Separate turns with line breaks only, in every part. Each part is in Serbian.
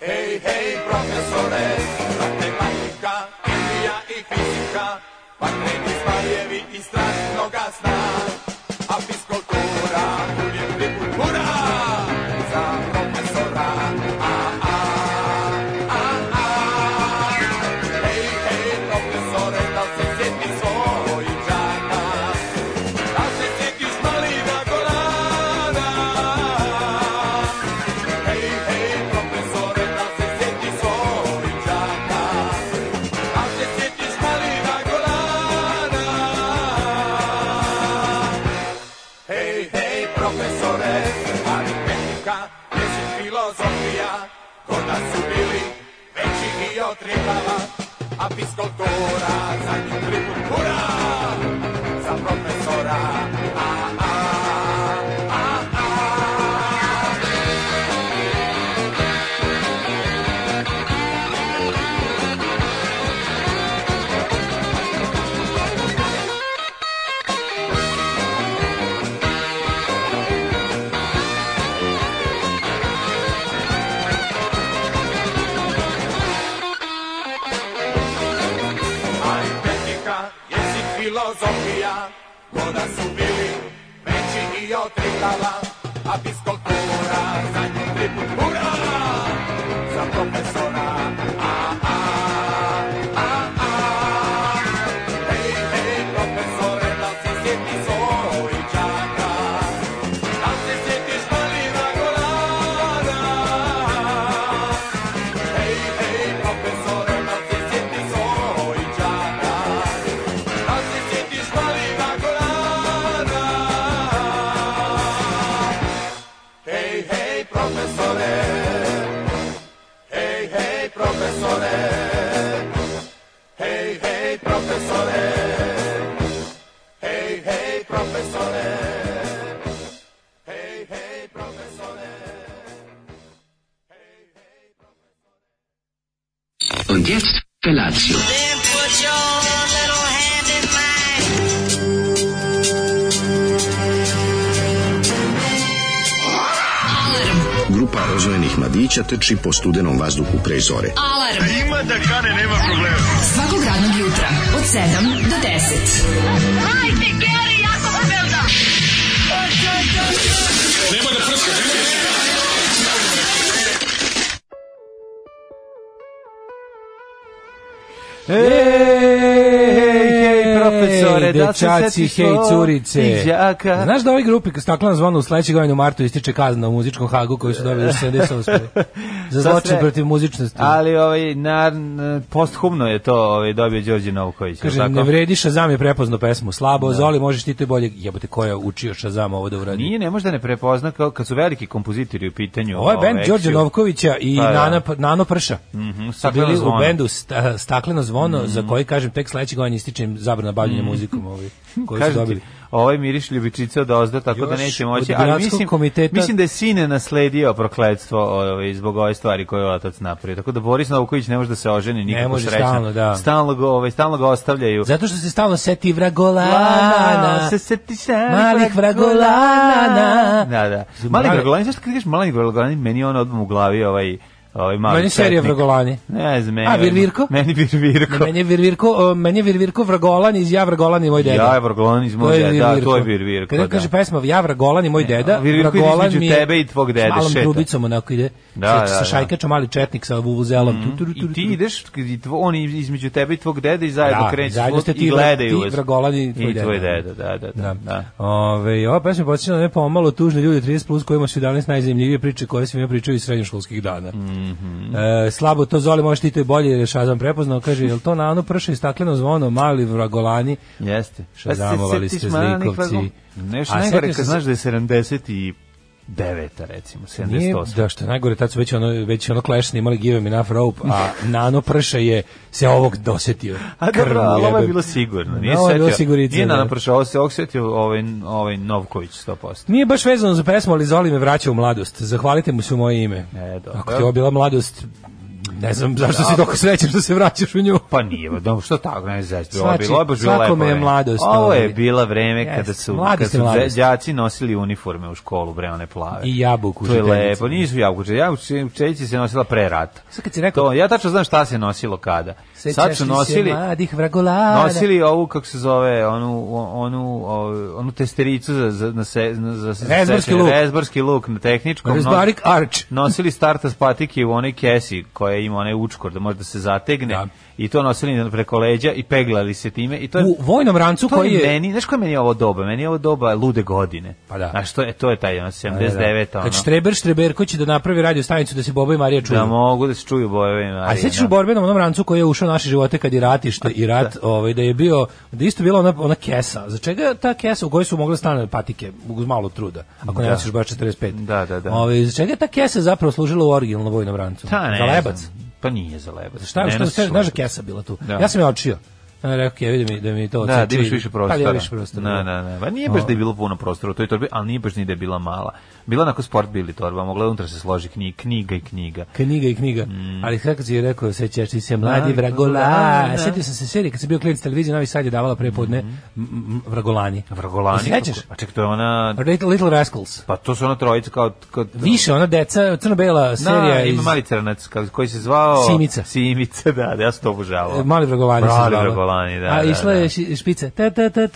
Hej, hej, profesore, matematika, kemija i fizika, pa neki stvarjevi i strašno ga zna, a fiskultura uvijek priput mura za profesora, a, a, a, a. Hej, hej, profesore, da li se sjeti svojih džaka, da li se sjetiš malina golana, Hej, hej, profesore, da se sjeti svojih džaka, da se sjetiš malina golana. Hej, hej, profesore, aritmetika, jezik, filozofija, kod nas su bili veći i od ribava, a fiskultura za njih tribut kura, za profesora, a, a, a, a. aritmetika, jezik, filozofija, koda su bili veći i od trikala, a fiskultura za nju triput hura, za profesora, a, a, a, a. ah. Hej, hej, profesore, da li se sjeti svojih đaka? Da li se sjetiš malina Golana? Hej, hej, profesore, da li se sjetiš svojih đaka? Da li se sjetiš malina Golana? Hej, hej, profesore, hej, hej, profesore, hej, hej, profesore, hej, hej, profesore, hej, hej, profesore.
Und jetzt Felatio.
Then put your little hand in mine.
Grupa rozvojenih mladića teči po studenom vazduhu pre zore.
Alarm. A ima da kane, nema problema. Svakog radnog jutra, od 7 do 10. Hajde, Geri, jako se velda.
Hej, hej, profesore, da se
dečaci,
sjetiš
hej,
svog
curice.
đaka.
Znaš da ovoj grupi staklana zvona u sledećeg godinu u martu ističe kazna u muzičkom hagu koju su dobili u 78. za
Za
zločin
sve.
protiv muzičnosti.
Ali ovaj, na, posthumno je to ovaj, dobio Đorđe Novković.
Kaže,
jel tako? Da.
ne vredi Shazam je prepozno pesmu. Slabo, Zoli, možeš ti to i bolje. Jebote, ko je učio Shazam ovo da uradi?
Nije, ne može da ne prepozna kao kad su veliki kompozitori u pitanju. ovaj,
Ovo je bend Đorđe Novkovića i
Pa da. Mhm,
Nana, Nano Prša. Mm Su
Stakleno
bili
zvono. Mhm.
u bendu sta, Stakleno zvono, za koji, kažem, tek sledećeg godina ističem zabrana bavljenja muzikom ovaj, koju su
Kažem ti,
dobili.
ovaj miriš ljubičica od ozda, tako da
Još
neće
od
moći. Ali
gradskog
mislim,
komiteta-
mislim da je sine nasledio prokledstvo ovaj, zbog ove stvari koje je otac napravio. Tako da Boris Novković ne može da se oženi nikako
može,
srećan.
stalno, da.
Stalno ga, ovaj, stalno ga ostavljaju.
Zato što se stalno seti vragolana.
Lana, Da, se setiš se
Malih vragolana.
Da, da. Mali
Zaboravio.
vragolani, zašto kad kažeš mali vragolani, meni on odmah u glavi ovaj, ovaj mali
Meni serija
četnik.
vragolani.
Ne znam, meni.
A, Virvirko?
Meni Virvirko.
Ne, meni je Virvirko, o, meni je Virvirko Vragolan iz Ja Vragolan i moj deda.
Ja je Vrgolan iz moj deda, da, to je Virvirko.
Kada
da.
kaže pa, pesma Ja Vragolan i moj deda,
A, Virvirko ide
Vragolan
između
mi je
tebe i tvog dede,
s Malom
šeta.
trubicom onako ide.
Da,
sa,
da, da. Mhm.
sa šajkačom, mali četnik sa vuvuzelom. Mm
I ti ideš, i tvo, oni između tebe i tvog dede i zajedno
Da,
kreću
zajedno
svud
ste ti
i
i
gledaju
ti,
vas.
Vragolan i tvoj deda.
tvoj deda, da, da, da. da.
Ove, ova pesma počinja na ne pomalo tužne ljude 30 plus kojima su danas najzanimljivije priče koje se mi pričaju iz srednjoškolskih dana.
Mhm.
e, slabo to Zoli, možeš ti to i bolje, jer je Šazam prepoznao, kaže, jel to na ono prše i stakleno zvono, mali vragolani,
Jeste.
Šta zamovali
setiš
ste
malih
zlikovci.
Vragolana? Nešto
A
najgore
setio sam
kad
se-
znaš da je 79 recimo, 78.
Nije, da što je najgore, tad su već ono, već ono Clash snimali Give Me Enough Rope, a Nano Prša je se ovog dosetio.
A
Krv
dobro,
mu
ali ovo je
jebe.
bilo sigurno. Nije
Da, ovo je bilo
setio-
sigurica,
Nije
da.
na naprašao, ovo se ovog setio ovaj, ovaj Novković 100%.
Nije baš vezano za pesmu, ali Zoli me vraća u mladost. Zahvalite mu se u moje ime.
E, dobro.
Ako ti je ovo bila mladost, Ne znam zašto si toliko srećan što se vraćaš u nju.
Pa nije, no, što tako, ne znam, znači, ovo je
Svači-
bilo, ovo je bilo lepo
svakome je
vreme.
mladost,
Ovo je
ovaj.
bila vreme
Jeste,
kada su,
mladost
kada
je
su
mladost.
đaci nosili uniforme u školu, bre, one plave.
I jabuku.
To je
žitarice.
lepo, nisu jabuče, jabučeći se nosila pre rata.
Sad kad si rekao,
To, ja tačno znam šta se nosilo kada. Sad
da. Sećaš
su
li se
nosili,
mladih vragolada.
nosili ovu, kako se zove, onu, onu, o- onu testericu za, za, na se, na, za se-
Rezbarski
sečenje,
luk.
rezbarski luk na tehničkom.
Rezbarik Pa Arč.
nosili starta spatike u onoj kesi koja ima onaj učkor da može da se zategne
Da.
i to nosili preko leđa i peglali se time i to je
U vojnom rancu
to
koji
je
je...
meni, znaš koja je meni ovo doba? Meni je ovo doba lude godine.
Pa da.
Znaš, to je, to je taj ono, 79. Da, ono,
Kad Štreber Štreber ko će da napravi radio stanicu da se Boba i Marija čuju.
da mogu da se čuju bojeve Marije.
A sećaš
da.
u borbenom onom rancu koji je ušao u naše živote kad je ratište i rat, ovaj da je bio da je isto bila ona ona kesa. Za čega ta kesa u kojoj su mogle stane patike uz malo truda, ako ne
Da.
nosiš baš 45.
Da, da, da.
Ovaj za čega je ta kesa zapravo služila u originalnom vojnom rancu?
Ta, ne
za
znam.
lebac.
Pa nije za lebac.
Šta
Ne
je, šta
nosiš
ste, znaš da
lebac.
kesa bila tu.
Da.
Ja sam je očio. Ja rekao, ja vidim mi- da mi to
Da, da
odseče
imaš
i-
više
Pa
prostora.
da, Ovaj. više prostora.
Da, da, da. Pa nije baš da je bilo puno prostora u toj torbi, ali nije baš ni da je bila mala. Bila onako sport bili torba, mogla je unutra se složi knjiga, knjiga i knjiga.
Knjiga i knjiga. Ali kako si je rekao, sećaš ti se mladi
Da,
vragola.
Mm. da, Mhm. da.
Sjetio sam se serije kad sam bio klinac televizije Novi Sad je davala prepodne m- m- vragolani.
Vrgolani.
Se Sećaš?
A ček, to je ona...
Little, Little Rascals.
Pa to su ona trojica kao... kao
Više ona deca, crno-bela serija
da, ima
iz
mali crnac kao- koji se zvao...
Simica.
Simica, da, da, ja sam to obožavao.
Mali vragolani se
Mali
zvala.
vragolani, da,
A
da,
išla
da.
je ši- špica. Ta, ta, ta,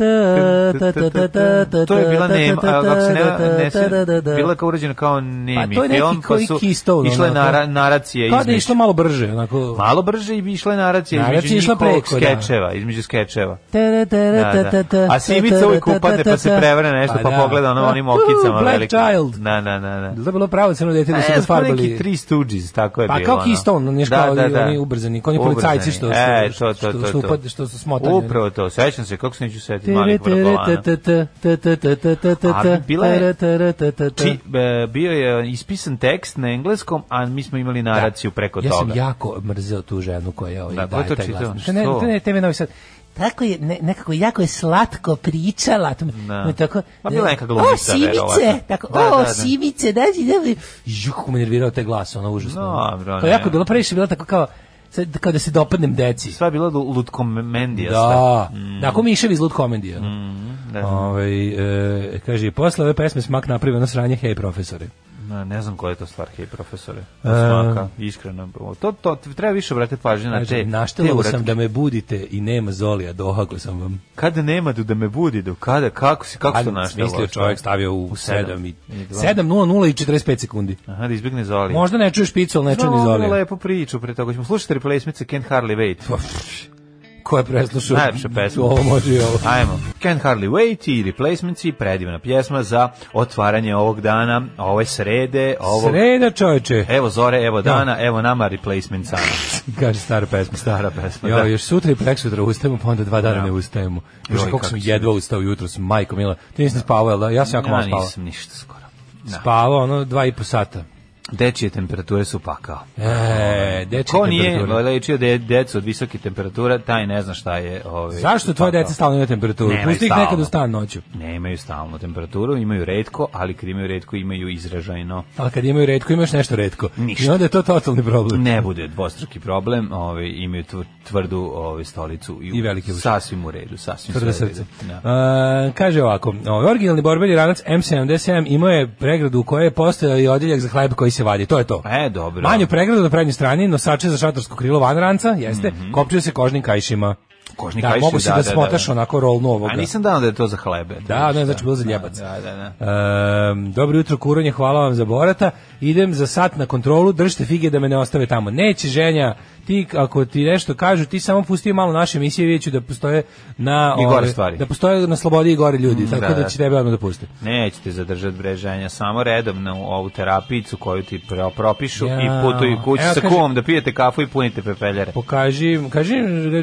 ta, ta, ta, ta, ta, ta,
To je bila
ta, ta,
nema,
ta,
a ako se
ta, ta,
ne, ne se,
ta, ta, ta.
bila je kao urađena kao nemi
Pa to je neki
film, pa
koji
su
Keystone,
išle
ono,
nara,
to-
naracije
Kao da je
između.
išla malo brže, onako.
Malo brže i išle naracije,
Naracija je
između
išla
njihovog
preko, da.
skečeva, između skečeva.
Ta, ta, ta, ta,
Da,
ta,
da.
ta,
A Simica uvijek upadne pa se prevrne nešto, pa
da.
pogleda ono
Da.
onim
Uhu,
okicama
Black
velikim.
Child.
Da, da, da, da.
Da je bilo pravo crno dete da su
E,
ga
to su neki
farbali.
tri Stooges, tako je
Pa
bilo.
kao
ono. Da,
Keystone, oni kao oni ubrzani, kao oni policajci što su-
e, to, to,
što-
to,
što
to.
upad- što su smotani.
Upravo to, sećam se, kako se neću setiti malih vrgolana. Ali bila je- Či, e, bio je ispisan tekst na engleskom, a mi smo imali naraciju preko
Da. ja
toga.
sam jako mrzeo tu ženu koja je ovaj
Da,
da,
ko je
daje
to
taj
čitao?
glas. Ne, ne,
Što?
ne, tebe novi sad. Tako je, ne, nekako jako je slatko pričala. To,
Da.
da. me tako,
Pa bila
da-
neka glumica,
O,
verovatno."
sivice! Tako,
Da, da,
o,
da.
sivice, da si, da si. Juh, me nervirao taj glas, ono, užasno.
Dobro,
to
ne.
je Pa jako bilo, previše je bilo tako kao, sad, kao da se dopadnem deci.
Sva je bila lu- lutkomendija. Mm,
Da, da, ako miševi iz Lud Komendija.
sva. Da.
Ovaj, e, kaže, posle ove pesme smak napravi ono sranje, hej profesore.
Ne, ne znam koja je to stvar, hej profesore.
E.
Svaka, iskreno. To, to, treba više obratiti pažnju na
Kaže,
te, te
naštelo
uratke.
sam da me budite i nema zolija, dohako sam vam.
Kada nema da me budi, do kada, kako si, kako
A,
si to naštelo?
mislio čovjek stavio u,
sedam.
7 i
I dva.
7 0 i 45 sekundi.
Aha, da izbjegne Zoli.
Možda ne čuješ picu, ali ne čuješ
Znamo
ni
onu
zolija.
lepu priču pre toga. Ćemo slušati replacemice Can't Hardly Wait.
Ko je preslušao?
Najlepša pesma.
Pa, Ovo može i ovo.
Ajmo. Can't Hardly Wait i Replacements predivna pjesma za otvaranje ovog dana, ove srede, ovog...
Sreda čovječe,
Evo zore, evo
Da.
dana, evo nama Replacements
kaže stara pesma.
Stara pesma,
Jo,
da.
još sutra i preksutra ustajemo, pa onda dva dana
Ja.
ne ustajemo. Još
Joj,
kako
kako
sam
si-
jedva ustao jutro, s majkom Mila. Ti nisi spavao, jel da? Ja da. sam jako malo
Ja
spavao.
nisam ništa skoro.
Spavao, ono, dva i po sata.
Dečije temperature su pakao.
E, dečje
Ko nije
temperature.
lečio de, decu od visoke temperatura, taj ne zna šta je. ovaj, Ove,
Zašto tvoje
pakao.
deca stalno imaju temperaturu?
Nemaju
Pusti ih
stalno.
nekad u stan noću.
Ne imaju stalnu temperaturu, imaju redko, ali kad imaju redko imaju izražajno.
Ali kad imaju redko, imaš nešto redko.
Ništa.
I onda je to totalni problem.
Ne bude dvostruki problem, ovaj imaju tvr- tvrdu ovaj stolicu i, u-
I velike uši.
sasvim u redu, sasvim
Tvrdo
sve u redu.
srce.
Da.
E, kaže ovako, ovaj originalni borbeni ranac M77 imao je pregradu u kojoj je postojao i odjeljak za hleb koji se vadi. To je to.
E, dobro.
Manju pregradu na prednjoj strani, nosače za šatorsko krilo van ranca, jeste,
Mhm.
kopčio se kožnim kajšima.
Kožni
da,
kaiši,
mogu se da, smotaš onako rolnu ovoga.
A nisam dao da je to za hlebe.
Da,
ne,
ne, znači bilo za ljebac.
Da, da, da.
Ehm, dobro jutro, kuranje, hvala vam za borata. Idem za sat na kontrolu, držite fige da me ne ostave tamo. Neće, ženja, ti, ako ti nešto kažu, ti samo pusti malo naše emisije, vidjet ću da postoje na...
I gore
ove,
stvari.
Da postoje na slobodi i gore ljudi, tako
da,
da,
da.
će tebe odmah da pusti.
Nećete zadržati breženja, samo redovno u ovu terapicu koju ti pro- propišu
Ja.
i putuju kući
Evo,
sa
kaže-
kumom da pijete kafu i punite pepeljere.
Pokaži, kaži,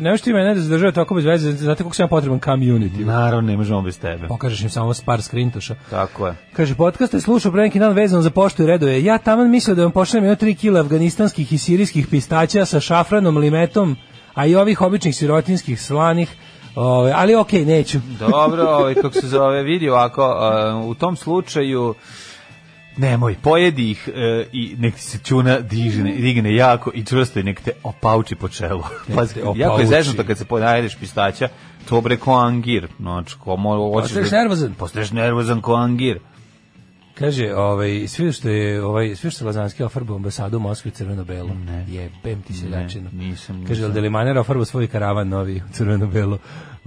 nešto ti mene da zadržava tako bez veze, znate koliko sam ja potreban community.
Naravno, ne možemo bez tebe.
Pokažeš im samo par skrintoša.
Tako je.
Kaže, podcast je slušao pre neki dan vezano za poštu i redove. Ja taman mislio da vam pošaljem jedno 3 kila afganistanskih i sirijskih pistaća sa šafranom, limetom, a i ovih običnih sirotinskih slanih. Ove, ali okej, neću.
Dobro, ovaj, kako se zove, vidi ovako, e, u tom slučaju Nemoj, pojedi ih e, i nek ti se čuna digne, digne jako i čvrsto i nek te opauči po čelu. Pa, jako je
opauči.
zeznuto kad se ponajedeš pistaća, to bre ko angir. Znači, ko mo, hoćeš
Postaješ
da-
nervozan.
Postaješ nervozan ko angir.
Kaže, ovaj, svi što je, ovaj, svi što je Lazanski ofarbao ambasadu u Moskvi crveno-belo. Ne. Jebem ti se dačinu.
nisam, nisam.
Kaže, Delimaner ofarbao svoj karavan novi u crveno-belo.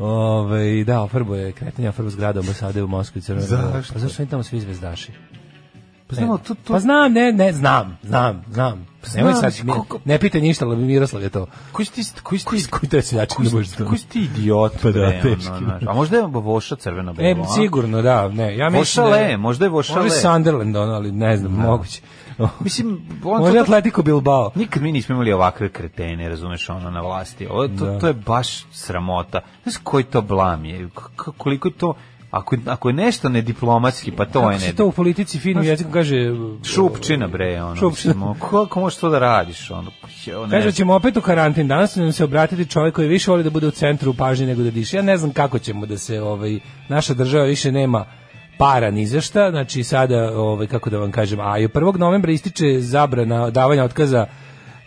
Ovaj, da, ofarbao je kretanje, ofarbao zgrada ambasade u Moskvi u crveno-belo.
Zašto?
Pa zašto su oni tamo svi zvezdaši?
Pa
Ne.
znamo, to, to,
Pa znam, ne, ne, znam, znam, znam. Pa Nemoj
znam,
sad,
mislim,
ne,
koliko-
ne pita ništa, ali Miroslav je to.
koji si ti, koji si ti,
Koji to je seljačin da budeš to?
koji si ti idiot,
Pa da,
bre, ono,
teški.
znaš. a možda je voša crveno
E,
belo,
sigurno, da, ne. Ja mislim da
Vošale,
je-
možda je vošale.
Možda je Sunderland, ono, ali ne znam, moguće.
Mislim, on
Možda je
to, to,
Atletico Bilbao.
nikad mi nismo imali ovakve kretene, razumeš, ono, na vlasti. Ovo, to,
Da.
to je baš sramota. Znaš koji to blam je? K- k- koliko je to... Ako, ako je nešto nediplomatski, pa to
Kako
je
se
ne...
to u politici finim jezikom kaže...
Šupčina, bre, ono.
Šupčina.
Mislim, kako možeš to da radiš, ono? jo, ne
Kaže da
znam.
ćemo opet u karantin. Danas će nam se obratiti čovjek koji više voli da bude u centru pažnje nego da diše. Ja ne znam kako ćemo da se ovaj naša država više nema para ni za šta. Znači sada ovaj kako da vam kažem, a i 1. novembra ističe zabrana davanja otkaza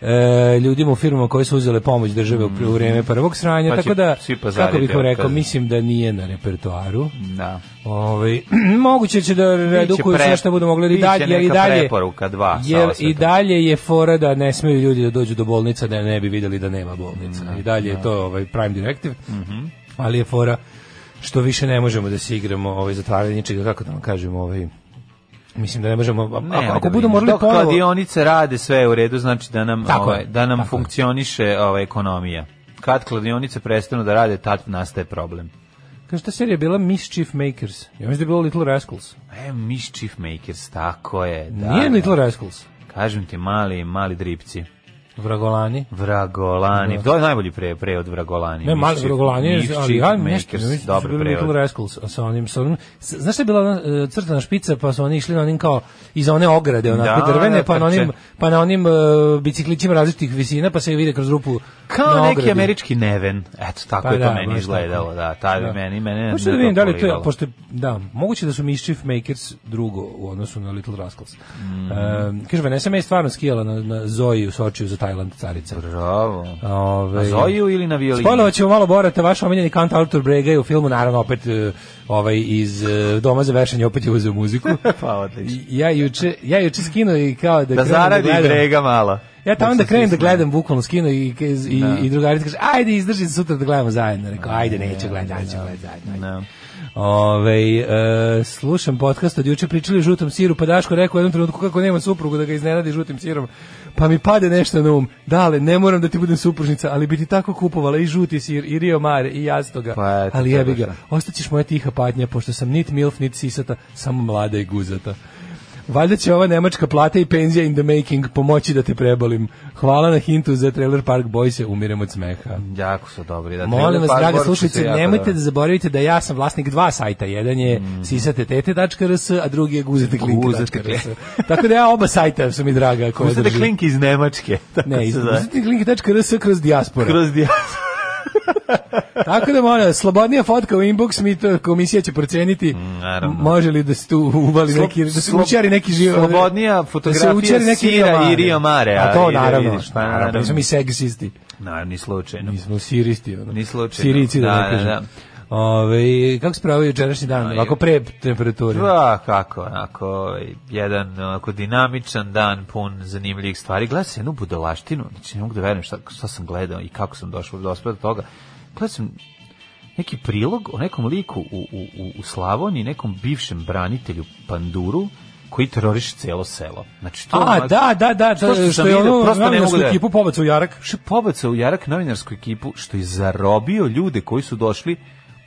e, ljudima u firmama koje su uzele pomoć države u, u vreme prvog sranja.
Mm. Pa će
tako da
svi pazariti
kako bih vam rekao,
otkaze.
mislim da nije na repertoaru.
Da.
Ovaj moguće će da redukuju
pre-
sve što budu mogli jer i
biće
dalje jer i
neka
dalje
preporuka, dva sa
jer i
osvetom.
dalje je fora da ne smeju ljudi da dođu do bolnica da ne bi videli da nema bolnica.
Mm,
I dalje
da.
je to ovaj prime directive.
Mhm.
Ali je fora što više ne možemo da se igramo ovaj zatvaranje ničega kako da vam kažem ovaj mislim da ne možemo
Ne,
ako, ako
da
budu
vidim.
morali
Dok
ponovo
kladionice rade sve je u redu, znači da nam,
Tako
ovaj,
je,
da nam
tako je.
funkcioniše ova ekonomija. Kad kladionice prestanu da rade, tad nastaje problem.
kaže ta serija je bila Mischief Makers. Ja mislim da je bilo Little Rascals.
E, Mischief Makers, tako je. Da,
Nije
da.
Little Rascals.
Kažem ti, mali, mali dripci.
Vragolani.
Vragolani, to je najbolji pre, pre od Vragolani.
Da. Ne, mali
Mischief-
Vragolanje,
Mischief
ali ja nešto,
Makers,
ne mislim da su
dobar
bili Little
prevod.
Rascals sa onim, sa onim, s- znaš šta je bila ona e, crtana špica, pa su oni išli na onim kao, iza one ograde, onako
Da,
drvene,
da,
pa na
trče.
onim, pa na onim e, biciklićima različitih visina, pa se vide kroz rupu
Kao
na
neki
ogradi.
američki neven. Eto, tako
Pa
je to
da,
meni
baš
izgledalo.
tako.
Da, taj da. meni, mene
Hoću da vidim da li to je,
poliralo.
pošto, da, moguće da su Mischief Makers drugo u odnosu na Little Rascals. Mm. kaže, Vanessa May je stvarno skijala na, na Zoji u Sočiju za Tajland carica.
Bravo.
Ove,
Na Zoju ili na violinu?
Spojlovat ćemo malo Borata, vaš omiljeni kant Artur Brega je u filmu, naravno opet e, ovaj, iz e, Doma za vešanje, opet je uzeo muziku.
Pa, odlično.
I Ja juče, ja juče skinu i kao da,
Da
krenem
zaradi
gledam.
brega mala.
Ja tamo
Dok
da
se
krenem da
stisne.
gledam bukvalno skinu i, i,
Da.
i drugarica kaže, ajde izdrži se sutra da gledamo zajedno. Rekao, ajde neću gledati, ajde ću gledati zajedno. ajde.
Da.
Ovaj e, slušam podcast od juče pričali o žutom siru, pa Daško rekao u jednom trenutku kako nema suprugu da ga iznenadi žutim sirom. Pa mi pade nešto na um. Dale, ne moram da ti budem supružnica, ali bi ti tako kupovala i žuti sir, i Rio Mare, i jastoga.
Pa eto,
ali
to je
jebi
baš
ga,
to.
ostaćeš moja tiha patnja, pošto sam nit milf, nit sisata, samo mlada i guzata. Valjda će ova nemačka plata i penzija in the making pomoći da te prebolim. Hvala na hintu za Trailer Park Boys, umirem od smeha.
Jako su dobri. Da,
Molim vas,
Trailer Park
draga
Boys su
slušajce,
jako
nemojte da
dobri.
zaboravite da ja sam vlasnik dva sajta. Jedan je
Mm.
sisatetete.rs, a drugi je guzateklink.rs. Tako da ja oba sajta su mi draga. koja
Uzete
drži.
klink iz Nemačke. tako
da Ne,
se
iz
zove.
guzateklink.rs kroz dijaspora.
Kroz dijaspora.
Tako da molim, vas, slobodnija fotka u inbox, mi to komisija će proceniti
Mm, naravno.
može li da se tu uvali neki, da se
Slob-
učari neki živ... da
Slobodnija fotografija
učari
sira
Rio Mare.
i Rio Mare,
A
a
to
i da
naravno,
vidiš, pa
naravno,
naravno.
nismo mi seksisti.
Naravno, ni slučajno.
Mi smo siristi, ono.
Ni slučajno.
Sirici, da,
Da,
ne
da,
kažem.
da. Ovaj,
Ove, kako se pravi jučerašnji dan?
Aj,
Ovako pre temperature.
Pa, kako, onako, ovaj, jedan onako dinamičan dan, pun zanimljivih stvari. Gledao sam jednu budalaštinu, znači ne mogu da verujem šta, šta sam gledao i kako sam došao do do toga. Gledao sam neki prilog o nekom liku u, u, u- u Slavoniji, nekom bivšem branitelju Panduru, koji teroriše celo selo. Znači, to
A,
onako-
da, da, da,
To
da, što
sam
je
vidio,
ono,
prosto ne
ravno
mogu
su
da-
ekipu pobacu u jarak.
Še pobaca u jarak novinarsku ekipu što je zarobio ljude koji su došli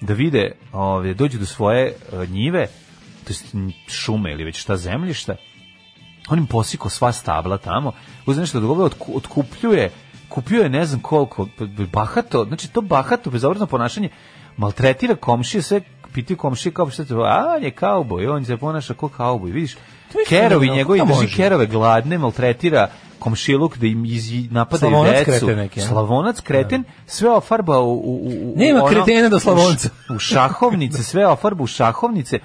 da vide, ovaj dođu do svoje eh, njive, to jest m, šume ili već šta zemljišta. On im posikao sva stabla tamo, uz nešto dogovore otku, otkupljuje, kupio je ne znam koliko, p- p- bahato, znači to bahato, bezobrazno ponašanje, maltretira komšije, sve pitaju komšije kao "Pa šta te, a on je kauboj, on se ponaša kao kauboj, vidiš,
mislim da
kerovi
ne,
njegovi,
kako
drži
može?
kerove gladne, maltretira komšiluk da im iz, napada
Slavonac
Slavonac decu.
kreten neki, a?
Slavonac kreten, sve ofarba u, u, u, u
Nema kretena do Slavonca.
U, š- u šahovnice, sve ofarba u šahovnice.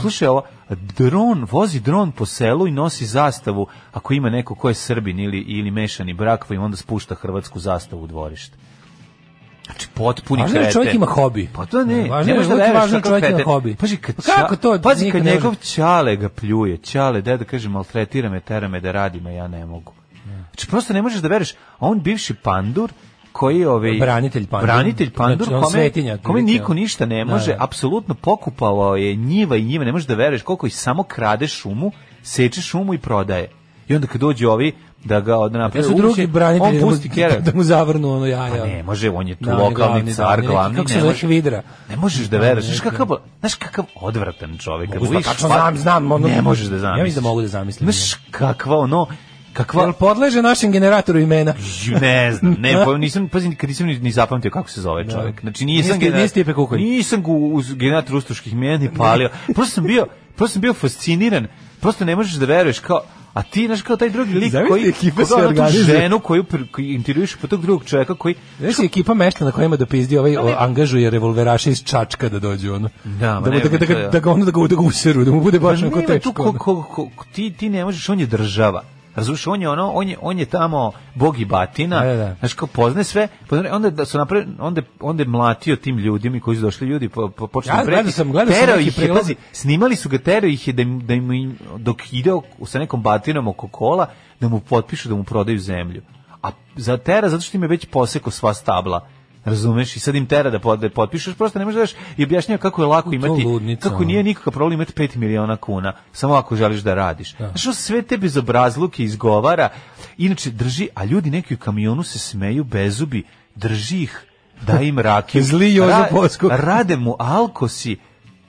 Slušaj ovo, dron, vozi dron po selu i nosi zastavu, ako ima neko ko je srbin ili, ili mešani brak, pa im onda spušta hrvatsku zastavu u dvorište. Znači, potpuni
Važno je
kreten.
da čovjek ima hobi.
Pa to ne,
Važno
ne
je
možeš da
da
veruješ
važno je
kakav
čovjek ima
kreten.
hobi.
Pazi kad,
Pa kako
ča-
to
pazi
niko
kad
ne
njegov
može?
čale ga pljuje, čale, deda kaže, maltretira me, tera me da radim, a ja ne mogu. Znači, prosto ne možeš da veruješ, a on bivši pandur, koji je ovaj
Branitelj pandur.
branitelj pandur
Znači, on
kome,
svetinja,
kome
otprilike.
niko ništa ne
Da,
može
da.
apsolutno pokupao je njiva i njive ne možeš da veruješ koliko i samo krade šumu seče šumu i prodaje i onda kad dođu ovi da ga od
Ja
naprave
su drugi branitelji
on
da mu,
pusti kerak
da mu zavrnu ono jaja.
pa ne, može, on je tu
Da, on je
lokalni
glavni, da, on
car,
je neki,
glavni,
kako se
ne
zove,
može.
Hvidra.
Ne možeš da veruješ, znaš kakav, znaš kakav odvratan čovjek.
Mogu,
Kad vidiš,
pa tačno
pa-
znam, znam, ono-
ne možeš da
Ja
zamisliš.
mislim da mogu da zamislim,
Znaš kakva ono, kakva,
Jel pa- podleže našem generatoru imena?
Ju, ne znam, ne, pa nisam, pazi, nikad nisam ni, ni zapamtio kako se zove čovjek. Znači, nisam,
Da. Niste-
genera-
niste Ipe Kukolj?
nisam gu, uz generator ustuških mjeni palio. Prosto sam bio, prosto sam bio fasciniran. Prosto ne možeš da veruješ kao, A ti, znaš, kao taj drugi lik
Zamisli,
koji,
ekipa se
koga ona tu
organizuje.
ženu koju, pr- koju intervjuiš po tog drugog čovjeka koji,
Znaš, ekipa meštana koja ima da pizdi, ovaj o, angažuje revolveraše iz Čačka da dođu, ono.
Da, ma
da, mu-
ne,
da, ga- da,
to
ga-
je-
da, ga ono da ga, da ga useru, da mu bude baš
Pa
onako
nema tu
teško.
ko,
ono.
ko, ko, ti, ti ne možeš, on je država. Razumeš, on je ono, on je, on je tamo bog i batina,
Da, da.
znaš kao pozne sve, pozne, onda da su napre, onda, onda je mlatio tim ljudima koji su došli ljudi, po, po, počeli da
Ja,
preti.
gledao sam- gledao sam
Terao
neki
ih je,
prilog.
pazi, snimali su ga, terao ih je da, im- da im, dok ide ok- sa nekom batinom oko kola, da mu potpišu da mu prodaju zemlju. A za tera, zato što im je već poseko sva stabla. Razumeš? I sad im tera da pod- da potpišeš, prosto ne možeš da daš i objašnjava kako je lako
To
imati,
ludnica,
kako
ono.
nije nikakav problem imati 5 miliona kuna, samo ako želiš da radiš. Znaš, on sve te bezobrazluke izgovara, inače drži, a ljudi neki u kamionu se smeju bezubi, drži ih, da im rakiju.
Zli Jozo Posko.
Rade mu alkosi,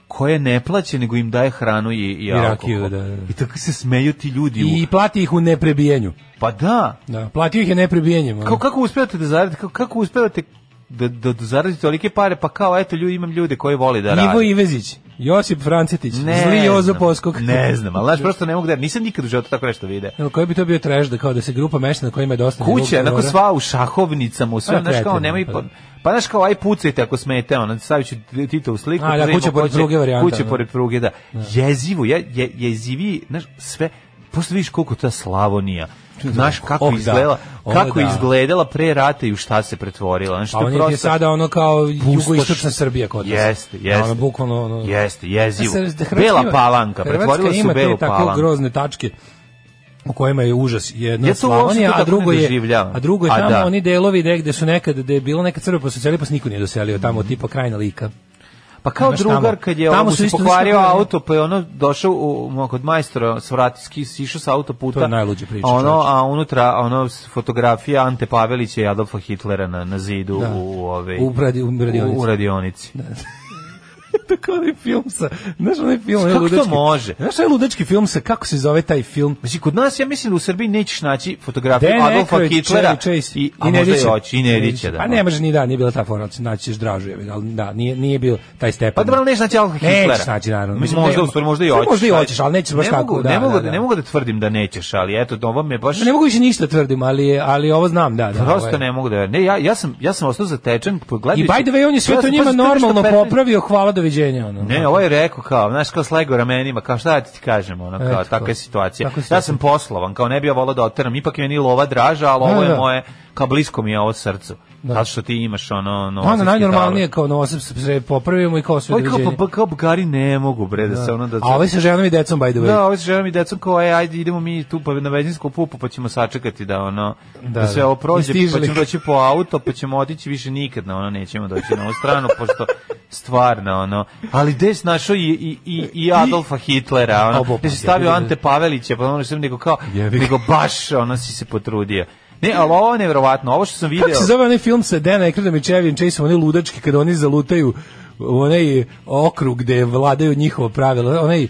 koje ne plaće, nego im daje hranu i, i, alkohol.
rakiju, da, da.
I tako se smeju ti ljudi.
I
U,
plati ih u neprebijenju.
pa da,
Da, platio ih je neprebijenjem. ono.
kako, kako uspevate da zaradite, kako, kako uspevate da, da, da zaradite tolike pare, pa kao, eto, ljudi, imam ljude koji voli da rade.
Ivo Ivezić, Josip Francetić, zli Jozo
znam,
Poskog.
Ne znam, ali znaš, prosto ne mogu da, nisam nikad u životu tako nešto video.
Jel, koji bi to bio trash da kao da se grupa meštana koja ima dosta
Kuća,
njegovog
onako
terora-
sva u šahovnicama, u
A,
svem, znaš kao,
kretenje,
nemoj,
pa
pa,
da.
pa znaš kao, aj pucajte ako smete, ono, stavit ću Tito u sliku.
A, da,
pa vidimo
kuća
ko
pored
će-
pruge varijanta,
Kuća
da.
pored pruge, da. Jezivo, je, je, jezivi, znaš, sve, posto vidiš koliko ta Slavonija, znaš kako
Oh, da.
izgledala,
Ovo
kako
da.
izgledala pre rata i u šta se pretvorila. Znaš,
Pa
to
on
prosto-
je sada ono kao
Pustoš.
jugoistočna Srbija kod nas.
Jeste,
Da,
jeste.
Ono, bukvalno ono...
Jeste, jezivo.
Da se- da Hrvatska
Bela
ima-
palanka,
Hrvatska
pretvorila su
ima te
Belu
tako
palanku.
grozne tačke u kojima je užas jedna
Ja to uopšte
Slavonija, a
tako
drugo
ne
je
doživljavam.
a drugo je
A
tamo
da.
oni delovi gde gde su nekad gde je bilo neka crkva pa su seli pa se niko nije doselio tamo tipa krajna lika.
Pa kao
Znaš, tamo-
drugar kad je
tamo
tamo
su
se
isto
pokvario
nisko-
auto, pa je ono došao u, u- kod majstora, svrati, ski- sišao sa autoputa.
To je najluđa priča,
a Ono,
čoveče.
a unutra ono s- fotografija Ante Pavelića i Adolfa Hitlera na, na zidu
Da.
u ove
U radi- u radionici. Da.
U, u radionici.
Tako onaj film sa, znaš onaj film, onaj
Kako to
ludački.
može?
Znaš onaj ludački film sa, kako se zove taj film?
Znači, kod nas, ja mislim da u Srbiji nećeš naći fotografiju
Dan
Da, Adolfa
Aykroyd,
Hitlera
Chevy Chase
i, a možda i
Nedića.
oči, i Nedića. Da,
Pa ne može ni da, nije bila ta forma, naći ćeš dražu, je, ali da, nije, nije bio taj stepen.
Pa dobro, ali nećeš naći Adolfa Hitlera.
Nećeš naći, naravno. Mislim,
možda,
ne-
u stvari, možda i
sve
oćeš.
možda i hoćeš, ali nećeš baš
ne
tako,
Mogu,
da,
ne, mogu,
da, da.
ne mogu da tvrdim da nećeš, ali eto, ovo me baš...
Ne mogu više ništa da tvrdim, ali, je, ali ovo znam, da. da ovo
Prosto
je.
ne mogu da verujem. Ne, ja, ja sam ja sam ostao zatečen pogledajući.
I by the way, on je sve
Ja
to
sam,
njima
pazi, to je nešto
normalno
15
popravio, hvala doviđenja. Ono.
Ne, ovo je rekao kao, znaš, kao slego ramenima, kao šta da ti kažem, ono, kao,
Eto,
takva
kao.
je situacija.
Tako je
Ja
situacija.
sam poslovan, kao ne bi ja volao da oteram, ipak je meni lova draža, ali ovo
Da,
je
da.
moje, kao blisko mi je ovo srcu.
Da.
Zato što ti imaš ono... No,
Ono Pa najnormalnije kao Novosep se popravio mu i kao sve
Ovo je kao,
doviđenja.
pa, pa, kao bugari ne mogu, bre, da, se ono da...
A ovaj sa ženom i decom, by the way.
Da, ovo se želim i decom kao, e, ajde, idemo mi tu pa na benzinsku pupu, pa ćemo sačekati da ono, da,
Da,
sve
da.
ovo
I
prođe,
stižli.
pa ćemo doći po auto, pa ćemo otići više nikad na ono, nećemo doći na ovu stranu, pošto stvarno, ono, ali gde si našao i, i, i, i Adolfa Hitlera, ono,
Obo, pa,
gde si stavio
jebi ga.
Ante Pavelića, pa ono što nego kao,
Jebi ga.
nego baš, ono, si se potrudio. Ne, ali ovo je nevjerovatno, ovo što sam video...
Kako se zove onaj film sa Dan Aykroydom i Chevy Chaseom, oni ludački kada oni zalutaju u onaj okrug gde vladaju njihovo pravilo, onaj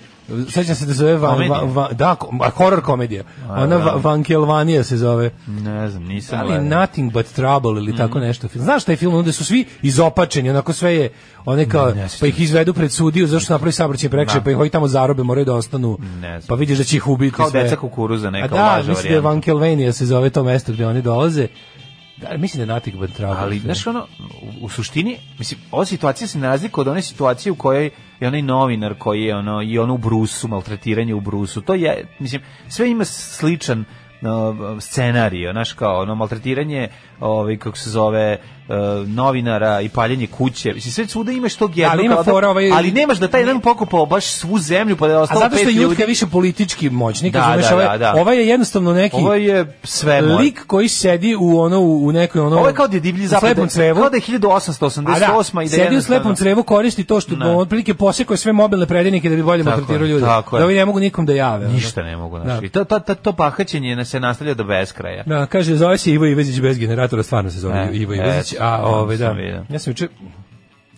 Sećam se da se zove van,
Komedija?
van, van, da, ko- a, horror komedija. Ona
da.
va, Vankelvanija se zove.
Ne znam, nisam...
Ali
gledao.
Da Nothing but Trouble ili tako
Mhm.
nešto. film. Znaš taj film, onda su svi izopačeni, onako sve je, one kao,
ne sjećam
pa ih izvedu pred sudiju, zašto napravi sabraćaj prekšaj,
Da.
pa ih ovi tamo zarobe, moraju da ostanu,
Ne znam.
pa vidiš da će ih ubiti
Kao
sve.
deca kukuruza, neka
A da,
laža
mislim da je
varijanta.
Vankelvanija se zove to mesto gde oni dolaze. Da, mislim da je natik Bantrava.
Ali, znaš, ono, u, u suštini, mislim, ova situacija se ne razlika od one situacije u kojoj je onaj novinar koji je, ono, i ono u brusu, maltretiranje u brusu, to je, mislim, sve ima sličan no, scenarij, znaš, kao, ono, maltretiranje, ovaj, kako se zove, eh, novinara i paljenje kuće, mislim, sve svuda imaš tog jednog,
ima
kao da-
fora, ovaj-
ali nemaš da taj jedan pokupao baš svu zemlju, pa da je
A
ostalo
zato što
pet
je Jutka
ljudi.
više politički moćnik,
Da,
razumeš,
da,
ovaj,
da, da.
ovaj je jednostavno neki
Ovo je sve moj.
lik koji sedi u ono u u nekoj ono
Ovo je kao da je divlji zapad.
u slepom crevu.
Kao da je 1888.
A
i da je
sedi u
jednostavno-
slepom crevu, koristi to što on otprilike posekao je sve mobilne predajnike da bi bolje
Tako je,
maltretirao ljude.
tako je.
Da ovi ne mogu nikom da jave. ono.
Ništa ne mogu, znaš.
Da.
I to, to, to, to pahaćenje na- se nastavlja do beskraja.
Da, kaže, zove se Ivo Ivezić bez generatora, stvarno se zove
E,
Ivo Ivezić,
eto,
a ove, da,
sam vidio.
ja sam juče,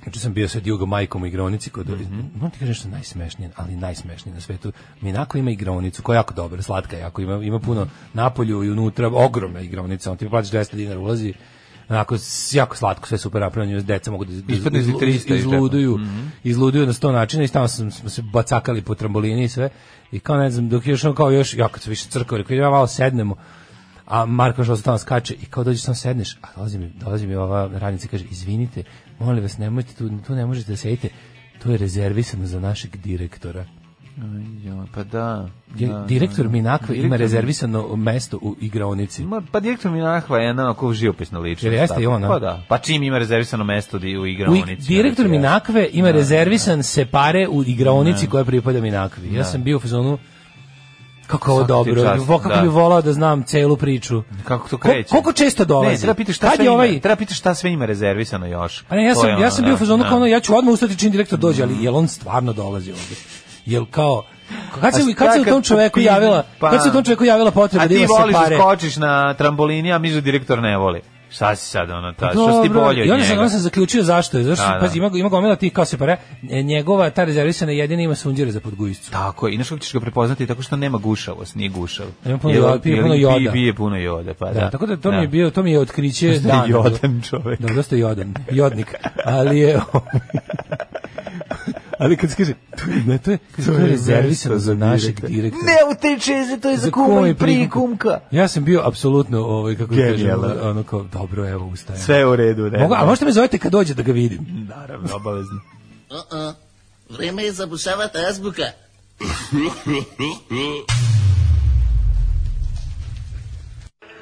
juče sam bio sa Djugo majkom u igronici, kod,
Mhm.
moram ti kažem nešto najsmešnije, ali najsmešnije na svetu, Minako ima igronicu, koja je jako dobra, slatka je jako, ima, ima puno napolju i unutra, ogromna igronica, on ti plaćaš 200 dinara ulazi, onako s- jako slatko sve super napravljeno deca mogu da iz-
Ispadne iz
izlu-
300 iz džepa.
izluduju
Mhm.
izluduju na sto načina i tamo sam- smo se bacakali po trambolini i sve i kao ne znam dok još ono kao još ja kad se više crkao rekao ja malo sednemo a Marko što tamo skače i kao dođeš tamo sedneš, a dolazi mi, dolazi mi ova radnica i kaže, izvinite, molim vas, nemojte, tu, tu ne možete da sedite, to je rezervisano za našeg direktora.
Jo, pa da.
Je-
da,
direktor
da.
Minakve ima
Direktor-
rezervisano mesto u igraonici.
Ma, pa direktor Minahva je jedna onako živopisna ličnost.
Jel jeste
tako.
i ona?
Pa da. Pa čim ima rezervisano mesto di- u
U,
igraonici.
ig- direktor
znači,
Minakve ima rezervisan separe u
Da.
igraonici koja pripada Minakvi. Ja sam bio u fazonu kako je ovo
Svaka ti
dobro,
Da. čast,
vo- kako
da.
bi volao da znam celu priču.
Kako to
Ko-
kreće?
koliko često dolazi?
Ne, treba pitaš šta
Kad
sve
je
ima,
ovaj-
treba pitaš šta sve ima rezervisano još.
Pa ne, ja
To
sam,
je
ja
ono,
sam bio u
da,
fazonu
da.
kao ono, ja ću odmah ustati čim direktor dođe, ali jel on stvarno dolazi ovde? Jel kao, kad
A
se,
šta
kad se u tom
kad
čoveku
kupi-
javila,
pa-
kad se u tom čoveku javila potreba
A
da
ti
ima
voliš
separe?
da skočiš na trambolini, a misliš da direktor ne voli. Šta si sad ono, ta, da, što si ti
Dobro,
bolje
I
od njega?
onda sam, onda sam zaključio zašto je, zašto,
Da, da.
pazi, ima, ima gomila tih kao separe, e, njegova, ta rezervisana jedina ima sunđere za podgujicu.
Tako, je, i nešto ćeš ga prepoznati tako što nema gušavost, nije gušav.
Ima puno
Jer-
joda- pije
jer
puno joda.
Pije, pije puno joda, pa da.
Da, tako da to mi je bio, Da. to mi je otkriće
Da
dana.
je jodan čovek.
Dobro, dosta je jodan, jodnik, ali je... ali kad se kaže, to je,
Da,
ne, to je, to je rezervisano za našeg direktora.
Ne utiče se, to je za kuma i prikumka.
Ja sam bio apsolutno ovaj kako kažem,
Genijalan.
ono kao dobro, evo ustajem.
Sve je u redu, ne.
Mogu, a možete me zovete kad dođe da ga
Mm.
vidim.
Naravno, obavezno.
Vreme je zabušavati azbuka.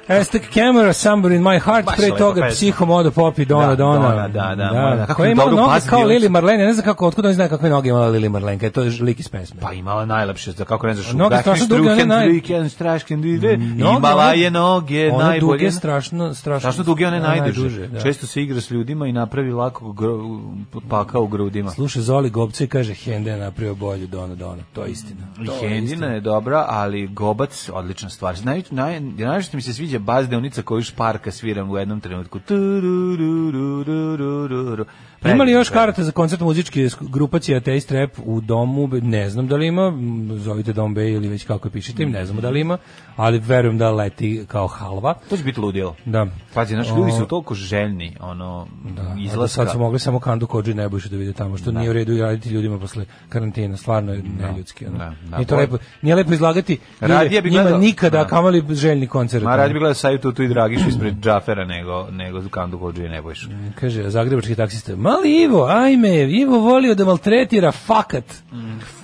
Aztec Camera, Somewhere in my heart,
Baš
pre
lepa
toga
pesma.
Psiho Modo Popi, Dona
Da,
Dona.
Dona, da, da, Moda. Kako
Koja
je
je imala
dobro
noge
pazio,
kao
on
Lili
se-
Marlene, ne znam kako, otkud on zna kakve noge imala Lili Marlenka, to je ž- lik iz pesme.
Pa imala najlepše, za kako ne znaš,
Noge strašno duge, one naj-
Drugen, Strašken, Drugen,
Noge,
imala
one-
je noge,
one
najbolje.
duge, strašno, strašno,
Strašno duge, one
da,
najduže.
da.
Često se igra s ljudima i napravi lako gro, paka u grudima.
Sluša Zoli Gobca i kaže Hende je napravio bolju Dona Dona, to je istina.
I
To je
Hendina je dobra, ali Gobac odlična stvar. Naj, naj, najviše mi se sviđa baz deonica koju Šparka sviram u jednom trenutku. Tururururururu. Predivno,
Ima li još
predivno.
karata za koncert muzičke sk- grupacije Ateist Rap u domu? Be- Ne znam da li ima, m, zovite Dom B ili već kako je pišite im, ne znamo da li ima, ali verujem da leti kao halva.
To će biti ludilo.
Da.
Pazi, naši ljudi su toliko željni ono,
A do
izlaska.
da Sad su mogli samo Kandu Kođu i Nebojšu da vide tamo, što nije u redu raditi ljudima posle karantina, stvarno je neljudski. Ono.
Da, da.
nije, to lepo, nije lepo izlagati
Radije
ljude,
bi
njima
gledao-
nikada,
da.
a kamali željni koncert.
Ma radi bi gledao Saju Tutu i Dragišu ispred Džafera nego, nego Kandu Kođu i Nebojšu.
Mm. Kaže, zagrebački taksista, mali Ivo, ajme, Ivo volio da maltretira, fakat.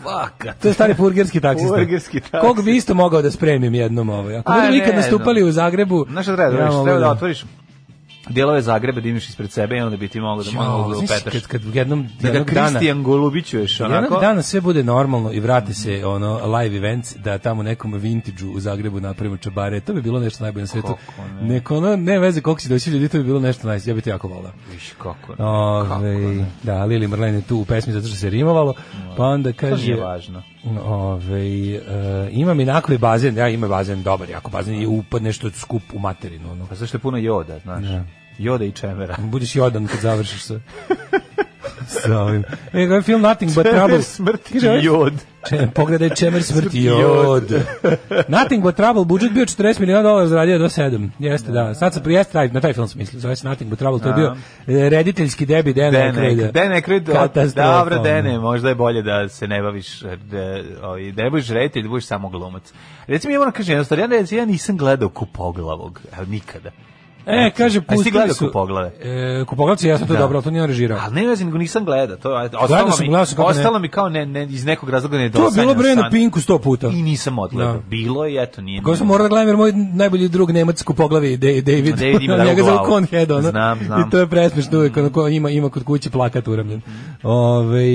Fakat.
To je stari purgerski taksista.
Purgerski taksista.
Kog bi isto mogao da spremim jednom ovo. Ako
A,
budemo ikad
ne
nastupali
znam.
u Zagrebu...
Znaš šta treba da radiš?
mogu
Treba da otvoriš delove Zagreba da imaš ispred sebe i onda bi ti mogao da malo
Jao, znaš,
upetaš.
kad, kad jednom,
Da ga
jednog dana...
Kristijan Golubićuješ, onako.
Jednog dana sve bude normalno i vrati se ono live events da tamo nekom vintage u Zagrebu napravimo čabare. To bi bilo nešto najbolje na svetu.
Kako ne.
Neko ono, ne veze koliko si doći ljudi, to bi bilo nešto najbolje. Ja bi to jako volao.
Viš, kako, ne, kako ne.
Ove, da, Lili Marlene je tu u pesmi zato što se rimovalo, pa onda
To
kaže...
nije važno.
Ove, e, imam inako i bazen, ja imam bazen, dobar, jako bazen, i upad nešto skup u materinu, ono.
Pa zašto je puno joda, znaš? Joda i čemera.
Budeš jodan kad završiš sa, sa ovim. E, ovaj film Nothing But Trouble.
smrti
Kaže, ovaj-
jod.
Če, pogledaj čemer smrti
Jod.
jod. Nothing but trouble, budžet bio 40 miliona dolara, zaradio do 7. Jeste, da. Sad sam prijest, taj, na taj film sam mislio, zove se Nothing but trouble, to je bio e, rediteljski debi Dana da, Ekreda.
Dene, Dene Kreda.
Katastrofa.
Dobro, Dene, možda je bolje da se ne baviš, e, da, ovaj, da ne budeš reditelj, da budeš samo glumac. Recimo, ja moram kažem, jednostavno, ja, ne- ja nisam gledao kupoglavog, evo, nikada.
E, kaže,
A jesi
pustili
gledao
su...
Kupoglave?
E, kupoglavci, ja sam to
Da.
dobro, ali to nije on režirao.
A ne vezi, nego nisam gledao. To, a- ostalo,
sam,
mi,
gledao sam kako ne.
ostalo mi kao ne, ne, iz nekog razloga ne
To je bilo bre na
pinku.
Pinku sto puta.
I nisam odgledao.
Da.
Bilo je, eto, nije.
Ko sam morao da gledam jer moj najbolji drug Nemac kupoglavi David, David,
David ima takvu
njega zove
glavu.
Conhead, ono.
Znam, znam.
I to je presmešno uvijek, ono, ko ima, ima kod kuće plakat uramljen.
Mhm.
Ove,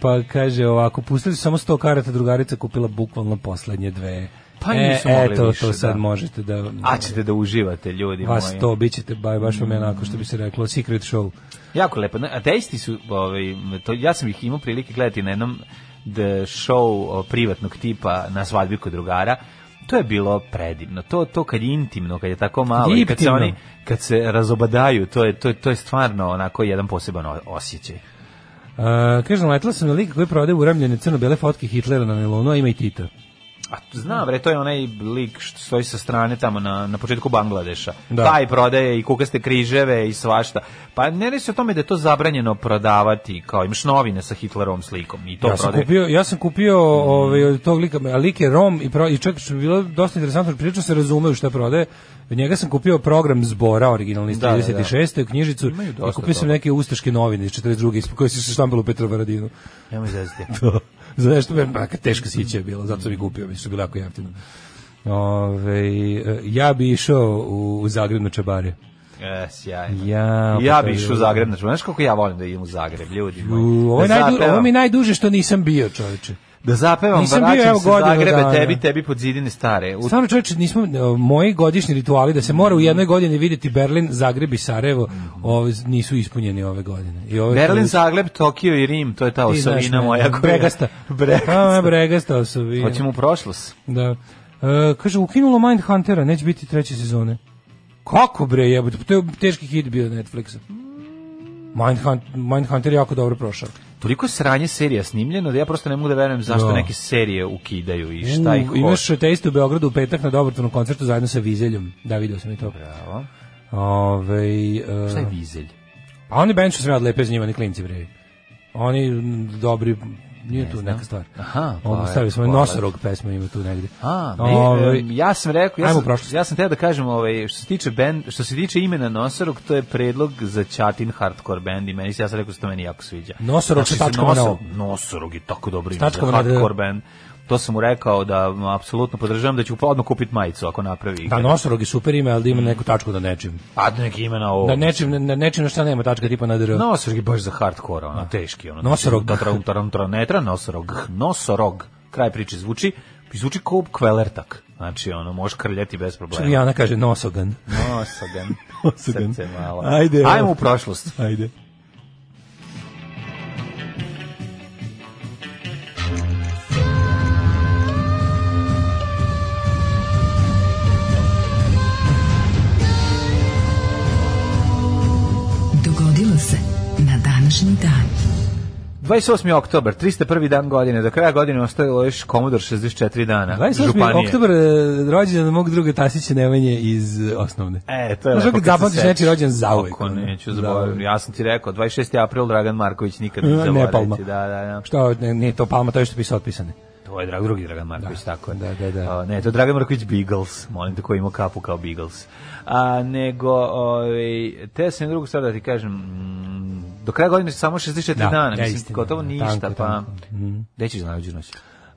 pa kaže ovako, pustili su samo 100 karata, drugarica kupila bukvalno poslednje dve. E,
Pa nisu mogli
eto,
više,
to sad
da.
možete da...
A ćete da uživate, ljudi
Vas
moji.
to, bit ćete ba- baš vam je onako što bi se reklo, secret show.
Jako lepo. Na- Ateisti su, ovaj, to, ja sam ih imao prilike gledati na jednom the show o, privatnog tipa na svadbi kod drugara. To je bilo predivno. To to kad je intimno, kad je tako malo i kad se
Intimno.
oni kad se razobadaju, to je to je, to je stvarno onako jedan poseban o- osjećaj.
Uh, kaže, naletila sam na lika koji prodaje uramljene crno-bele fotke Hitlera na Nelonu, a ima i Tita.
A t- znam, bre, to je onaj lik što stoji sa strane tamo na, na početku Bangladeša.
Da.
Taj prodaje i kukaste križeve i svašta. Pa ne radi se o tome da je to zabranjeno prodavati, kao imaš novine sa Hitlerovom slikom i to
ja sam
prodaje.
kupio, ja sam kupio ovaj od tog lika, a lik je Rom i pro, i čak što je bilo dosta interesantno, priča se razume u šta prodaje. Od njega sam kupio program zbora originalni iz
Da, da, da.
36. knjižicu
Imaju
i
dosta
kupio sam
toga.
neke ustaške novine iz 42. ispod koje su se štampale u Petrovaradinu.
Nemoj zezati.
Za nešto me neka teška sića je bila, zato sam ih kupio, mi su bile jako jeftino. Ove, ja bi išao u, u Zagreb na čabare.
E, sjajno.
Ja,
I ja
pa to
bi
je-
išao u Zagreb, znači, znaš kako ja volim da idem u Zagreb, ljudi moji.
U, ovo, je
da
najdu,
zapevam-
ovo mi je najduže što nisam bio, čovječe.
Da zapevam,
Nisam bio,
vraćam
evo,
se
godinu
Zagrebe,
dana.
tebi, tebi pod zidine stare. U, Mm.
Stvarno čovječe, nismo, e, moji godišnji rituali da se mora u jednoj godini vidjeti Berlin, Zagreb i Sarajevo, ove, nisu ispunjeni ove godine. I ove
Mm-hmm. Berlin, Zagreb, Tokio i Rim, to je ta
Ti znaš
osovina
mene,
moja. koja-
Bregasta.
Bregasta.
A, bregasta osobina.
Hoćemo u prošlost.
Da. E, kaže, ukinulo Mindhuntera, neće biti treće sezone. Kako bre, jebote, pa to je teški hit bio Netflixa. Mindhunt, Mindhunter je jako dobro prošao.
Toliko sranje serija snimljeno da ja prosto ne mogu da verujem zašto
Da.
neke serije ukidaju i šta
U,
ih
Imaš
hoće.
te u Beogradu u petak na dobrotvornom koncertu zajedno sa Vizeljom. Da, vidio sam i to.
Bravo.
Ove, e,
Šta je vizelj?
A oni band što sam ja lepe za njima, ni klinci bre. Oni m, dobri, nije tu neka stvar.
Aha, pa
Ovo
je,
stavili smo
pa je.
nosorog pesma ima tu negde.
A, ne,
Ovaj,
em, ja sam rekao, ja
ajmo
sam,
u prošlost.
ja sam teo da kažem, ovaj, što se tiče band, što se tiče imena Nosorog, to je predlog za Ćatin hardcore band i meni se, ja sam rekao, da se to meni jako sviđa.
Nosorog sa
se
tačkom
Nosor-
na ovo.
Nosorog je tako dobro ime
tačkom
za
na ovo, da.
hardcore band. To sam mu rekao da m, apsolutno podržavam da ću pa odmah kupiti majicu ako napravi.
Da, nosorog je super ime, ali da
Mm.
ima neku tačku da nečim.
Pa neki ime na ovo.
Da nečim, na, nečim na šta nema tačka, tipa na dr.
Nosorog je baš za hardkora,
Da.
ono, teški. Ono,
Nosorog.
Da, tra, tra, tra, ne tra, nosorog. gh, Nosorog. Kraj priče zvuči, zvuči kao kvelertak. Znači, ono, možeš krljati bez problema.
I ona kaže nosogan.
Nosogan.
Nosogan.
Srce malo.
Ajde, evo.
Ajmo u prošlost.
Ajde.
Dogodilo se na današnji dan.
28. oktober, 301. dan godine. Do kraja godine ostavilo još Komodor 64 dana.
28.
Županije.
oktober, e, rođendan mog druga Tasića Nemanje iz e, osnovne.
E, to je
Znaš
lepo.
kako
kad se
zapamtiš
sećaš.
nečiji rođendan zauvek,
Kako
ono.
neću
Da.
zaboraviti. Ja sam ti rekao, 26. april Dragan Marković nikad ne
Ne,
zaboraviti.
Palma.
Da, da, da.
Šta, ne, nije to palma, to je što piše otpisane.
To je drag, drugi Dragan Marković, tako je.
da, da, da.
A, ne, to je Dragan Marković Beagles, molim te koji ima kapu kao Beagles. A, nego, ovaj, te sam drugu stvar da ti kažem, mm, do kraja godine samo 64
Da,
dana,
da,
mislim,
istina,
gotovo
da,
ništa,
tanko,
pa...
tanko. Mhm.
Gde ćeš na Luđu noć?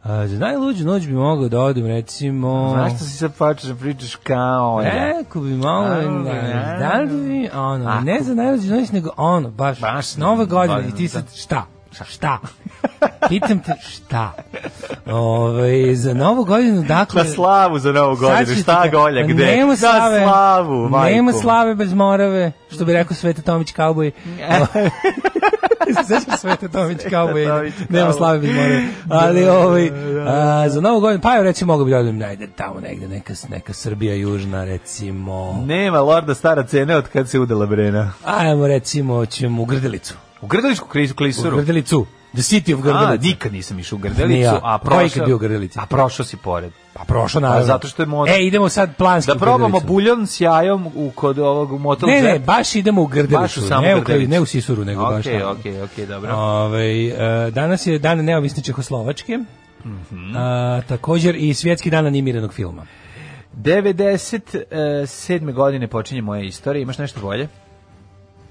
A, za najluđu noć bi mogao da odem, recimo...
Znaš što si sad počeš da pričaš kao ja?
Rekao bi malo,
A,
ne,
ne.
da li bi, ono,
Ako-
ne za najrođu noć, nego ono, baš,
Baš,
nove godine,
godine,
i ti sad, šta? Šta? Pitam te, šta? Ove, za novu godinu, dakle...
Na slavu za novu
sad
godinu,
ću ti
šta
ka-
golja,
Pa
gde?
Nema slave,
na slavu, majko.
nema slave bez morave, što bi rekao Sveta Tomić Kauboj. Sećaš Sveta Tomić Kauboj,
Tomić Da,
nema
Kauboj.
slave bez morave. Ali ovaj,
da.
a, za novu godinu, pa joj recimo mogu bi da odem najde tamo negde, neka, neka Srbija južna, recimo.
Nema lorda stara cene od kad se udala Brena.
Ajmo recimo, ćemo u Grdelicu.
U Grdeličku krizu
U
klisuru.
Grdelicu. The City of
A,
Grdelicu.
nikad nisam išao u Grdelicu,
Ni ja.
a
Koji
prošao...
kad bio u Grdelici?
A prošao si pored.
Pa prošao naravno.
A zato što je mod-
E, idemo sad planski
Da
u
probamo
Grdelicu.
buljon s jajom u, kod ovog motel
Ne, ne,
džepa.
baš idemo u Grdelicu.
Baš u samu
ne, u,
Grdelicu.
ne u Sisuru, nego baš
Okej,
tamo.
okej, okej, dobro.
Ovaj, e, danas je dan
Mhm.
neovisne Čehoslovačke, a, također i svjetski dan animiranog filma.
97. godine počinje moja istorija. Imaš nešto bolje?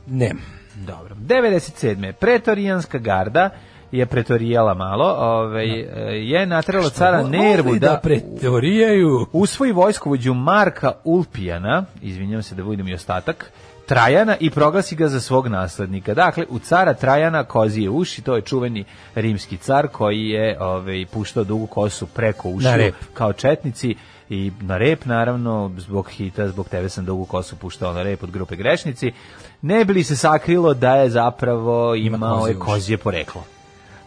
Ne.
Dobro. 97. Pretorijanska garda je pretorijala malo, ovaj,
Da.
je natrala cara Nervu
Voli
da,
da pretorijaju.
usvoji vojskovođu Marka Ulpijana, izvinjam se da budem i ostatak, Trajana i proglasi ga za svog naslednika. Dakle, u cara Trajana kozije uši, to je čuveni rimski car koji je ovaj, puštao dugu kosu preko
Na
ušiju
rep.
kao četnici i na rep naravno zbog hita, zbog tebe sam dugu kosu puštao na rep od grupe grešnici. Ne bi li se sakrilo da je zapravo imao
kozije
je
uši.
kozije poreklo.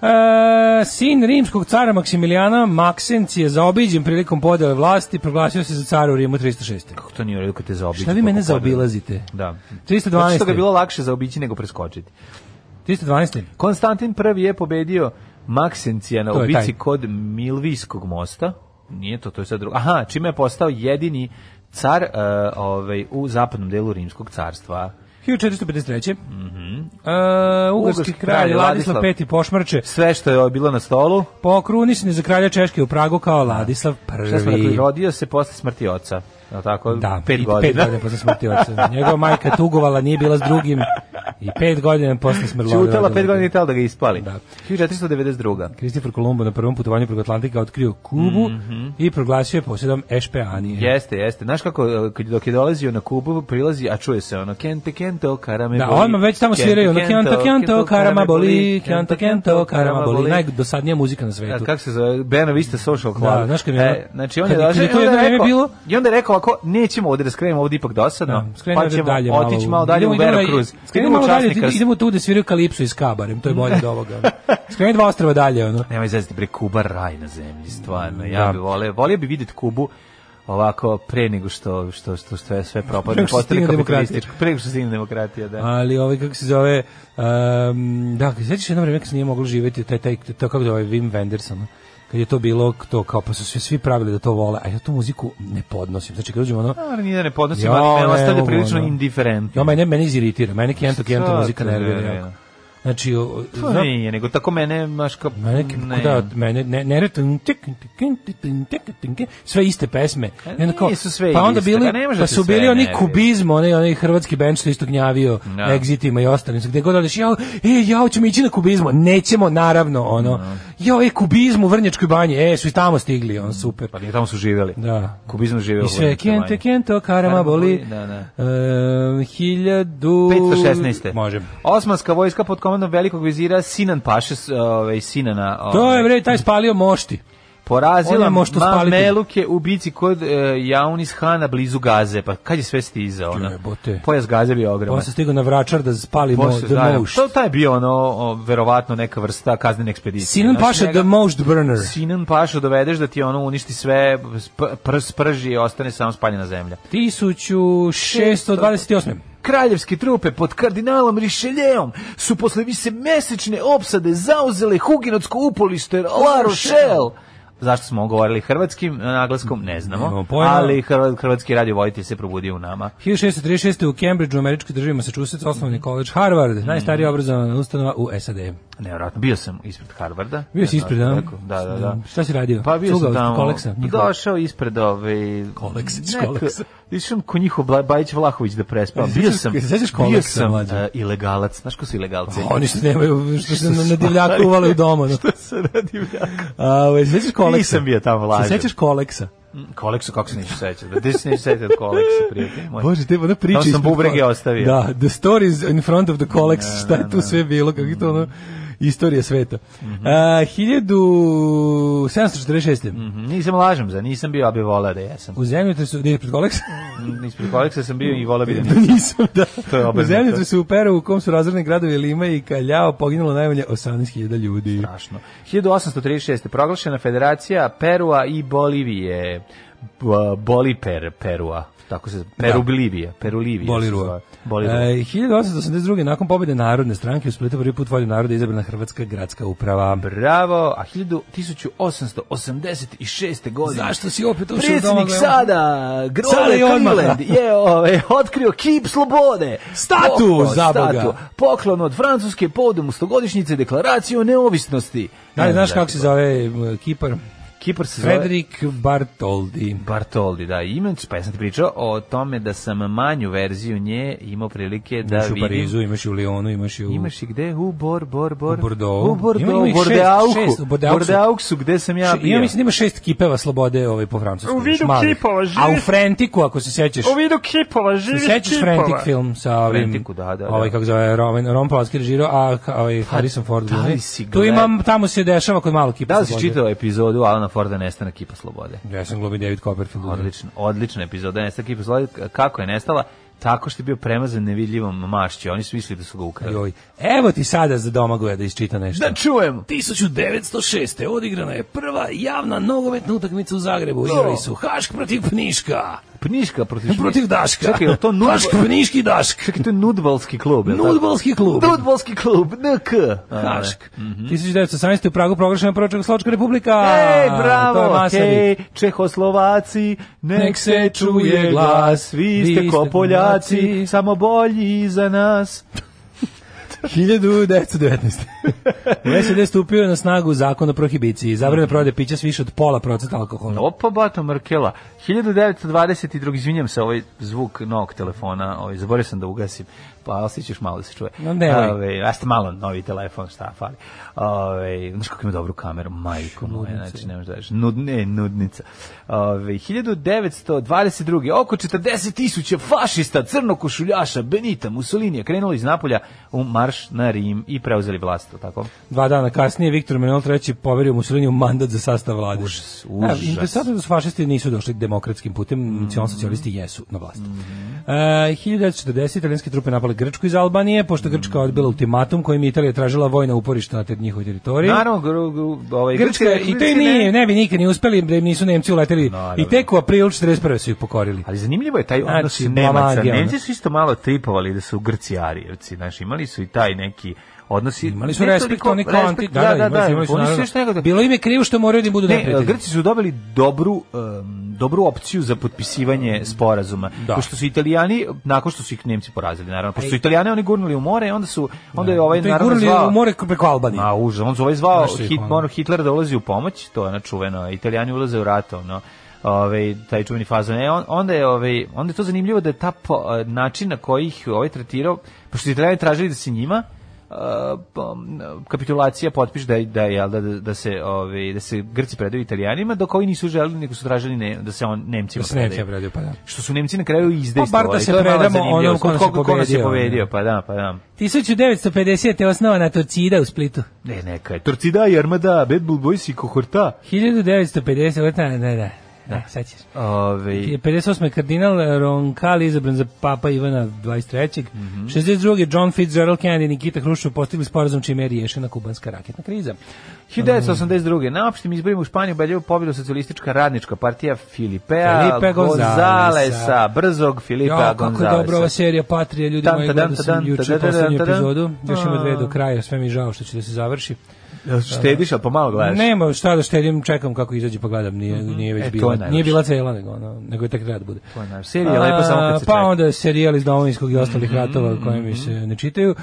E, sin rimskog cara Maksimilijana Maksenc je zaobiđen prilikom podele vlasti, proglasio se za cara u Rimu 306.
Kako to nije u redu kad te zaobiđu?
Šta vi
po
mene
popodnevu?
zaobilazite?
Da.
312.
Zato što ga je bilo lakše zaobići nego preskočiti.
312.
Konstantin prvi je pobedio Maksencijana
To
u
je
bici
taj.
kod Milvijskog mosta. Nije to, to je sad drugo. Aha, čime je postao jedini car e, ovaj, u zapadnom delu Rimskog carstva.
1453. Mm E, ugarski,
Mhm. Ugarski
kralj
kralj
Ladislav
Ladislav.
V pošmrče
Sve što je bilo na stolu,
pokrunisni za kralja Češke u Pragu kao Ladislav
Da. šta smo rekli,
I.
rodio se posle smrti oca. Je li tako?
Da,
pet
i
godina.
pet godina posle smrti oca. Njegova majka tugovala, nije bila s drugim i pet godina posle smrti
Ćutala pet godina i tela da ga ispali.
Da.
1492.
Kristofer Kolumbo na prvom putovanju preko Atlantika otkrio Kubu
Mhm.
i proglasio je posjedom Ešpeanije.
Jeste, jeste. Znaš kako, e, kad- dok je dolazio na Kubu, prilazi, a čuje se ono, kente, kento, karame
Da,
boli.
odmah već tamo
Kente,
sviraju ono
kento,
kento, kento, karama boli, kento,
kento,
kento, karama boli.
Naj-
Najdosadnija muzika na
Da,
svetu.
kako se zove, Beno Vista Social Club.
Da, znaš kad mi je-
E, znači, on je
kad- kad
došao
je
i
to
onda
jedno
je
vreme
rekao,
bilo-
i onda je rekao, ako nećemo ovde da skrenemo, ovde ipak dosadno,
Da, skrenemo
pa ćemo
dalje malo.
otići malo dalje u
idemo
Vera
dalje-
Cruz.
Skrenemo malo dalje, idemo tu da sviraju Kalipso i Skabarem, to je bolje od ovoga. ono. Skreni dva ostrava dalje, ono.
Pa Nemoj zaziti, bre, Kuba raj na zemlji, stvarno. Ja
Da.
bi volio, volio bi vidjeti Kubu ovako pre nego što što što sve sve
Pre
propadne
nego što
postali
stigne demokratija.
kapitalistički pre nego što stigne demokratija da
Ali ovaj kako se zove, um, da, kad se sećaš jedno vreme kad se nije moglo živjeti, taj, taj, to kako se zove Wim Wenders, ono, kad je to bilo, to kao pa su svi, svi pravili da to vole, a ja tu muziku ne podnosim. Znači kad uđem ono,
Naravno, ni da ne podnosim,
Jo,
ali me
ne
ostavlja
mogu,
da prilično
ono.
indiferentno.
ja, mene, mene iziritira, mene kento, kento
Šta
muzika
te
nervira.
nervira?
jako. Znači, o,
To
znam-
Pa nije, nego tako mene, maš kao...
Ma neki
ne.
da mene ne ne re- tung, tik, tik, tik, tik, tik, tik, tik, sve iste pesme.
A
I onda kao-
nisu sve
pa onda
iste,
bili
pa ne može
pa
ti
su
sve,
bili oni
ne,
kubizmo, onaj onaj hrvatski bend što je isto gnjavio
Da.
na egzitima i ostalim. Gde god odeš, ja, e, ja hoćemo ići na kubizmo. Nećemo naravno, ono.
Da.
Ja, e, kubizmo u Vrnjačkoj banji. E, su i tamo stigli, on super.
Pa nije, tamo su živjeli.
Da.
Kubizmu živjeli.
I sve kente, kento, karama boli.
Da, da.
Ehm, hiljadu...
516.
Možem.
Osmanska vojska pod komandom velikog vizira Sinan Paše, s- ovaj, Sinana, ovaj,
To je, bre, taj spalio mošti. On
porazila
je mošto spaliti.
Mameluke u bici kod e, Jaunis Hana blizu Gaze. Pa kad je sve stizao? ono?
Jebote.
Pojas Gaze bio ogroman.
Posle Pa stigao na vračar da spali mo,
Posle,
the
da,
most.
to, taj bio ono, o, verovatno neka vrsta kaznene ekspedicije.
Sinan
Znaš,
Paša
njega-
the most burner.
Sinan Pašu dovedeš da ti ono uništi sve, sp- pr- sprži i ostane samo spaljena zemlja.
1628.
Kraljevske trupe pod kardinalom Richelieuom su posle visemesečne opsade zauzele huginotsko upolište La Rochelle. Zašto smo govorili hrvatskim naglaskom, ne
Nemamo
znamo,
pojma.
ali hrva- hrvatski radio voditelj se probudio u nama.
1636. u Cambridgeu, u američkoj državi Massachusetts, osnovni koleđ Harvard, najstarija obrazovana ustanova u SAD.
Nevjerojatno, bio sam ispred Harvarda.
Bio si ispred, da?
Tako, Da, da, da.
Šta si radio?
Pa bio
Cugao
sam tamo.
koleksa, njihova.
Došao ispred ove...
Koleksić,
neko-
koleksa.
Išao ko njihov Bla- Bajić Vlahović da prespavam. Bio sam,
Se sećaš
bio
koleksa,
sam
mlađe?
e, ilegalac. Znaš ko su ilegalci?
A Pa Oni što nemaju, što se na- na divljaku uvale u doma. No.
se radi jako.
A, ovaj, se sećaš koleksa?
Nisam bio tamo, lažem.
Se sećaš koleksa?
Koleksu, kako se neću sećati? Da, gde se neću sećati od koleksa, prijatelj moj?
Bože, te ona priča
Tamo sam
ispred
bubrege
koleksa.
ostavio.
Da, the stories in front of the collects, šta je tu sve bilo, kako je to ono, istorija sveta. A, 1746.
Mhm, Nisam lažem za, nisam bio, a bi volao da jesam.
U zemljotresu, gdje je pred koleksa?
Mm, Ispred koleksa sam bio i volao bi da nisam.
Nisam, da.
To je
u
obrnuto.
zemljotresu u Peru, u kom su razvrni gradovi Lima i Kaljao, poginulo najmanje 18.000 ljudi.
strašno. 1836. proglašena Federacija Perua i Bolivije. B- Boliper Perua. Tako se Perublivija, Perulivija.
Da. Bolirua.
Bolirua.
E, 1882. nakon pobjede Narodne stranke u Splitu prvi put volju naroda je izabrana Hrvatska gradska uprava.
Bravo, a 1886. godine.
Zašto si opet ušao u
Predsjednik
domogled?
sada,
Sada i
Grover
odmah.
Cleveland, je ovaj, otkrio kip slobode.
Statu, za Boga.
Poklon od Francuske povodom 100-godišnjice deklaracije o neovisnosti.
Da li
Ne znam
znaš kako se zove m, Kipar?
Kipar se zove...
Frederik Bartoldi.
Bartoldi, da, imen, pa ja sam ti pričao o tome da sam manju verziju nje imao prilike da
imaš u
vidim.
Parizu, imaš i u Lyonu, imaš i u...
Imaš i gde? U Bor, Bor, Bor.
U Bordeauxu.
U Bordeaux,
Ima- ima ih šest-
Bordeauxu.
šest, u Bordeauxu.
Bordeauxu, gde sam ja
Še-
bio.
ja mislim da ima šest kipeva slobode ovaj, po francuskom. U vidu kipova, živi. A u Frentiku, ako se sećaš. U vidu kipova, živi se sećaš Frentik film sa ovim...
Frentiku, da, da,
Ovaj,
da.
kako zove, Ron, Ron Polanski režirao, a ka- ovaj, Harrison Ford.
da li
glumi.
si
Tu
gled-
imam, tamo se dešava kod malo kipa
Da li si
slobode.
čitao epizodu Alana Forda Nestana Kipa Slobode?
Ja sam glumi David Copperfield. da.
Odlično, odlična epizoda Nestana Kipa Slobode. Kako je nestala? Tako što je bio premazan nevidljivom mašću. Oni su mislili da su ga ukrali.
Joj. Evo ti sada za domagoja da isčita nešto.
Da čujem!
1906. odigrana je prva javna nogometna utakmica u Zagrebu. Igrali su Hašk protiv Pniška.
Da. Pniška protiv...
Protiv Daška.
Čekaj, je li to nudba-
Hašk, Pniški, Dašk.
Čekaj, to je nudbalski klub, je li tako?
Nudbalski klub.
Nudbalski klub, NK.
Hašk.
Mhm.
1918. u Pragu proglašena prva Čehoslovačka republika.
Ej,
To je
bravo,
Masaryk.
hej, Čehoslovaci, nek
Nek
se
se
čuje
čuje
glas, vi
vi
ste
ste
ko Poljaci,
Poljaci.
samo bolji za nas.
1919. U SED stupio je na snagu zakon o prohibiciji. Zabrane prodaje pića s više od pola procenta alkohola.
Opa, Bato Markela, 1922, izvinjam se, ovaj zvuk novog telefona, ovaj, zaboravio sam da ugasim, pa osjećaš malo da se čuje.
No, ovaj. nemoj.
Ove, ja ste malo novi telefon, šta fali. Ove, znaš kako ima dobru kameru, majko moja, znači ne možeš da veš. Nud, ne, nudnica. Ove, 1922. Oko 40 tisuća fašista, crnokošuljaša, Benita, Mussolini je krenulo iz Napolja u marš na Rim i preuzeli vlast, jel tako?
Dva dana kasnije Viktor Emanuel III poverio Mussolini u mandat za sastav vlade.
Užas, užas. Mhm.
Da, interesantno je da su fašisti nisu došli demokratskim putem, nacionalno socijalisti jesu na vlast. E, 1940. italijanske trupe napale Grčku iz Albanije, pošto Grčka
Mhm.
odbila ultimatum kojim je Italija tražila vojna uporišta na te njihovoj teritoriji.
Naravno, gru, gru, ovaj,
Grčka, i to i nije, ne bi nikad ni uspeli, da im nisu Nemci uleteli.
Naravno.
I tek u aprilu 41. su ih pokorili.
Ali zanimljivo je taj odnos
Znači,
Nemaca.
magija, ono.
Nemci su isto malo tripovali da su Grci Arijevci. Znaš, imali su i taj neki odnosi.
Imali su
ne
respekt,
toliko
oni
respekt,
konti, da, da, imali su, imali su,
oni su
naravno.
još nekako... da-
Bilo im je krivo što moraju da im budu
Ne,
neprijatelji.
Grci su dobili dobru, em, dobru opciju za potpisivanje sporazuma.
Da.
Pošto su Italijani, nakon što su ih Nemci porazili, naravno. Pošto su Italijane oni gurnuli u more, onda su, onda je ovaj
To je
naravno
gurali
zvao...
u more preko Albanije.
A užas, on se ovaj zvao
Znaš što je
Hit,
ono?
ono, Hitler da ulazi u pomoć, to je ono čuveno, Italijani ulaze u rat, ono, ovaj, taj čuveni fazon. E, on, onda, je, ovaj, onda je to zanimljivo da je ta po- način na koji ih ovaj tretirao, pošto su Italijani tražili da se njima eh, pom- kapitulacija potpiše da da jel da, da se ovaj da se Grci predaju Italijanima dok ovi nisu želeli nego su tražili ne, da se on Nemcima
Da se Nemci
predaju.
obradio, pa da.
što su Nemci na kraju i izdejstvovali.
Pa bar da se
To je malo
predamo
zanimljivo.
onom ko nas je
Ko- ko nas je
pobedio,
pobedio, pa da, pa da.
1950. je osnovana Torcida u Splitu.
Ne, neka je. Torcida i Armada, Bad Bull Boys i Kohorta.
1950. Da, da, da. da. sad ćeš.
Ove,
Je 58. je kardinal Roncalli izabran za papa Ivana 23.
Mhm.
62. John Fitzgerald Kennedy i Nikita Hruščov postigli sporazum čime je riješena kubanska raketna kriza.
1982. Na opštim izborima u Španiji ubedljivo pobjedu socijalistička radnička partija Filipea
Filipe
Gonzalesa,
Gonzalesa.
brzog Filipa
Ja, kako je
Gonzalesa.
dobra ova serija Patrija, ljudi
Tan,
moji,
tadan,
gledao sam
tadan,
juče
tadan,
poslednju
tadan.
epizodu, još ima dve do
A.
kraja, sve mi je žao što će da se završi.
Jel Štediš, ali pomalo gledaš.
Nema šta da štedim, čekam kako izađe pa gledam, nije, nije već
E, to je
bila,
najlepše.
nije bila cela, nego, ono, nego je tek treba da bude.
To je najlepše. Serija je lepa samo kad se
Pa
čeka. Mm-hmm.
onda je serijal iz domovinskog i ostalih ratova koje mi se ne čitaju. E,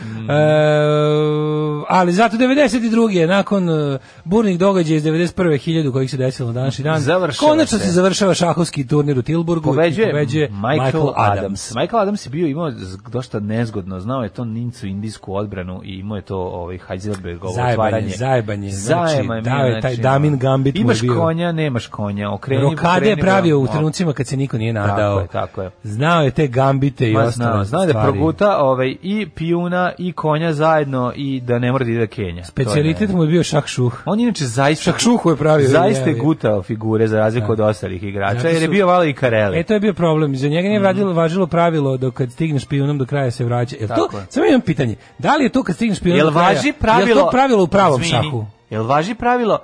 ali zato 92. je nakon e, burnih događaja iz 91. hiljadu kojih se desilo na današnji dan.
Završava
konačno
se.
se. završava šahovski turnir u Tilburgu. i
Pobeđuje,
pobeđuje
Michael, Adams. Michael Adams je bio imao z- dosta nezgodno, znao je to nincu indijsku odbranu i imao je to ovaj Heidelbergovo
Zajebanje,
otvajanje.
zajebanje, znači,
Zajema je bio,
dao je taj Damin Gambit mu je
Imaš
bio.
konja, nemaš konja, okreni.
Rokade je
okreni,
pravio u
ono.
trenucima kad se niko nije nadao.
je, tako je.
Znao je te gambite i
Ma,
ostale
zna, zna da
stvari.
proguta ovaj, i pijuna i konja zajedno i da ne mora da ide do Kenja. To
Specijalitet
je-
mu je bio šakšuh.
On je inače zaista...
Šakšuhu je pravio,
Zaista je
je. Da.
gutao figure za razliku od ostalih igrača,
Zato
jer je
su-
bio malo i Kareli.
E, to je bio problem. Za njega nije
Mhm.
važilo, važilo pravilo da kad stigneš pijunom do kraja se vraća. Jel to,
Tako je.
samo imam pitanje, da li je to kad stigneš pijunom
Jel
do kraja?
važi pravilo...
Jel to pravilo u pravom
Izvini,
šahu?
Jel važi pravilo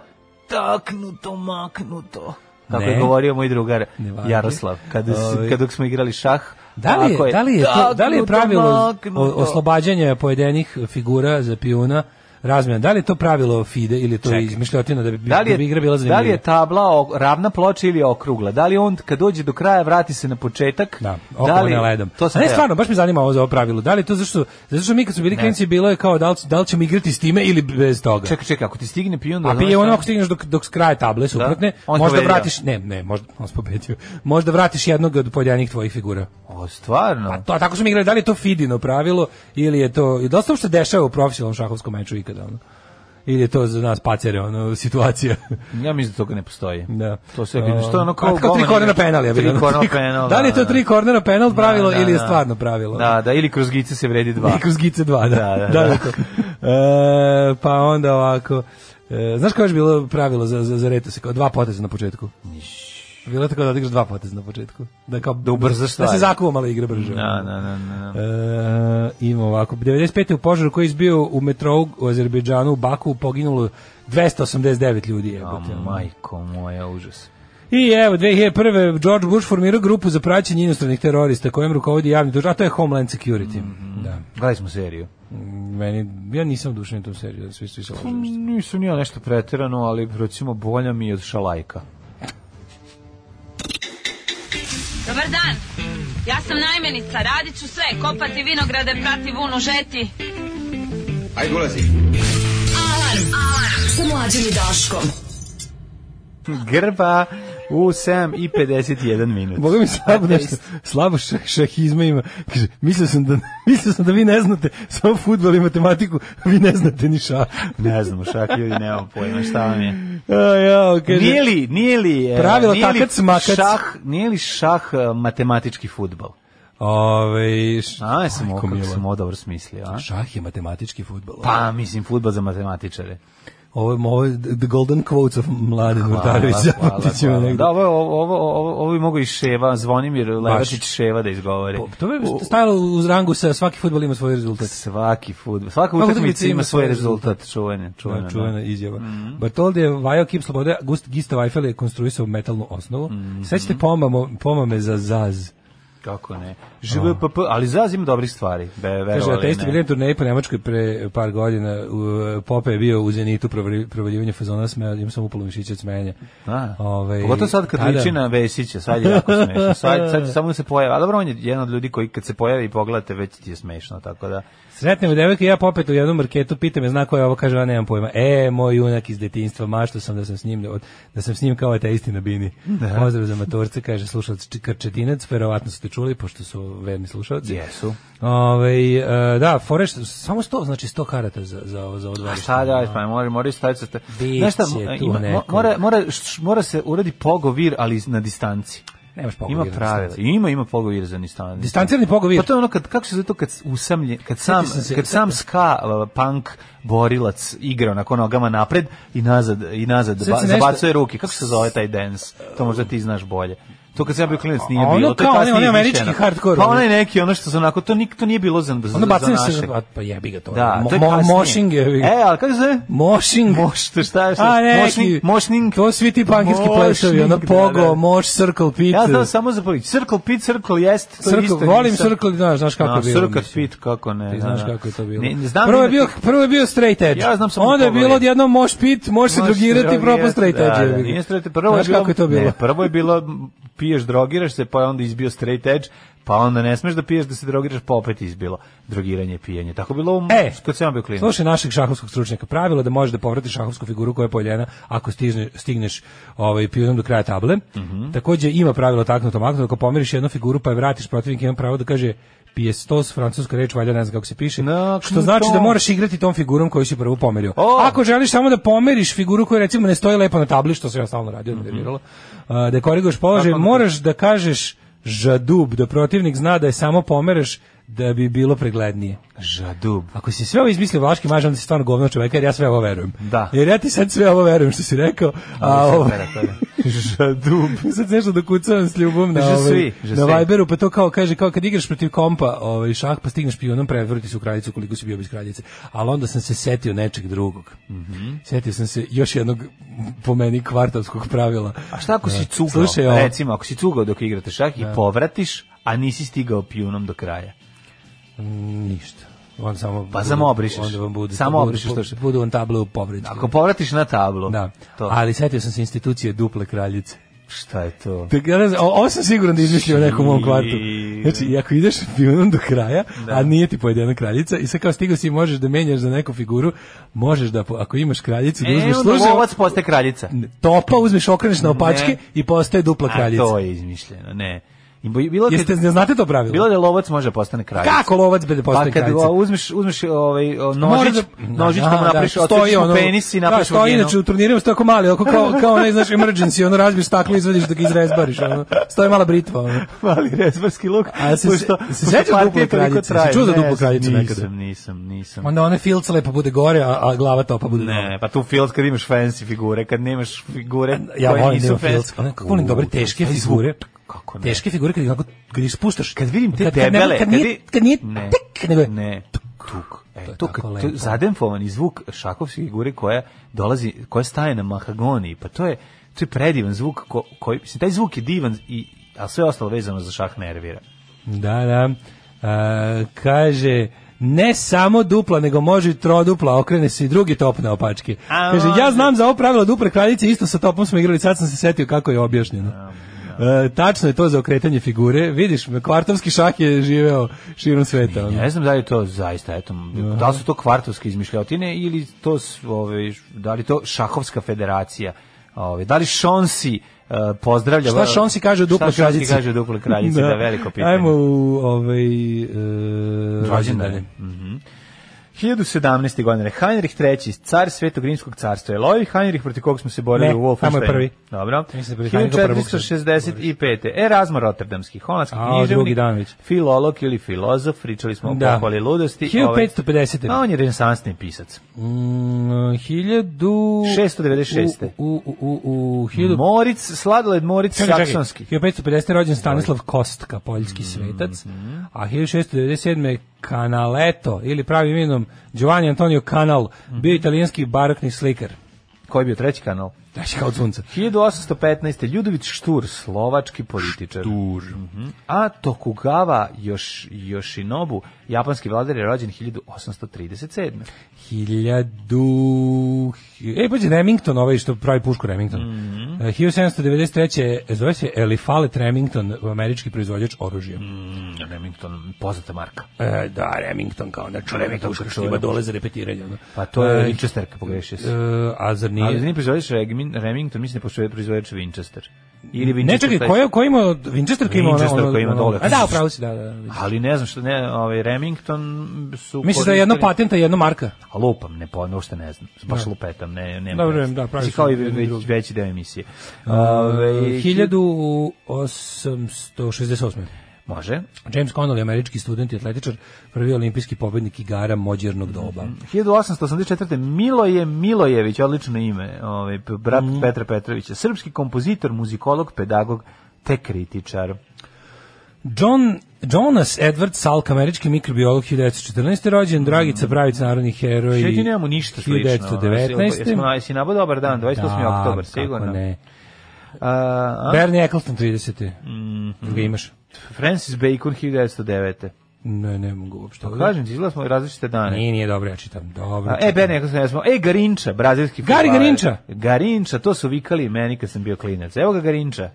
taknuto, maknuto? Kako
Ne.
je govorio moj drugar
Ne važi.
Jaroslav, kada, s-
Ovaj.
kada dok smo igrali šah.
Da li
ako
je, da li je, to, da li je
taknuto,
pravilo
maknuto.
o- oslobađanja pojedinih figura za pijuna razmjena. Da li je to pravilo FIDE ili je to
Čekaj.
izmišljotina da bi,
Da li,
da bi
je,
igra bila
da
zanimljiva?
li je tabla o- ravna ploča ili okrugla? Da li on kad dođe do kraja vrati se na početak?
Da, da li, ledom.
To sam
A ne,
teo.
stvarno, baš me zanima ovo za ovo pravilo. Da li je to zašto, zato što mi kad smo bili klinci bilo je kao da li, da li ćemo igrati s time ili bez toga.
Čekaj, čekaj, ako ti stigne pion...
da. A
znaš
pije ono
šta? Da,
ako stigneš dok, dok s kraja table suprotne,
On
možda
pobedio.
vratiš, ne, ne, možda, on se pobedio, možda vratiš jednog od pojedinih tvojih figura.
O, stvarno?
A to, a tako smo igrali, da li je to Fidino pravilo ili je to, i da li se to uopšte dešava u profesionalnom šahovskom meču ikada, ono? Ili je to za nas pacere, ono, situacija.
Ja mislim da toga ne postoji.
Da.
To sve vidim. Što je ono kao...
A, kao tri
golman
kornera
igra.
penal, ja bih
Tri
rekao.
kornera penal,
Da li je to tri kornera penal pravilo
Da, da,
ili je
da.
stvarno pravilo?
Da, da, ili kroz gice se vredi dva.
I kroz Gice 2, da.
Da, da,
da,
da.
to. E, pa onda ovako, e, znaš kao je još bilo pravilo za, za, za reta se, kao dva poteza na početku? Bilo je tako da odigraš dva poteza na početku. Da, kao, da
ubrzaš
Da
stvari.
se zakuva malo igra brže.
Da, da, da, da. da.
E, ima ovako, 95. u požaru koji je izbio u metrou u Azerbejdžanu, u Baku, poginulo 289 ljudi. Jebote,
O, majko moja, užas.
i evo, 2001. George Bush formirao grupu za praćenje inostranih terorista kojem rukovodi javni tuž, a to je Homeland Security.
Mhm.
Da.
Gledali smo seriju.
Meni, ja nisam dušan u tom seriju, da svi, svi se lože.
Nisam ja nešto preterano, ali recimo bolja mi je od šalajka.
Dobar dan. Ja sam najmenica, radit ću sve, kopati vinograde, prati vunu, žeti.
Ajde, ulazi.
Sa mlađom i Daškom.
Grba u 7 i 51 minut.
Boga mi slabo nešto, slabo šah, šahizma ima. Kaže, mislio sam, da, mislio sam da vi ne znate samo futbol i matematiku, vi ne znate ni šah.
Ne znam, šak ljudi, nemam pojma šta vam je.
A, ja, kaže,
Nije li, nije li, e,
Pravilo
nije li
takac, makac.
šah, nije li šah e, matematički futbol?
Ove, š,
A, ja sam
Majko
ovo, kako
mila.
sam ovo dobro smislio, a?
šah je matematički futbol.
Pa, mislim, futbol za matematičare.
Ovo, je- ovo je the golden quotes of Mladen Murtarović. zapamtit Da, ćemo negde.
Da, ovo, je- ovo, ovo, ovo, ovo bi mogo i Ševa, Zvonimir Levatić Ševa da izgovori.
To bi stajalo uz rangu sa svaki futbol ima svoj rezultat.
Svaki fudbal, svaka utakmica ima svoj rezultat, čuvene, čuvene.
Da, čuvena izjava. Bartoldi je vajao kip slobode, a Gust Gistav Eiffel je konstruisao metalnu osnovu. Sećate pomamo, pomame za zaz.
Kako ne? ŽVPP, ali Zaz ima dobrih stvari. Be,
Kaže,
verovali
ateisti
ne.
bili na turneji po Nemačkoj pre par godina. U, Pope je bio u Zenitu provali- provaljivanje fazona smeja, imam sam upalo mišića od smenja.
Da.
Ovaj,
Pogotovo sad kad
tada-
liči na Vesića, sad je jako smešno. Sad, sad samo se pojavi. A dobro, on je jedan od ljudi koji kad se pojavi i pogledate, već ti je smešno, tako da.
Sretnemo devojke, ja popet u jednom marketu, pita me zna ko je ovo, kaže, ja nemam pojma. E, moj junak iz detinjstva, mašto sam da sam s njim, od- da sam s njim kao ateisti na bini. Pozdrav za matorce, kaže slušalac Č- Krčetinec, verovatno ste čuli, pošto su verni slušalci.
Jesu.
Ovaj, e, da, foreš, samo 100, znači 100 karata za, za, ovo- za ovo
A
dvorište.
šta da, pa mora, mora staviti sa... te-
Biće
Znaš šta,
tu
ima- mo-
neko.
mora, mora, š- mora se uradi pogovir, ali na distanci.
Nemaš
Ima
pogovira.
pravila. Ima, ima pogovir za distanci.
Distancirani pogovir.
Pa to je ono kad kako se zove to kad usamlje, kad sam
Sjetio sam se-
kad sam ska uh, punk borilac igra onako nogama napred i nazad i nazad
Sjetio
ba,
sam nešto-
zabacuje ruke. Kako se zove taj dance? To možda ti znaš bolje. To kad sam ja bio klinac nije
A ono
bilo. To je
kao onaj-
kasnije
onaj američki
izmišljeno.
hardcore,
Pa
ono.
onaj neki ono što se onako to nik to nije bilo za za,
Ono
za
bacanje
naše.
se, a, pa jebi ga to.
Da,
Mo-
to je
mo-
kasnije.
moshing je. jebi ga.
E, ali kako se zove?
Moshing.
Moš, to šta je? šta-
A ne,
mošning, mošning.
to svi ti pankinski plesovi, ono
Mošning, da,
pogo,
da.
moš, circle, pit.
Ja znam samo za pović. Circle pit, circle jest. To
Circle,
isto
volim
nisam-
circle, znaš, znaš kako
A,
je bilo.
Circle
mislim.
pit, kako ne.
Ti
da,
znaš
da.
kako je to bilo.
Ne, ne znam
prvo, je
ima
bio,
ti-
prvo je bio straight edge.
Ja znam samo
Onda je
pogovor.
bilo odjednom moš pit, možeš se
Možeš
drogirati i propast straight edge.
Da, da,
jebi ga.
nije straight edge. Prvo je
znaš
bilo,
kako je to bilo?
Ne, prvo je bilo m, piješ, drogiraš se, pa je onda izbio straight edge, pa onda ne smeš da piješ, da se drogiraš, pa opet izbilo drogiranje i pijenje. Tako je bilo u,
E,
kad sam ja bio klinac.
Slušaj našeg šahovskog stručnjaka, pravilo je da možeš da povratiš šahovsku figuru koja je poljena ako stižne, stigneš ovaj, pijunom do kraja table. Takođe ima pravilo taknuto maknuto, ako pomiriš jednu figuru pa je vratiš protivnik ima pravo da kaže pijestos, francuska reč, valjda ne znam kako se piše,
Na,
što znači
to-
da moraš igrati tom figurom koju si prvo pomerio.
O!
Ako želiš samo da pomeriš figuru koja recimo ne stoji lepo na tabli, što sam ja stalno radio, nerviralo, a, da koriguješ položaj, moraš da kažeš žadub, da protivnik zna da je samo pomereš da bi bilo preglednije.
Žadub.
Ako si sve ovo izmislio Vlaški maž, onda si stvarno govno čoveka, jer ja sve ovo verujem.
Da.
Jer ja ti sad sve ovo verujem što si rekao, a ovo...
Žadub.
sad nešto dokucavam s ljubom na,
Je
ovaj,
suis, je
na
suis.
Viberu, pa to kao kaže, kao kad igraš protiv kompa ovaj, šah, pa stigneš pijunom, prevrti se u kraljicu koliko si bio bez kraljice. Ali onda sam se setio nečeg drugog.
Mhm.
Setio sam se još jednog, po meni, kvartovskog pravila. E,
A šta ako si cugao?
Slušaj, ovo.
Recimo, ako si cugao dok Da. igrate šah i povratiš, a nisi stigao pijunom do kraja.
Ništa. On samo
Pa samo obrišeš.
Onda vam budu,
Samo
budu-
obrišeš to što-
Budu on tablo u povredu.
Ako povratiš na tablu,
Da.
to,
Ali setio sam se institucije duple kraljice.
šta je to?
Dakle, ja ne znam, o- ovo sam siguran da izmislio neko u mom kvartu. Znači, i ako ideš pionom do kraja,
Da.
a nije ti pojedena kraljica, i sad kao stigao si i možeš da menjaš za neku figuru, možeš da, po- ako imaš kraljicu, da
E,
uzmeš
onda
služaj,
lovac postaje kraljica.
topa, uzmeš, okreneš na opačke
Ne.
i postaje dupla kraljica.
A to je izmišljeno, ne. I bo- Bilo,
Jeste,
kad,
ne znate to pravilo?
bilo da lovac može da postane kraljica.
Kako lovac bude
Pa
postaje
kad
kraljica?
o, uzmeš, uzmeš ovaj, o,
Mora
nožić,
da-
nožić
Da,
da mu napraviš,
da,
da,
stoji
mu
ono-
penis i
da,
napraviš
stoji,
vaginu.
inače u turniru tako mali, oko kao, kao onaj, znaš, emergency, ono razbiješ staklo, izvadiš da ga izrezbariš, ono, stoji mala britva, ono.
Mali rezbarski luk.
A se-
pošto-
se- se
pošto
sećaš
partija
duple
toliko
kraljice?
traje.
Si čuo za
Ne,
duplu kraljicu
nisam,
nekada?
Nisam, nisam,
Onda onaj filc lepo bude gore, a, a glava topa bude dole.
Ne, pa tu filt kad imaš fancy figure, kad nemaš figure
Ja
koje
volim da
nisu
imam
fancy.
filc, ono, kako volim dobre
U,
teške
taj zvuk,
figure.
Kako ne?
Teške figure kad ih onako, kad ih spuštaš.
Kad vidim te
kad, kad ne-
debele,
kad nije,
vidi-
kad nije,
ne,
tik, nego je,
ne, tuk. E,
To je
to
tako
kad to
lepo.
zademfovani zvuk šakovske figure koja dolazi, koja staje na mahagoniji, pa to je to je predivan zvuk ko, koji mislim taj zvuk je divan i a sve ostalo vezano za šah nervira.
Da, da. A, kaže, ne samo dupla, nego može i trodupla, okrene se i drugi top na opačke.
A,
kaže, ja
može.
znam za ovo pravilo duple kraljice, isto sa topom smo igrali, sad sam se setio kako je objašnjeno. E, tačno je to za okretanje figure. Vidiš, kvartovski šah je živeo širom sveta. ono.
Ne znam da li je to zaista, eto, da li su to kvartovske izmišljotine ili to s- ove, š- da li to šahovska federacija? Ove, da li Šonsi e, pozdravlja
Šta Šonsi kaže o duple
Šta Šonsi
kraljici?
kaže o duple kraljici, da. je veliko pitanje.
Ajmo u ovaj, e, rođendane.
rođendane. Mhm. 1017. godine Heinrich III, car Svetog Rimskog carstva. Je li ovaj Heinrich protiv kog smo se borili
Ne,
u
tamo je
Wolfensteinu?
prvi.
Dobro.
Mislim da je prvi Heinrich prvog sam
1465. Erasmo E, Rotterdamski, holandski
A, drugi
književnik,
dan već.
filolog ili filozof, pričali smo o
Da.
pohvali ludosti.
1550.
Ovaj, a on je renesansni pisac.
Mm, 1696.
696.
U, u, u, u, u, 1000
Moric, sladoled Moric
Čekaj,
Saksonski.
čekaj. 1550. rođen Stanislav Kostka, poljski
Mm-hmm.
svetac, a 1697. Canaletto, ili pravim imenom Giovanni Antonio Canal,
Mhm.
bio italijanski barokni slikar.
Koji je bio treći kanal?
Znači kao od sunca.
1815. Ljudovic Štur, slovački političar. Štur. Mhm. A Tokugawa Yosh, Yoshinobu, japanski vladar je rođen 1837.
1000... E, pođe Remington, ovaj što pravi pušku Remington.
Mhm.
E, 1793. zove se Elifalet Remington, američki proizvođač oružja.
Mm, Remington, poznata marka.
E, da, Remington kao na čuvena
Remington
puška
kao
što ima
čuvena
dole za repetiranje. ono.
Pa to je
E,
Winchesterka, pogrešio si.
e, a zar nije?
Ali nije proizvođač Regmin- Remington, mislim da postoje proizvođač Winchester. Ili Winchester
Ne, čekaj,
taj-
koja, koja ima, od- Winchester koja ima ono,
Winchester
ono,
koja ima
ono-
dole.
A da, upravo si, da, da. da.
Ali ne znam što ne, ovaj Remington su
Misliš da je jedno
koristili-
patenta i jedno marka?
A lupam, ne pa uopšte ne znam. Baš lupetam, ne ne.
Dobro, da, pravi su
Kao i
jedni
već,
drugi.
veći deo emisije. Ovaj,
1868.
Može.
James Connolly, američki student i atletičar, prvi olimpijski pobednik igara mođernog doba.
Mhm. 1884. Miloje Milojević, odlično ime, ovaj, p- brat
Mhm.
Petra Petrovića, srpski kompozitor, muzikolog, pedagog, te kritičar.
John Jonas Edward Salk, američki mikrobiolog 1914. rođen, Dragica Pravica, narodni heroj.
Sjeti Mhm. nemamo ništa slično. Jesmo
1919.
na jesi nabao dobar dan, 28.
Da,
oktobar,
kako
sigurno.
ne.
A, a? Mhm.
Bernie Eccleston 30. Jel Ga imaš?
Francis Bacon 1909.
Ne, ne mogu uopšte.
Kažem ti, izgleda smo različite dane.
Nije, nije dobro, ja čitam. Dobro.
Pa A, e, Ben, nekako sam jesmo. E, Garinča, brazilski
Gari
fudbaler.
Garinča.
Garinča, to su vikali meni kad sam bio klinac. Evo ga Garinča.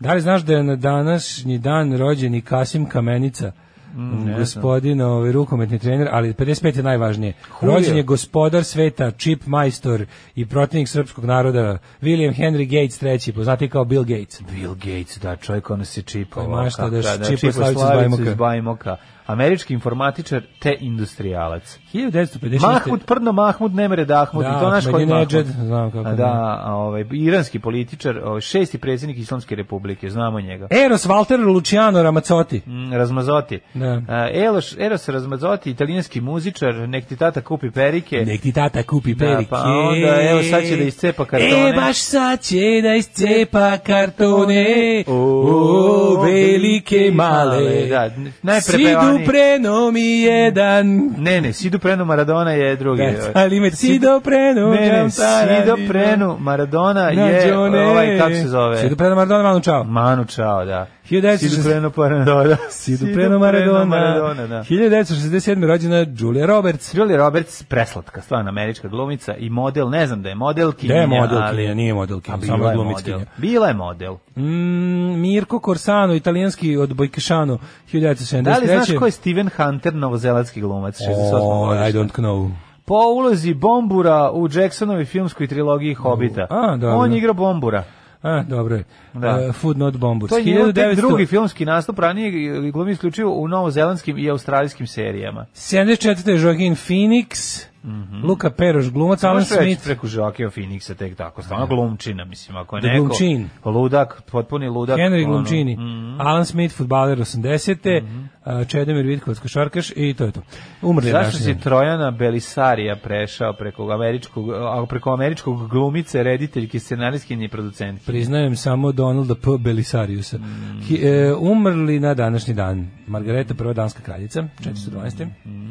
Da li znaš da je na današnji dan rođen i Kasim Kamenica?
Mm,
gospodin, ovaj, rukometni trener, ali 55 je najvažnije.
Julio.
Rođen je gospodar sveta, čip majstor i protivnik srpskog naroda, William Henry Gates III, poznati kao Bill Gates.
Bill Gates, da, čovjek ono se čipao.
Pa, mašta da
kako,
čipa Slavicu iz Bajmoka.
iz Bajmoka. Američki informatičar te industrijalac.
1956.
Mahmud, prdno Mahmud, Nemere Dahmud,
Da,
i to naš koji
Ahmadinejad,
Mahmud.
znam kako
A, Da, a, ovaj, iranski političar, ovaj, šesti predsjednik Islamske republike, znamo njega.
Eros Walter Luciano Ramazzotti.
Mm, Razmazoti.
Da.
A, Eloš, Eros Razmazoti, italijanski muzičar, nek ti tata kupi perike.
Nek ti tata kupi
Da,
perike.
pa onda, evo, sad će da iscepa kartone.
E, baš sad će da iscepa kartone.
O,
O, velike,
velike, da,
male.
male. Da, najprepevanije
Preno mi jedan.
Ne, ne, Sidu Prenu Maradona je drugi.
Da, ali ime Sido Prenu.
Ne, ne,
Gam Taradino.
Sido Prenu Maradona
da. Na
je
Đone.
ovaj, kako se zove?
Sido Preno Maradona, malo čao.
Manu Čao, da.
1960
Sidu Prenu da, Maradona.
Sido Preno Maradona.
Maradona, da.
1967. rođena Julia Roberts.
Julia Roberts, preslatka, stvarno američka glumica i model, ne znam da je modelkinja,
Da je modelkinja,
ali-
nije
A
modelkinja,
bila
samo
je
je
model.
glumitkinja.
Bila je model.
Mm, Mirko Corsano, italijanski od Bojkešanu, 1973.
Da li znaš ko je Steven Hunter, novozelandski glumac, 68.
O, I
godište?
don't know.
Po ulozi Bombura u Jacksonovi filmskoj trilogiji Hobita.
A, da, dobro.
On je igrao Bombura.
A, dobro je.
Da.
Uh, food not bombers.
To je njegov tek
1900
drugi filmski nastup, ranije glumi isključivo u novozelandskim i australijskim serijama.
74. Joaquin Phoenix,
Mhm.
Luka Peroš, glumac, Alan
Možeš reći
Smith.
preko Joaquina Phoenixa tek tako, stvarno glumčina, mislim, ako je
Da,
neko...
glumčin.
Ludak, potpuni ludak.
Henry
ono, Mhm.
Glumčini,
mm.
Alan Smith, futbaler 80. Mm Čedomir Vitkovac, košarkaš i to je to. Umrli je
Zašto
naši
si
zemlji.
Trojana Belisarija prešao preko američkog, a, preko američkog glumice, rediteljke, scenarijskinje i producentke?
Priznajem samo Donalda P. Belisariusa.
Mhm.
Hi- e, umrli na današnji dan. Margareta, prva danska
Mhm.
kraljica, 412.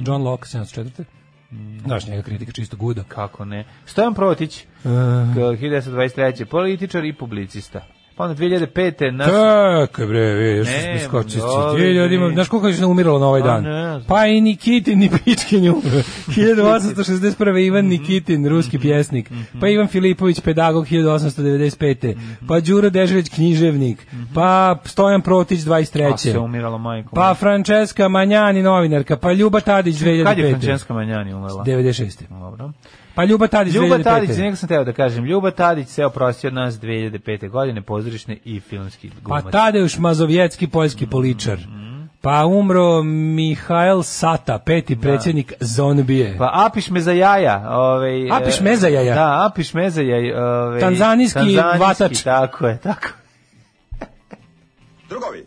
John Locke, 704. Znaš njega kritika, čisto gudo.
Kako ne? Stojan Protić, k- 1923. političar i publicista. Pa onda 2005. nas...
Tako je, bre, vidiš,
Ne,
skoči
dobro,
će. Ljudi,
vidi.
znaš koliko je žena umiralo na ovaj
Pa
dan?
ne znam.
Pa i Nikitin, ni Pičkin je umro. 1861.
Mhm.
Ivan Nikitin, ruski pjesnik. Pa Ivan Filipović, pedagog, 1895.
Mhm.
Pa Đuro Dežević, književnik. Pa Stojan Protić,
Pa se
23.
umirala majkom.
Pa Francesca Manjani, novinarka. Pa Ljuba Tadić, 2005.
Kad je Frančenska Manjani umrla?
96.
Dobro.
Pa Ljuba Tadić,
Ljuba
2005.
Tadić, njega sam teo da kažem, Ljuba Tadić se oprostio od nas 2005. godine, pozorišne i filmski glumac. Mm-hmm.
Pa Tadeuš Mazovjetski, poljski poličar. Pa umro Mihajl Sata, peti predsjednik Zonbije.
Da. Pa apiš me za jaja. Ovaj, e,
Apiš me za jaja?
Da, apiš me za jaja. Ovaj,
Tanzanijski vatač.
Tako je, tako.
Drugovi,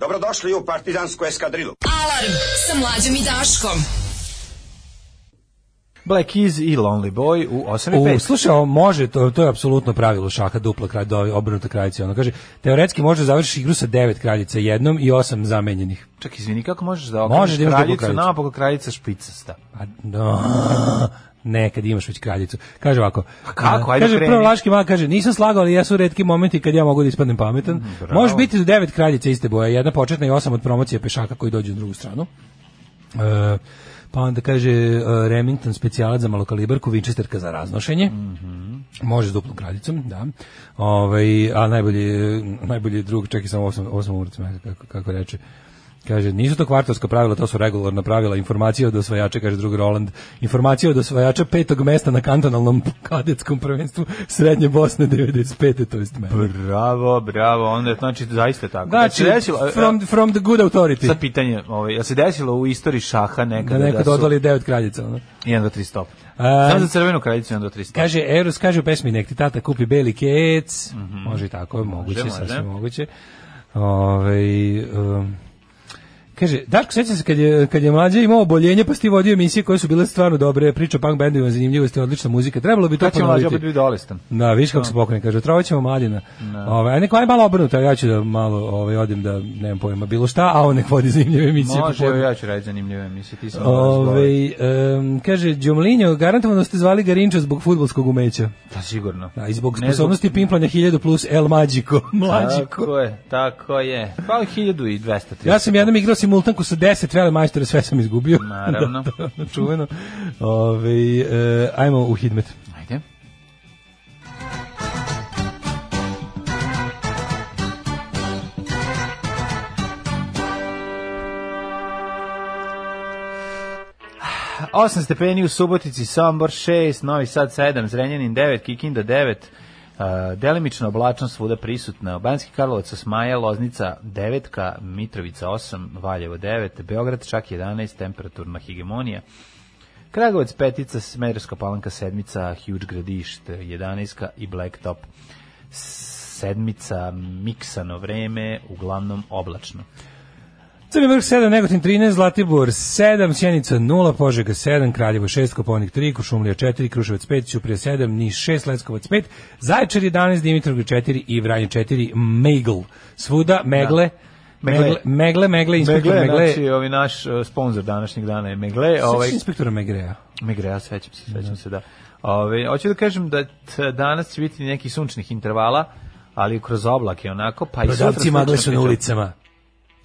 dobrodošli u partizansku eskadrilu.
Alarm sa mlađom i Daškom.
Black Keys i Lonely Boy u 8 i
U,
5.
slušaj, ovo može, to, to je apsolutno pravilo šaha, dupla kralj, do, obrnuta kraljica. Ono kaže, teoretski može završiti igru sa devet kraljica jednom i osam zamenjenih.
Čak izvini, kako možeš da
Možeš
okreneš
da imaš
kraljicu,
duplu kraljicu.
napokon kraljica špicasta.
A, Pa, no, nekad imaš već kraljicu. Kaže ovako.
Pa kako?
a,
Ajde,
kaže,
kreni.
prvo Laški mag kaže, nisam slagao, ali jesu redki momenti kad ja mogu da ispadnem
Mm,
pametan. može biti do devet kraljica iste boje, jedna početna i osam od promocije pešaka koji dođu na drugu stranu. E, pa onda kaže e, Remington specijalac za malokalibarku, Winchesterka za raznošenje.
Mm.
Može s duplom kraljicom, da. Ovaj, a najbolji, e, najbolji drug, čekaj samo osam, osam umrca, kako, kako reče. Kaže, nisu to kvartovska pravila, to su regularna pravila. Informacija od osvajača, kaže drug Roland, informacija od osvajača petog mesta na kantonalnom kadetskom prvenstvu Srednje Bosne 95. To jest mene.
Bravo, bravo, onda je znači zaista tako. Da
Znači,
se desilo, e,
from, from the good authority.
sad pitanje, ovaj, jel se desilo u istoriji
Da
šaha nekada
neko
da su
dodali devet kraljica. Ono.
1 do 3 stop?
E,
Samo za crvenu kraljicu 1 do 3 stop.
Kaže, Eros kaže u pesmi, nek ti tata kupi beli kec. Može i tako, moguće,
Mhm. može.
sasvim moguće. Ovaj, um, kaže, Daško, sjeća se kad je, kad je mlađe imao oboljenje, pa si ti vodio emisije koje su bile stvarno dobre, priča o punk bandovima, zanimljivosti, odlična muzika, trebalo bi to
Kad će mlađe opet
ponoviti.
biti dolestan?
Da, viš kako se pokrene, kaže, otrovaćemo ćemo mladina.
Da.
Ovaj, a neko aj malo obrnuto, a ja ću da malo ovaj, odim da nemam pojma bilo šta, a on nek vodi zanimljive emisije.
Može,
popodne.
evo ja ću raditi zanimljive emisije, ti sam
Ove,
Ove...
em, kaže, Đomlinjo, garantovano ste zvali Garinča zbog futbolskog umeća.
Da, sigurno.
Da, i zbog
Ne
sposobnosti pimplanja 1000 plus El Magico. Magico.
Tako je, tako je. Pa 1230.
Ja sam jednom igrao simultanku sa 10 vele majstora, sve sam izgubio.
Naravno.
da, da, čuveno. Ove, e, ajmo u Hidmet.
Ajde. Osam stepeni u Subotici, Sombor 6, Novi Sad 7, Zrenjanin 9, Kikinda 9, Uh, delimično oblačnost svuda prisutna. Banski Karlovac 8, Loznica 9, Mitrovica 8, Valjevo 9, Beograd čak 11, temperaturna hegemonija. Kragovac petica, Smederska palanka sedmica, Huge gradište 11 i Blacktop sedmica, miksano vreme, uglavnom oblačno.
Crni vrh 7, Negotin 13, Zlatibor 7, Sjenica 0, Požega 7, Kraljevo 6, Koponik 3, Košumlija 4, Kruševac 5, Ćuprija 7, Niš 6, Leskovac 5, Zaječar 11, Dimitrovgrad 4 i Vranje 4, Megl. Svuda, Megle. Megle, Megle, Megle, inspektor
Da. Megle,
Megle. Megle.
znači ovi naš uh, sponsor današnjeg dana je Megle,
ovaj...
ovaj
inspektora Megreja.
Megle, ja sećam se, sećam se da. Ove, hoću da kažem da t- danas će biti nekih sunčnih intervala, ali kroz oblake onako, pa i sutra
Prodavci magle su
sunčno
na
biće.
ulicama.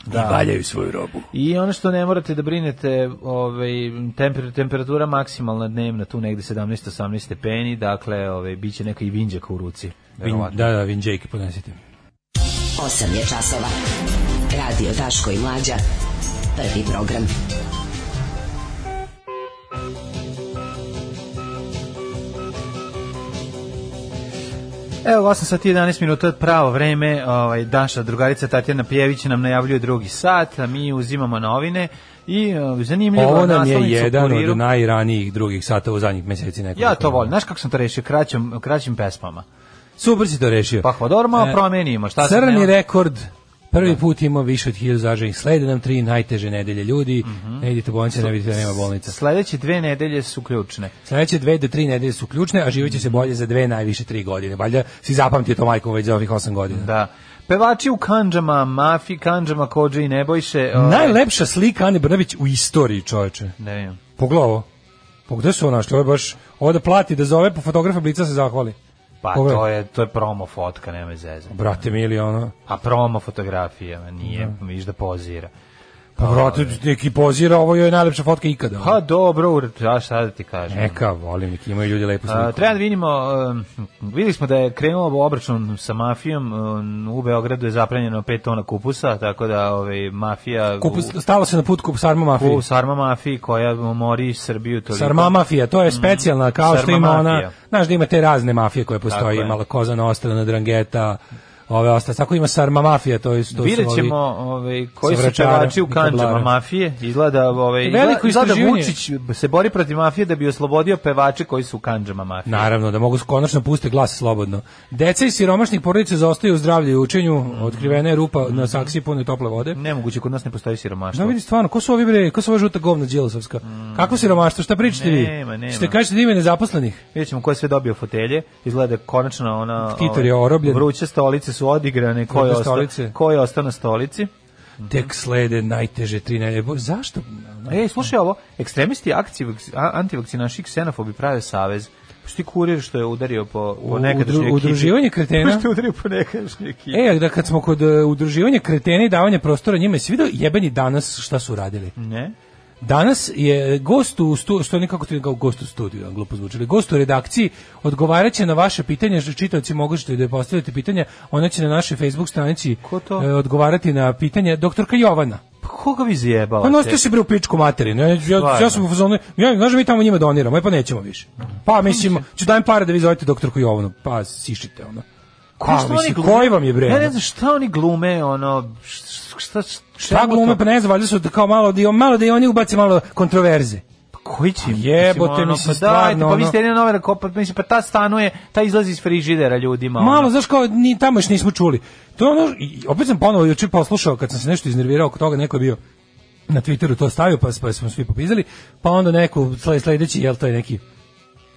Da. I valjaju svoju robu.
I ono što ne morate da brinete, ovaj temper, temperatura maksimalna dnevna tu negde 17-18 stepeni, dakle, ovaj biće neka i vinđaka u ruci.
Vin,
verovatno.
da, da, Vinđejke podnesite.
8 je časova. Radio Daško i Mlađa. Prvi program.
Evo 8 sati i 11 minuta pravo vreme, ovaj Daša drugarica Tatjana Pjević nam najavljuje drugi sat, a mi uzimamo novine i eh, zanimljivo
Ovo nam je
naslovnica u
jedan
Kuriru.
od najranijih drugih sata u zadnjih meseci nekoliko.
Ja to volim. Znaš kako sam to rešio kraćim kraćim pesmama.
Super si to rešio.
Pa hvala, dobro, malo
E,
promenimo. Šta Da. se
Crni
ne-
rekord. Prvi put imao više od 1000 zaraženih. Slede nam tri najteže nedelje ljudi.
Mhm.
Ne idite u bolnice, ne vidite da nema bolnica.
Sledeće dve nedelje su ključne.
Sledeće dve do tri nedelje su ključne, a živit će se bolje za dve, najviše tri godine. Valjda si zapamtio to majkom već za ovih osam godina.
Da. Pevači u kanđama, mafi kanđama, kođe i nebojše. ovaj,
Najlepša slika Ane Brnabić u istoriji, čoveče.
Ne vidim.
Pogledaj ovo. Pa gde su ovo našli? Ovo je baš, ovo da plati, da zove, po fotografa Blica se zahvali.
Pa
Pogledaj.
to je, to je promo fotka, nema zeze.
Brate mili, ono,
A promo fotografija, nije, viš da pozira.
pa brate,
da,
neki pozira, ovo je najlepša fotka ikada. ono.
Pa dobro, ur- a šta da ti kažem?
Neka, volim, nek imaju ljudi lepu sliku.
A, treba da vidimo, um, videli smo da je krenuo obračun sa mafijom, um, u Beogradu je zapranjeno 5 tona kupusa, tako da ovaj, mafija...
Kupus, stalo se na put kup Sarma Mafije.
u sarma mafiji koja mori Srbiju toliko.
Sarma Mafija, to je specijalna, kao što
da, Mm, Sarma
ima ona,
mafija.
znaš da ima te razne mafije koje postoje,
Tako je.
ima La Kozana, Ostrana, Drangeta, ove ostale, tako ima Sarma Mafija, to, je, to
Vidjet
su ovi-
ćemo ovaj, koji
sa
su
vračara
pevači u
i
kanđama
tablara.
mafije. Izgleda, ovaj,
Veliko
izgleda da
istraživanje.
Vučić se bori protiv mafije da bi oslobodio pevače koji su u kanđama mafije.
Naravno, da mogu konačno puste glas slobodno. Deca iz siromašnih porodica zaostaju u zdravlju i učenju, otkrivena je rupa na saksiji pune tople vode.
Nemoguće, kod nas ne postoji siromaštvo.
Da vidi stvarno, ko su ovi bre, ko su ova žuta govna Đilasovska? Kako siromaštvo, šta pričate vi?
Nema, nema.
Ste kažete da ima nezaposlenih?
Vidjet ćemo ko je sve dobio fotelje. Izgleda da konačno ona...
Titor je
ovaj,
orobljen.
Vruće stolice su odigrane. Ko je,
Vruće
ostao,
stolice.
ko je ostao na stolici?
Tek slede najteže tri nedelje. Bo- Zašto?
Ej, E, slušaj ovo. Ekstremisti akciji, vak- a- antivakcinaši i ksenofobi prave savez. Šti kurir što je udario po, po nekadašnjoj
Udru-
ekipi.
udruživanje kretena.
Pa Što je udario po nekadašnjoj ekipi.
E, da kad smo kod e, udruživanja kretena i davanja prostora njima, si vidio jebeni danas šta su radili?
Ne?
Danas je gost u stu, što nekako ti kao gost u studiju, a glupo zvuči, ali gost u redakciji odgovaraće na vaše pitanje, što čitaoci mogu što da postavljate pitanja, ona će na našoj Facebook stranici
Ko to?
e, odgovarati na pitanje doktorka Jovana.
Pa koga vi zjebavate?
Pa nosite se bre u pičku materinu. Ja, ja, ja sam u fazonu, ja, znaš da mi tamo njima doniramo, e pa nećemo više. Pa mislim, ću dajem pare da vi zovete doktorku Jovanu, pa sišite ono.
Ko
Pa,
što
mislim,
oni glume?
koji vam je bre?
Ja
ono?
ne znam šta oni glume, ono, š- š- šta, šta,
Šta glume, pa ne znam, valjda su da kao malo da, i- malo da i oni ubace malo kontroverze.
Pa koji će? im-
jebote,
ono,
mislim,
pa dajte,
stvarno,
Pa
ono-
vi ste jedina novera, ko- pa, mislim, pa ta stanuje, ta izlazi iz frižidera ljudima.
Malo,
ono.
znaš kao, ni, tamo još nismo čuli. To je ono, i opet sam ponovo juče poslušao, kad sam se nešto iznervirao oko toga, neko je bio na Twitteru to stavio, pa, pa smo svi popizali, pa onda neko, sle- sledeći, jel to je neki,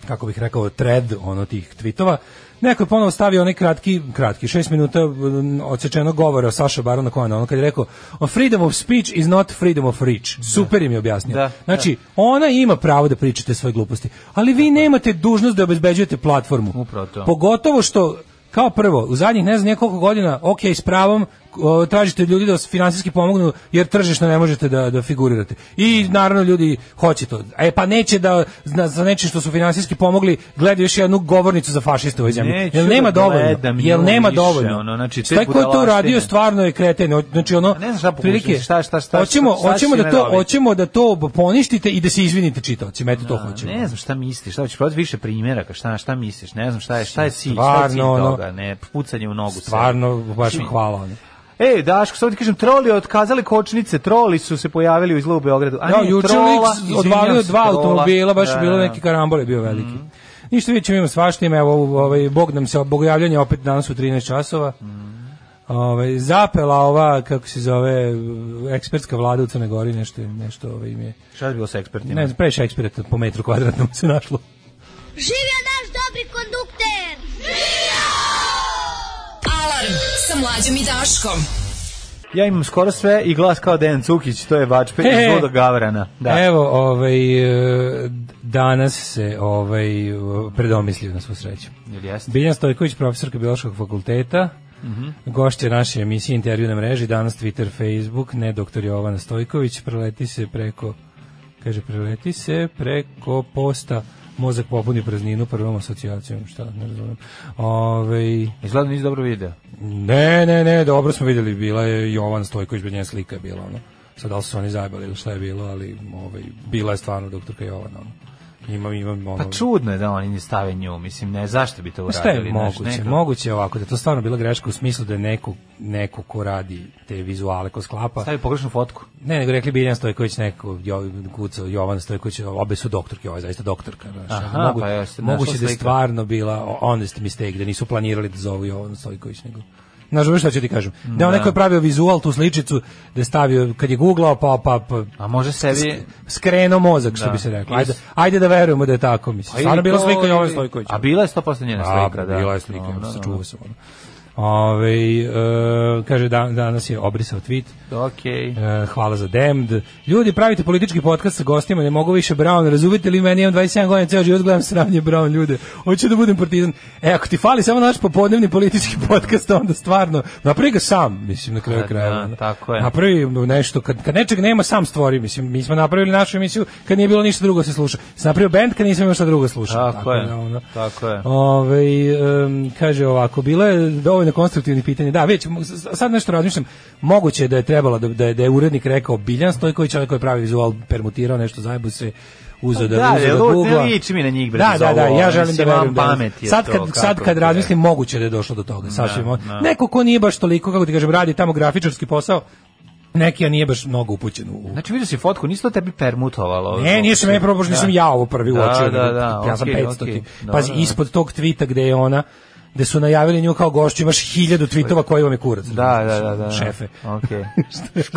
kako bih rekao, thread, ono tih tweetova, neko je ponovo stavio onaj kratki, kratki, šest minuta mm, odsečenog govora Saša Barona Kohana, ono kad je rekao, "O, freedom of speech is not freedom of reach. Super im je objasnio.
Da,
znači, ona ima pravo da pričate svoje gluposti, ali vi nemate dužnost da obezbeđujete platformu.
Upravo to.
Pogotovo što kao prvo, u zadnjih ne znam nekoliko godina, ok, s pravom, o, tražite od ljudi da vas finansijski pomognu, jer tržišno ne možete da, da figurirate. I naravno ljudi hoće to. E pa neće da, zna- za nečim što su finansijski pomogli, gledaju još jednu govornicu za fašiste u ovoj zemlji.
Neću
Jel nema
da
dovoljno?
gledam
Jel
nju
nema
više,
dovoljno?
ono, znači,
Šta
te
ko je to
budalaštine.
uradio stvarno je kreten. Znači ono,
A ne znam šta pokušaš, šta- šta- šta-
hoćemo,
šta- šta
hoćemo
si
da
me
to,
dobiti?
hoćemo da to poništite i da se izvinite čitaocima. Eto to hoćemo.
Ne znam šta misliš, šta hoćeš prodati više primjeraka, šta, šta misliš, ne znam šta je, šta je cilj, šta je
Stvarno,
cilj
ono-
toga, ne, pucanje u nogu.
Stvarno, baš
Mislim,
hvala. ono.
E, Daško, sad ti kažem, troli otkazali kočnice, troli su se pojavili u izlogu Beogradu. A
Ja,
ne,
juče
trola,
lik
izvinjam
odvalio
se,
dva
trola.
automobila, baš je
Da,
bilo
da, Mhm. da.
neki karambol je bio veliki. Ništa vidjet ćemo, ima svašta, ima, evo, ovaj, Bog nam se, bogojavljanje opet danas u 13 časova.
Mhm.
Ovaj, zapela ova, kako se zove, ekspertska vlada u Crnoj Gori, nešto, je- nešto ovaj, im je,
Šta je bilo sa ekspertima?
ne znam, previše eksperta po metru kvadratnom se našlo.
Živio naš dobri kondukter!
Alarm sa Mlađom i Daškom.
Ja imam skoro sve i glas kao Dejan Cukić, to je Vačpe
E,
iz Vodo Gavrana. Da.
Evo, ovaj, e, d- danas se ovaj, predomislio na svu sreću.
Jel jeste?
Biljan Stojković, profesorka Biološkog fakulteta, gošća naše emisije Intervju na mreži, danas Twitter, Facebook, ne doktor Jovana Stojković, preleti se preko, kaže, preleti se preko posta, mozak popuni prazninu prvom asocijacijom, šta, ne razumijem. Ovaj,
Izgleda nisi dobro video.
ne, ne, ne, dobro smo vidjeli, bila je Jovan Stojković, bez nje slika je bila, ono. Sad da li su se oni zajbali ili šta je bilo, ali ovaj, bila je stvarno doktorka Jovana, ono. Imam, imam, ono...
Pa čudno je da oni ne stave nju, mislim, ne, zašto bi to
Pa Šta
uradili?
je
znaš,
moguće?
neko-
Moguće je ovako, da je to stvarno bila greška u smislu da je neko, neko ko radi te vizuale, ko sklapa.
Stavi pogrešnu fotku.
Ne, nego rekli Biljan Stojković, neko, jo, kuco, Jovan Stojković, obe su doktorke, ovo je zaista doktorka. znaš.
Aha,
Mogu-
pa jeste,
moguće
našla
da je
slika.
stvarno bila honest mistake, da nisu planirali da zovu Jovan Stojković, nego... Znaš, znaš šta ću ti kažem? Da je on neko je pravio vizual, tu sličicu, da je stavio, kad je googlao, pa, pa, pa
A može sebi...
skrenuo mozak, što
Da.
bi se reklo. Ajde, ajde da verujemo da je tako, mislim. Stvarno
Ili
bila
to,
slika Jovan
ili-
Stojković.
A bila je 100% njena
A,
slika, da.
Bila je slika,
No, no, no.
sačuvao sam ono. Ove, e, kaže, da, danas je obrisao tweet,
Okej.
e, hvala za demd. Ljudi, pravite politički podcast sa gostima, ne mogu više Brown, razumite li meni, imam 27 godina, ceo život gledam sravnje Brown ljude, hoću da budem partizan. E, ako ti fali samo naš popodnevni politički podcast, onda stvarno, napravi ga sam, mislim, na kraju
Pa
krajeva.
da,
ono.
tako je.
Napravi nešto, kad, kad nečeg nema, sam stvori, mislim, mi smo napravili našu emisiju kad nije bilo ništa drugo da se sluša. Sam napravio band kad nisam imao šta drugo slušao.
Tako je,
da, ono.
tako je.
Ovaj, em, kaže ovako, bilo je dovoljno konstruktivnih pitanja. Da, već, mo- s- sad nešto razmišljam. Moguće je da je trebalo, da, da, je, da je urednik rekao Biljan Stojković, čovjek koji pravi vizual, permutirao nešto, zajbu se, uzeo da,
Da,
uzeo
jer
da
ovo ne
googla.
liči mi na njih, bre,
Da,
za
da, da,
ovo,
ja
ono,
želim da
mislim,
verujem.
van
da-
pamet je
sad
to,
kad, sad
kako
kad
ti
razmislim, moguće da je došlo do toga. Sasvim, ono-
da.
Neko ko nije baš toliko, kako ti kažem, radi tamo grafičarski posao, neki, a nije baš mnogo upućen u,
Znači, vidio si fotku, nisi to tebi permutovalo?
ne, nije se meni probao, pošto nisam ja ovo prvi
Pa Da,
uočio.
da,
nego
da,
ja sam
okej,
500.
okej.
ti. Pazi,
Dobro, da.
ispod tog tvita gde je ona, gde su najavili nju kao gošću, imaš hiljadu tvitova koji vam je kurac.
Da, da, da, da.
Šefe.
Okej.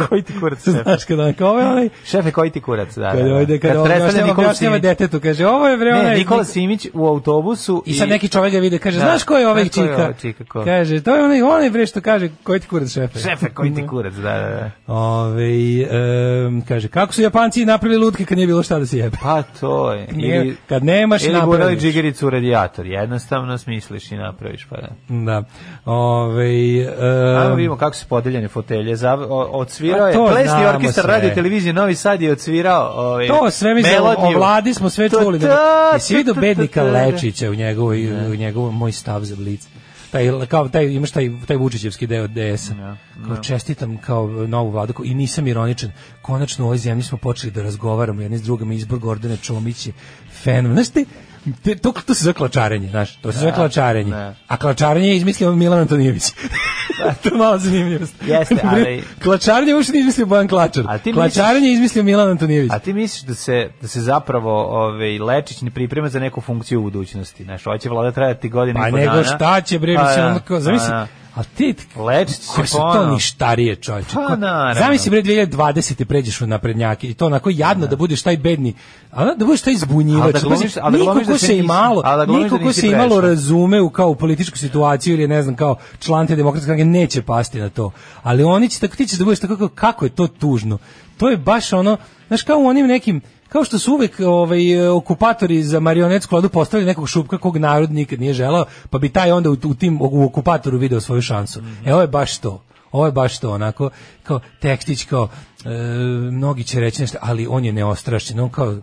koji ti kurac šefe?
Znaš kada on kao, ovaj, ovo je onaj,
Šefe, koji ti kurac, da.
kada
da, da.
ovde, kada
Kad predstavlja
objašnjava,
Nikolu
objašnjava
Simića.
detetu, kaže, ovo je bre
Ne,
onaj...
Nikola Simić u autobusu
I sad neki čovjek ga vide, kaže,
Da,
znaš ko je ovaj
znaš ko je
čika?
ovaj čika, ko?
Kaže, to je onaj, onaj bre što kaže, koji ti kurac šefe?
Šefe, koji
Mm.
ti kurac, da, da, da.
Ove, em, kaže, kako su Japanci napravili lutke kad nije bilo šta da se jebe?
Pa to je.
Nije- kad nemaš,
ili
napraviš.
gurali džigericu u radijator. Jednostavno smisliš i napraviš, pa da.
Da. Ove, em,
Ajmo vidimo kako su podeljene fotelje. Zav, o, odsvirao
Da. Pa
je
to
plesni
znamo
orkestar
sve.
radio televizije Novi Sad je odsvirao ovaj,
To sve mi znamo, o
melodiju.
vladi smo sve
Ta,
čuli.
ta,
Da, Jesi
ta,
vidio
ta,
bednika
ta, ta, ta.
Lečića u njegovoj, u njegovom moj stav za blic? Taj, kao, taj, imaš taj, taj Vučićevski deo DS-a. Kao čestitam kao novu vladu kao, i nisam ironičan. Konačno u ovoj zemlji smo počeli da razgovaramo jedni s drugima. Izbor Gordane Čomić je fenomen. Znaš ti, te- to, to se zove klačarenje, znaš, to se zove klačarenje.
da.
A klačarenje je izmislio Milan Antonijević. to je malo zanimljivost.
Jeste, ali-
klačarenje uopšte nije izmislio Bojan Klačar.
A ti misliš-
Klačarenje je izmislio Milan Antonijević.
A ti misliš da se da se zapravo ovaj Lečić ne priprema za neku funkciju u budućnosti? Znaš, hoće vlada trajati godine
Pa
i po
nego
dana.
šta će bre
Pa
mislim
da,
ono kao
pa
zamisli.
da.
A ti
Lečić će
Koje su to
ponovo.
ništarije, čovječe.
Pa,
Ko-
naravno.
Zamisli bre 2020 pređeš u naprednjake i to onako jadno da budeš taj bedni, a ono da budeš taj
Ali
zbunjivač.
da glumiš-
Pazi,
ali da
niko
glumiš da
ko
si
se
nisi-
imalo,
ali da glumiš
niko
da
ko
nisi
se imalo
prešao.
razume u kao političku situaciju ili je, ne znam kao član te demokratske stranke neće pasti na to. Ali oni će tako ti ćeš da budeš tako kao, kako je to tužno. To je baš ono, znaš kao u onim nekim kao što su uvek ovaj, okupatori za marionetsku vladu postavili nekog šupka kog narod nikad nije želao, pa bi taj onda u, u tim u okupatoru video svoju šansu. E ovo je baš to. Ovo je baš to, onako, kao tekstić, kao, e, mnogi će reći nešto, ali on je neostrašćen, on kao,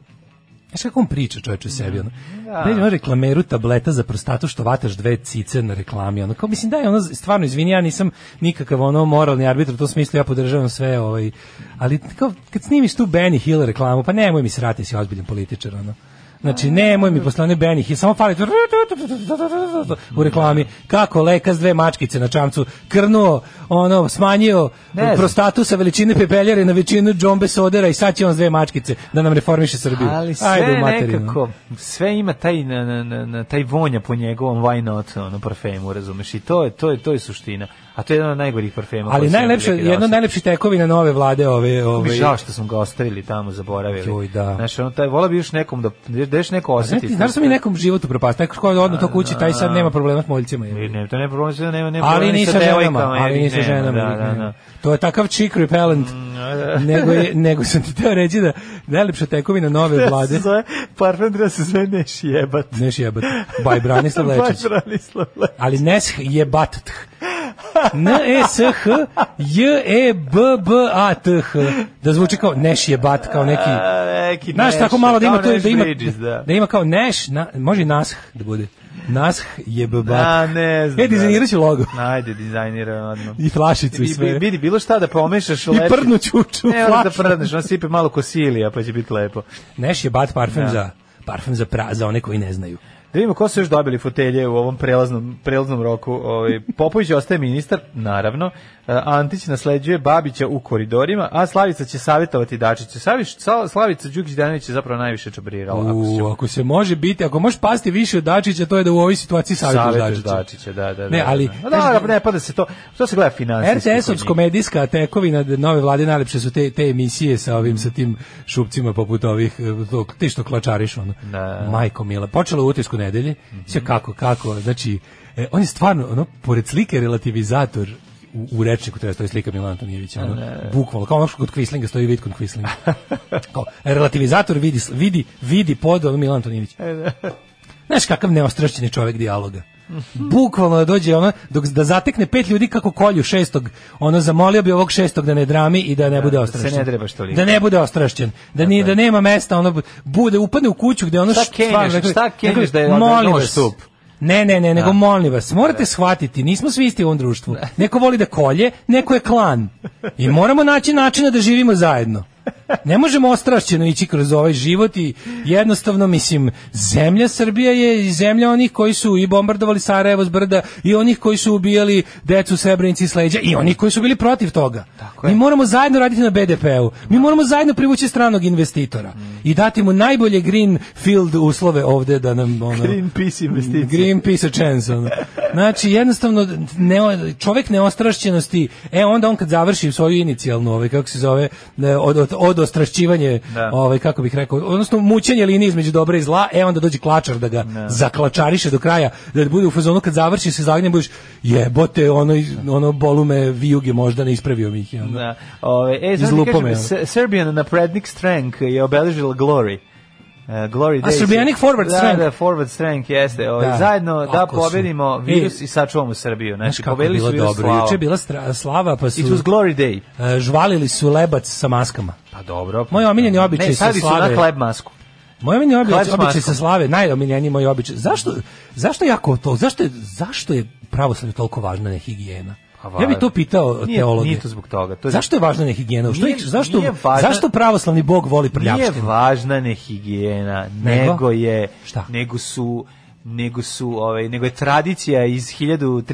Znaš kako on priča čovječe o sebi, ono. Da. on reklameru tableta za prostatu što vataš dve cice na reklami, ono. Kao, mislim, da je ono, stvarno, izvini, ja nisam nikakav ono moralni arbitr, u tom smislu ja podržavam sve, ovaj. Ali, kao, kad snimiš tu Benny Hill reklamu, pa nemoj mi srati, si ozbiljan političar, ono. Znači, nemoj
da.
mi posle one Benny Hill, samo fali tu u reklami. Kako leka s dve mačkice na čamcu krnuo, ono, smanjio
Ne znam.
prostatu sa veličine pepeljare na većinu džombe sodera i sad će on s dve mačkice da nam reformiše Srbiju.
Ali sve
Ajde u materinu.
nekako, sve ima taj, na, na, na, na- taj vonja po njegovom why not, ono, parfemu, razumeš, i to je, to je, to je suština. A to je jedan od najgorih parfema.
Ali
koji sam
najlepše,
imao prilike da
jedno od
osetim.
najlepših tekovina nove vlade ove...
Ovaj
ove
mi žao što smo ga ostavili tamo, zaboravili.
Joj, da.
Znači, ono, taj, vola bi još nekom da, da još neko
Znaš
osjeti.
ti, znaš da mi nekom život upropast, neko ko je odno to kući, taj sad nema problema s moljcima. je.
Ne, ne, to ne problem, sve nema, nema
Ali
problema
ni
sa
sa ženama,
devojkama,
ali
jebi,
ni sa
nema,
ženama.
Da,
jebi,
da,
nema.
da.
To je takav chick repellent. nego, je, nego sam ti teo reći da najlepša tekovina nove
Treba se
vlade
zove, parfem treba se zove neš jebat.
Neš jebat. Baj Pa Branislav Lečić.
Baj Branislav Lečić.
Ali nesh jebat. th. N E S H J E B B A T H. Da zvuči kao neš jebat kao neki
A, neki
Znaš,
Neš,
tako malo da ima
kao
to,
Neš
da ima,
Bridges, da.
da ima kao neš, na, može i nash da bude. Nash je
A,
beba.
ne znam. da.
E, dizajnirat ću logo.
Najde, dizajnira odmah.
I flašicu i
Bi- bi-
sve.
Vidi, bilo šta da pomešaš.
I prdnu čuču u
Ne, moraš da
flašu.
prdneš, on sipe malo kosilija, pa će biti lepo.
Neš je bat parfem
Da.
za parfem za pra, za one koji ne znaju.
Da vidimo ko su još dobili fotelje u ovom prelaznom, prelaznom roku. Ovaj, Popović ostaje ministar, naravno. E, Antić nasleđuje Babića u koridorima, a Slavica će savjetovati Dačiću. Savić, Sa- Slavica Đukić Danović je zapravo najviše čabrirala. ako se
U, ako se može biti, ako možeš pasti više od Dačića, to je da u ovoj situaciji savjetuješ
savjetuješ
Dačića.
Dačića. Da, da, da.
Ne, ali-
Da, da, da, ne, pada se to. To se gleda finansijski. kod njih.
RTS-ovsko-medijska tekovina d- nove vlade najlepše su te, te emisije sa ovim, sa tim šupcima poput ovih, e, to- ti što klačariš ono.
Da.
Majko mila. Počelo u utisku nedelje, sve kako, kako, znači, e, on je stvarno, ono, pored slike relativizator u, u rečniku, to je stoji slika Milana Antonijevića, ono, bukvalno, kao ono što kod Kvislinga stoji vid kod Kvislinga. kao, relativizator vidi, s- vidi, vidi pod ono Milan Antonijević. Znaš kakav neostrašćeni čovjek dijaloga. Bukvalno da dođe ono, dok da zatekne pet ljudi kako kolju šestog, ono zamolio bi ovog šestog da ne drami i da ne bude
da se
ostrašćen.
ne trebaš toliko.
Da ne bude ostrašćen. Da, ni, da nema mesta, ono bude, upadne u kuću gde ono
Šta
št-
kenjaš,
stvarno, rekli-
šta kenjaš
rekli,
da je
molim
nož
vas.
stup?
Ne, ne, ne, nego
Da.
molim vas, morate shvatiti, nismo svi isti u ovom društvu. Neko voli da kolje, neko je klan. I moramo naći načina da živimo zajedno. Ne možemo ostrašćeno ići kroz ovaj život i jednostavno, mislim, zemlja Srbija je i zemlja onih koji su i bombardovali Sarajevo s brda i onih koji su ubijali decu u Srebrenici i sleđa i onih koji su bili protiv toga.
Tako je.
Mi moramo zajedno raditi na BDP-u. Mi moramo zajedno privući stranog investitora
Mm.
i dati mu najbolje green field uslove ovde da nam ono,
Greenpeace investicije.
Greenpeace a chance. Ono. Znači, jednostavno, ne, čovek neostrašćenosti, e, onda on kad završi svoju inicijalnu, ovaj, kako se zove, ne, od, od, od ostrašćivanje,
Da.
ovaj, kako bih rekao, odnosno mučenje linije između dobra i zla, e, onda dođe klačar da ga zaklačariše do kraja, da bude u fazonu kad završi se zagnje, budeš, jebote, ono, iz- ono bolume vijuge možda ne ispravio mi ih. je, ono.
Da. Ove, e, sad mi
Izlupao
kažem,
me, ono.
Se- Serbian naprednik Strank je obeležila Glory. E, glory
A
Days.
Srbijanik forward
da,
Strank.
Da, forward Strank jeste. Ove,
Da.
Zajedno da
Kako su.
pobedimo virus
E,
i sačuvamo Srbiju. Znači,
Znaš kako je
pobedili
bilo
su virus
dobro. Juče je bila stra- slava, pa su...
It was Glory Day.
e, žvalili su lebac sa maskama.
Pa dobro.
Moj omiljeni običaj
ne,
sa
stavili su
slave.
na hleb masku.
Moj omiljeni običaj,
Hleb s
običaj
maskom.
sa slave, najomiljeniji moj običaj. Zašto, zašto jako to, zašto je, zašto je pravoslavlje toliko važna nehigijena?
Pa
Ja bih
važno.
to pitao
Nije-
teologe.
nije to zbog toga, to je-
zašto je važna nehigijena? Što
Nije-
ih- zašto,
nije važna-
zašto pravoslavni bog voli prljavštinu?
Nije važna ne higijena,
Nego?
nego, je
Šta?
nego su nego su ovaj nego je tradicija iz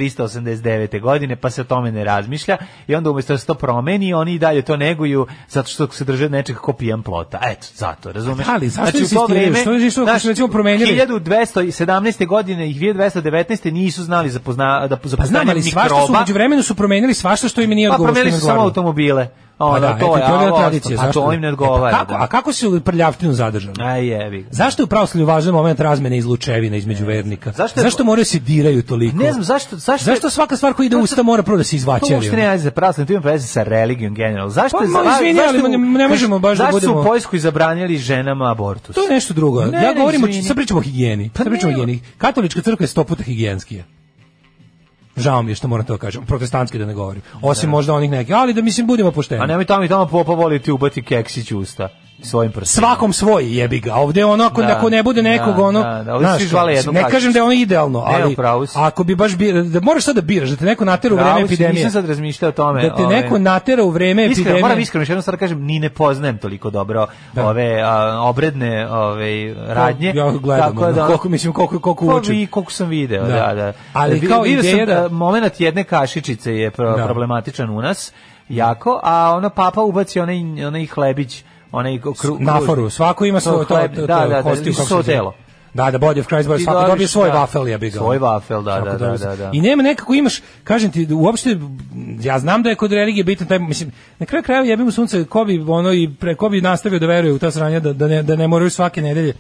1389. godine pa se o tome ne razmišlja i onda umesto da se to promeni oni i dalje to neguju zato što se drže nečeg ko pijan plota eto zato razumeš
Pa da,
Znači,
Ali zašto
u to
insistiraju?
vreme,
Što je- što- što
znaš,
su recimo promenili?
1217. godine i 1219. nisu znali za pozna, da za
Pa znam,
postojanje
ali svašta su,
mikroba.
među vremenu su promenili svašta što im nije
pa
odgovorilo. što
promenili
im
su
je
samo
odgovaralo.
automobile ono,
Pa da, eto,
to je,
to je
a
bila
ovo ostalo,
tradicija.
pa
zašto?
to im ne
E, pa
odgovara
kako-
da.
A kako su prljavštinu zadržali?
Aj jebi. ga.
Zašto je u pravoslavlju važan moment razmene izlučevina između vernika?
Zašto
Zašto,
je-
moraju se diraju toliko?
Ne znam zašto zašto
Zašto svaka stvar koja ide u usta mora prvo da se
To
izvaćari?
uopšte nema veze sa pravoslavljem, to ima veze sa religijom generalno. Zašto
Pa,
je za-
ma, izvini,
zašto
ali
u-
ne- ne možemo baš da
Zašto su u
budemo-
Poljskoj zabranili ženama abortus?
To je nešto drugo.
Ne,
ja
ne,
govorim, o,
izvini.
sad pričamo o higijeni.
Pa
sad pričamo o
ne.
higijeni. Katolička crkva je sto puta higijenskija. Žao mi je što moram to da kažem. Protestantski da ne govorim. Osim možda onih nekih. Ali da mislim budemo pošteni.
A nemoj tamo i tamo popa voliti ubati keksić u usta svojim prstima.
svakom svoj jebi ga. Ovde ono ako,
Da,
ako ne bude nekog
da,
ono.
da, da, ovdje svi
znaš,
žvale jednu
ne
kačicu.
kažem da je ono idealno,
Ne,
ali
u pravu si.
ako bi baš bira, da moraš sad da biraš, da te neko natera u
Pravo
vreme
si,
epidemije.
Nisam sad razmišljao o tome. ovaj-
Da te
ove.
neko natera u vreme
Iskreno,
epidemije.
moram iskreno još jednom sad da kažem, ni ne poznajem toliko dobro ove a, obredne ove radnje.
Da. Ja gledam,
tako
ono,
da,
koliko, mislim, koliko, koliko
Pa
učim.
vi koliko sam video, da,
Da.
da.
Ali
Vi-
kao
vidio
ideja
sam
da-
da momenat jedne kašičice je pro-
Da.
problematičan u nas, jako, a ono papa ubaci onaj onaj hlebić, onaj kru, kru,
naforu, svako ima svoje to-
hleb,
to- to-
da, da, da,
kostiju,
isto
kako se
svoje
zove.
telo.
Da, da, Body of Christ, bar
Ti
svako
dobiš,
dobije svoj
da.
vafel, ja bih ga.
Svoj vafel, da,
Svako
da, da,
dobije
da,
svoj.
da.
I nema nekako imaš, kažem ti, uopšte, ja znam da je kod religije bitan taj, mislim, na kraju krajeva jebim mu sunce, ko bi, ono, i pre, ko bi nastavio da veruje u ta sranja, da, da, ne, da ne moraju svake nedelje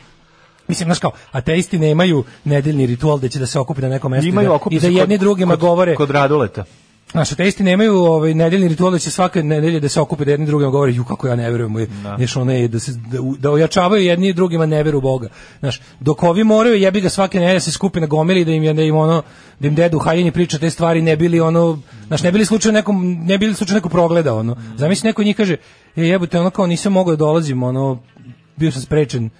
Mislim, znaš kao, ateisti nemaju nedeljni ritual da će da se okupi na nekom mestu i
Imaju
da-
okupe
i da
se
jedni
kod-
drugima
kod-
govore
Kod Raduleta.
Naši ateisti nemaju ovaj nedeljni ritual da će svake nedelje da se okupe da jedni drugima govore ju kako ja ne verujem, je, znaš, ono je da se da, u- da ojačavaju jedni drugima ne veru u Boga. Znaš, dok ovi moraju jebi ga svake nedelje se skupi na gomili da im je da im ono da im dedu haljini priča te stvari ne bili ono znaš ne bili slučajno nekom ne bili slučajno neko progleda ono. Zamisli neko od njih kaže je jebote ono kao nisam mogao da dolazim ono bio sam sprečen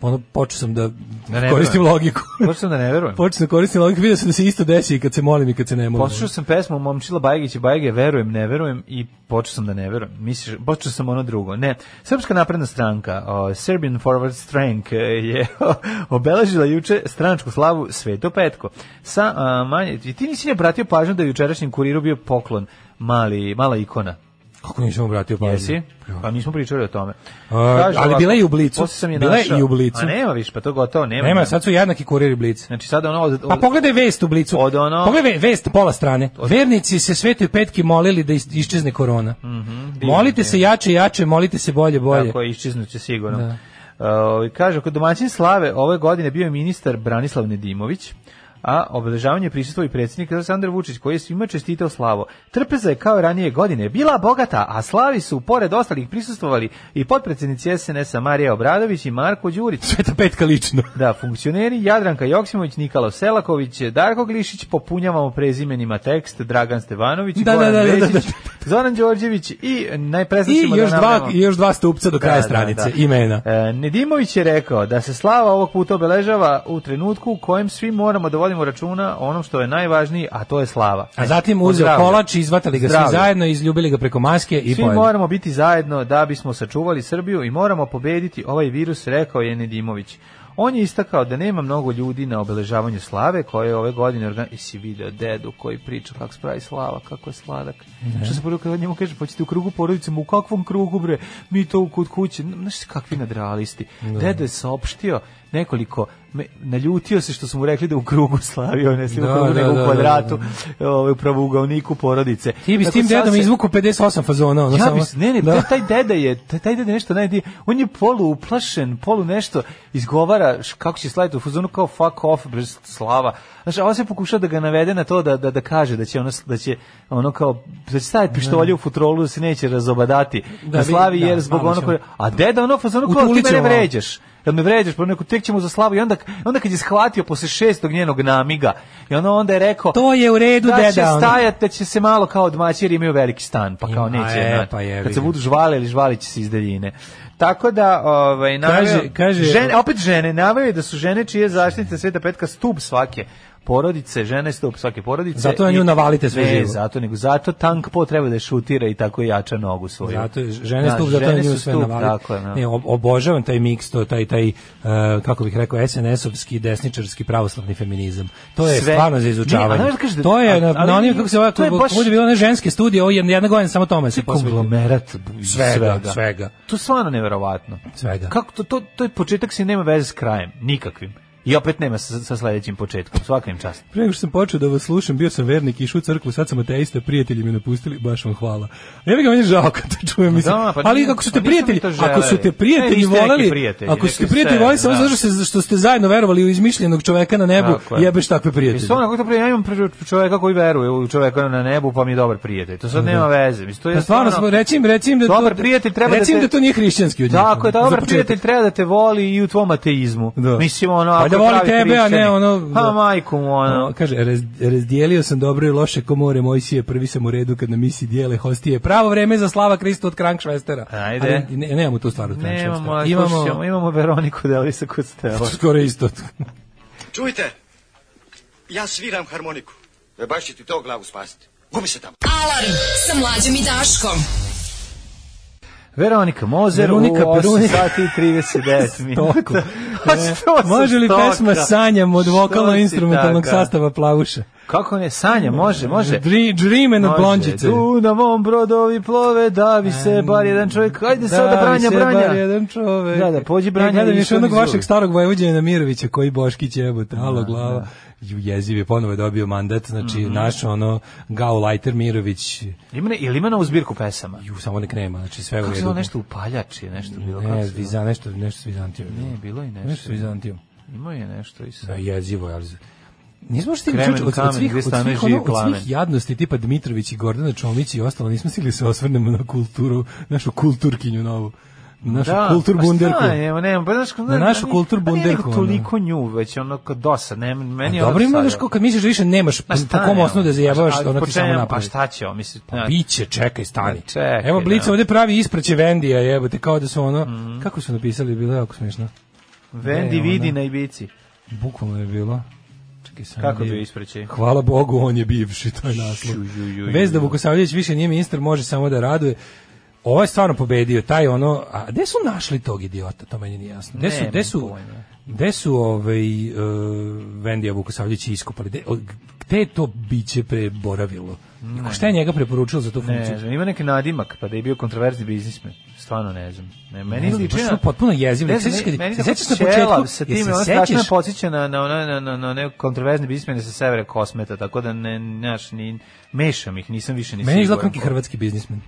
ono počeo sam da,
Da ne
koristim logiku.
Počeo sam da ne verujem.
počeo sam da koristim logiku, vidio sam da se isto desi i kad se molim i kad se ne molim.
Poslušao sam pesmu Momčila Bajgića, Bajge, verujem, ne verujem i počeo sam da ne verujem. Misliš, počeo sam ono drugo. Ne, Srpska napredna stranka, o, Serbian Forward Strength, e, je obeležila juče stranačku slavu Sveto Petko. Sa, a, manje, i ti nisi ne obratio pažnju da je jučerašnjem kuriru bio poklon mali, mala ikona.
Kako nisam obratio pažnju?
Jesi? Pa nismo pričali o tome.
ali bila je i u Blicu.
posle sam je
Bila je
našao.
i u Blicu.
A nema više, pa to gotovo, nema.
Nema, sad su jednaki kuriri blic.
Znači sad ono... od-
Pa pogledaj vest u blicu.
Od ono-
Pogledaj ve- vest pola strane. Vernici se svetoj petki molili da is- iščezne korona. molite se jače, jače, molite se bolje, bolje.
Mhm, Tako je, iščiznuće sigurno.
Da.
Uh, kaže, kod domaćin slave ove godine bio je ministar Branislav Nedimović, a obeležavanje prisustvo i predsjednik Aleksandar Vučić koji je svima čestitao slavo. Trpeza je kao i ranije godine bila bogata, a slavi su pored ostalih prisustvovali i potpredsjednici SNS-a Marija Obradović i Marko Đurić.
Sveta petka lično.
Da, funkcioneri Jadranka Joksimović, Nikalo Selaković, Darko Glišić, popunjavamo prezimenima tekst, Dragan Stevanović,
Da,
Goran
da, da, da, da,
Vesić, Zoran Đorđević i
I
najpresnaćima
još
da
dva,
navnemo-
i još dva stupca do kraja stranice,
da.
imena.
E, Nedimović je rekao da se slava ovog puta obeležava u trenutku u kojem svi moramo da vodimo računa o onom što je najvažniji, a to je slava.
A zatim
O
uzeo
zdravlju.
kolač, izvatali ga
Zdravlje.
svi zajedno, izljubili ga preko maske i
Svi
pojeli.
moramo biti zajedno da bismo sačuvali Srbiju i moramo pobediti ovaj virus, rekao je Nedimović. On je istakao da nema mnogo ljudi na obeležavanju slave koje je ove godine organ... I si video dedu koji priča kako se pravi slava, kako je sladak. Što se poruka njemu kaže, pa ćete u krugu porodice, ma u kakvom krugu bre, mi to u- kod kuće, znaš kakvi nadrealisti.
Da.
Dedo je saopštio nekoliko, me, naljutio se što su mu rekli da u krugu slavio, ne svi
Da,
u krugu,
da,
nego
da,
u
da,
kvadratu, ovaj, u pravougaoniku porodice.
Ti bi s
Tako
tim
sad
dedom
se-
izvuku 58 fazona. ono
ja
samo-
bi, s- ne, ne,
Da.
taj, taj deda je, taj, taj deda je nešto najdi, on je polu uplašen, polu nešto, izgovara š- kako će slaviti u fuzonu kao fuck off, brz slava. Znaš, a on se pokušao da ga navede na to da, da, da kaže da će ono, s- da će ono kao, da će staviti pištolje u futrolu da se neće razobadati
Da
na
bi-
slavi
da,
jer zbog
malo
ono
će
koje, a deda ono u fuzonu kao ti
Utulit će
mene
malo.
vređaš. Jel me vređaš, pa neko tek ćemo za slavu i onda, onda kad je shvatio posle šestog njenog namiga i ono onda je rekao
To je u redu,
da
E, deda.
će
ono.
stajati, da će se malo kao odmaći jer imaju veliki stan, pa
Ima,
kao neće.
e,
znate.
pa jebi
kad se
ga.
budu žvale ili žvalit će se iz daljine. Tako da, ovaj, naveo-
Kaže- kaže-
žene, opet žene, naveo je da su žene čije zaštitnice Sveta Petka stup svake porodice, žene stup svake porodice.
Zato na
i-
nju navalite sve
Ne,
živo.
zato, nego zato tank po treba da šutira i tako jača nogu svoju.
Zato je žene
Da,
stup, zato
žene
na nju
su
sve
stup,
navali.
Tako, je, da.
Ne, ob- obožavam taj miks, to, taj, taj, e, kako bih rekao, SNS-ovski, desničarski, pravoslavni feminizam. To je
Sve.
stvarno za
Ne, a
izučavanje.
znaš da kažete-
to je,
a-
na,
ali
na onim, kako se
to je
ovako,
baš-
baš... bude bilo one ženske studije, ovo jedna, jedna godina samo tome se posvetilo.
Konglomerat bu-
Svega, svega.
To je stvarno neverovatno.
Svega.
Kako to, to, to je početak se nema veze s krajem, nikakvim. I opet nema sa, sa sledećim početkom, svakim čast.
Pre nego što sam počeo da vas slušam, bio sam vernik, išao u crkvu, sad sam ateista, prijatelji me napustili, baš vam hvala. Ja bih ga meni je žao kad to čujem, mislim.
Da, pa
ali
nisam-
ako su
pa
te
nisam mi
prijatelji,
to želeli.
ako su te
E,
prijatelji
niste neki
voleli,
prijatelji,
ako su
neki
te prijatelji
ste,
voleli, samo
da.
zato što, se- što ste zajedno verovali u izmišljenog čoveka na nebu,
Tako je.
jebeš takve
I
prijatelje.
stvarno, kako to prije, ja imam pri- čoveka koji veruje u čoveka na nebu, pa mi je dobar prijatelj. To sad nema veze. Mislim, to je
Pa stvarno, smo, reći im, reći im da,
Dobar
to,
prijatelj treba da
reći im
te-
da to nije hrišćanski od njih.
Tako je,
Za
dobar
početak.
prijatelj treba da te voli i u tvom ateizmu.
Da.
Mislim, ono,
Valjda
ako je
voli
pravi
tebe, a ne
hrišćanin.
ono-
Pa
da.
majku mu, ono.
Ono, kaže, raz, razdijelio sam dobro i loše komore Mojsije, prvi sam u redu kad na misi dijele hostije. Pravo vreme za slava Kristu od Krankšvestera.
Ajde.
Ali, ne, nemamo tu stvar od
Nemamo,
Krankšvestera.
ali slušajmo, imamo Veroniku Delisa Kostela.
skoro isto.
Čujte, ja sviram harmoniku. E baš će ti to glavu spasiti. Gubi se tamo.
Alarm sa mlađom i Daškom.
Veronika Mozer
Veronika
u 8
Perunika.
sati i 39
Toliko.
minuta.
E, Može li pesma Sanjam od vokalno-instrumentalnog sastava Plavuša?
Kako ne, Sanja, može, može.
Dri, džrime na
Može.
blonđice.
Tu na mom brodovi plove, davi se bar jedan čovjek.
Da,
Ajde sada branja,
se bar
branja.
jedan čovek.
Da, da, pođi Branja
E, gledam
i
još
što
onog
mi zove.
vašeg starog Vojvođana Nemirovića koji Boškić jebote,
Da,
alo glava. Ju, jeziv je ponovo je dobio mandat, znači
Mhm.
naš ono Gauleiter Mirović,
Ima ne, ili ima novu zbirku pesama?
ju samo nek nema, znači sve u
Kako se
redu.
zove nešto upaljač je nešto bilo? kako
Ne,
se zove?
viza, nešto, nešto s Vizantijom.
Ne, bilo je
nešto s
nešto.
Vizantijom.
Ima je nešto i sad.
Da, jezivo je, ali... Nismo što
Kremen,
od, od
kamen,
svih,
gde
od
stanuje
svih, ono,
živ
od
plamen.
svih jadnosti tipa Dmitrović i Gordana Čomić i ostalo nismo stigli se osvrnemo na kulturu, našu kulturkinju novu. Našu
Da,
kultur bunderku.
Pa šta je, nema, pa znaš,
Na našu kultur bunderku,
Pa
ono.
toliko nju, već ono, kad dosad, ne, meni je ono
Dobro ima
sad,
daš kad misliš da više nemaš
Ma
po po
stani,
kom
ono,
osnovu da
pa
zajebavaš,
šta-
ona
po
ti samo
čemu, Pa
napravi.
šta će on, mislim, da,
Pa
znaš,
Biće, čekaj, stani.
Pa čekaj,
Evo Blica
da. Mhm.
ovde pravi ispraće Vendija, jebote, kao da su ono, kako su napisali, bilo je jako smiješno.
Vendi
Ne,
vidi
ona.
na Ibici.
Bukvalno je bilo. Čekaj, sam
Kako bi ispreći?
Hvala Bogu, on je bivši, to je naslov.
Ju, ju, ju, ju,
Vezda
ju.
da Vukosavljević više nije ministar, može samo da raduje. Ovo je stvarno pobedio, taj ono, a gde su našli tog idiota, to meni nije jasno. Gde su,
Nemam
gde su,
pojma.
gde su ovaj, uh, Vendija Vukosavljević iskopali? Gde, od- gde je to biće preboravilo? Ne. Šta je njega preporučilo za tu funkciju?
Ne znam, ima neki nadimak, pa da je bio kontroverzni biznismen. Stvarno ne znam. Ne, meni
Ne znam,
liči
baš
na-
ono potpuno jezivo.
Ne znam,
Sećaš kad-
meni- meni
se
tako
sećaš na
ćelav
početku?
Sa
Jel
tim,
se
ono strašno me
sećaš?
podsjeća na, na, na, na, na, na neko kontroverzni biznismene sa severa kosmeta, tako da ne, znaš, ni, mešam ih, nisam više ni
Meni je izgleda
siguran.
kao neki hrvatski biznismen.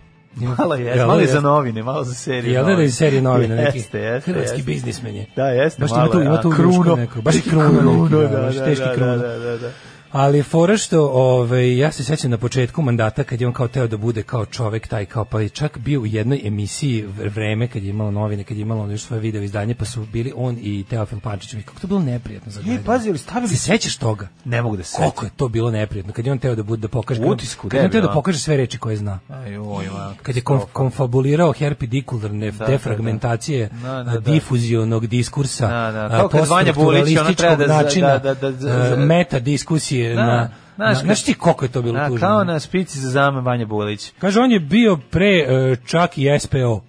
Malo je,
Jel da
malo je za
jeste?
novine, malo za seriju.
Jel da je da iz serije novina neki?
Jeste, jeste.
Hrvatski
jeste.
biznismen je.
Da, jeste,
Baš
malo
ima tu,
je,
ima
a,
tu
kruno.
kruno. Neko, baš i
Neki
kruno, neki,
kruno,
da,
da,
baš
da,
teški
da,
kruno.
da, da, da.
Ali fora što, ovaj, ja se sećam na početku mandata kad je on kao teo da bude kao čovek taj kao pa je čak bio u jednoj emisiji v- vreme kad je imalo novine, kad je imalo ono još svoje video izdanje pa su bili on i Teofil Pančić. I Kako to je bilo neprijatno za gledanje.
E, pazi, ali stavili-
Se sećaš toga?
Ne mogu da se
Koliko je to bilo neprijatno kad je on teo da bude da pokaže
U utisku,
kad je on
debil,
teo da
a?
pokaže sve reči koje zna
Aj, oj, ma,
kad je konf- konfabulirao herpidikularne
da, da.
defragmentacije
Da, da,
a,
da.
difuzionog diskursa,
Da, da.
a,
Kao kad Vanja Bulić, ona treba da-
poststrukturalističkog načina,
da, da, da, da-
a, meta diskusije
Da,
na,
znaš
na-
kad-
znaš ti koliko je to bilo
Da,
tužno?
kao na špici za zame Vanja Bulić.
Kaže, on je bio pre e, čak i SPO.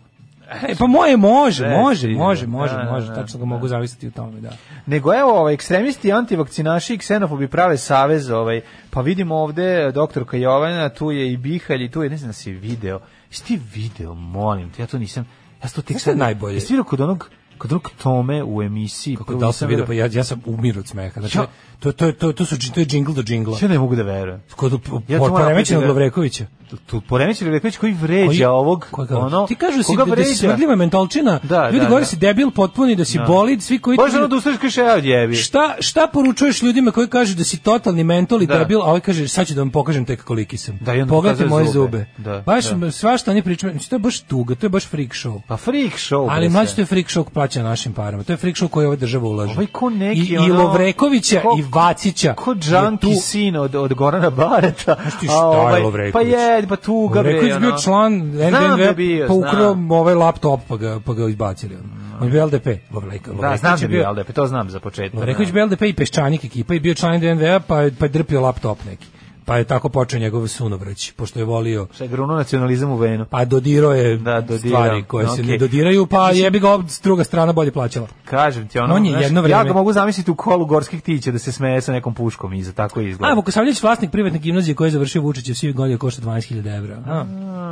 E, pa moje može,
Recimo,
može, može, može,
da,
može,
da,
tačno ga mogu zavisiti u tome, da.
Nego evo, ovaj, ekstremisti, antivakcinaši i ksenofobi prave savez, ovaj, pa vidimo ovde e, doktorka Jovana, tu je i Bihalj, i tu je, ne znam da si video. Jesi ti video, molim te, ja to nisam, ja to tek
Znaš šta je najbolje?
Jesi video kod onog, kod onog Tome u emisiji?
Kako
prvo
da li
nisam
sam vidio, pa
verovao.
ja, ja sam umiru od smeha. Znači,
Ja-
to, to, to, to, su, to je jingle do džingla.
Ja ne mogu da verujem.
Kod
Ja
ja
to moram
poremećenog
pitati da-
Lovrekovića.
Tu- Tu poremeći Rebeković koji vređa
Koji-
ovog,
koga?
ono,
ti kažu da si,
koga
da si smrdljiva mentolčina,
Da,
ljudi
da,
govore
da.
si debil potpuni, da si bolid, svi koji...
Bože, ono da ustaviš kaže, evo djebi.
Šta, šta poručuješ ljudima koji kažu da si totalni mentol i
Da.
debil, a ovaj kaže sad ću da vam pokažem tek koliki sam.
Da, i onda
Pogledajte
pokazuje
moje
zube.
zube.
Da,
Baš
da.
svašta oni pričaju, znači, to je baš tuga, to je baš freak show.
Pa freak show. bre,
Ali mlađe
sve.
to je freak show plaća našim parama. To je freak show koji ova država ulaže.
Ovaj ko neki,
I, i
ono,
Lovrekovića
ko-
i Vacića.
Ko
je tu-
džanki sin od, od Gorana Bareta.
Znaš ti
a
šta
ovaj-
je Lovreković?
Pa je, pa tu ga bre.
Lovreković bio
ono.
član
Znam da je
NDNV,
bio,
pa ukrao
znam.
ovaj laptop pa ga, pa ga izbacili. ono. On je bio LDP. Lovreković
Da, znam da
je
je bio, ali da, pa to znam za početak.
Lovreković
da.
bio LDP i Peščanik ekipa i bio član NDNV-a pa, je- pa je drpio laptop neki. Pa je tako počeo njegov sunovrać, pošto je volio
Šta je gruno nacionalizam u Venu.
pa dodirao je
Da, dodirao.
stvari koje se ne
Okej.
dodiraju, pa jebi ga ob- druga strana bolje plaćala.
Kažem ti, ono,
On je
znaš,
jedno
ja
vreme-
ga mogu zamisliti u kolu gorskih tića da se smeje sa nekom puškom iza, tako
A,
izgleda.
Vukosavljević, vlasnik privatne gimnazije koji je završio Vučićev sivi godin košta 12.000 evra. A,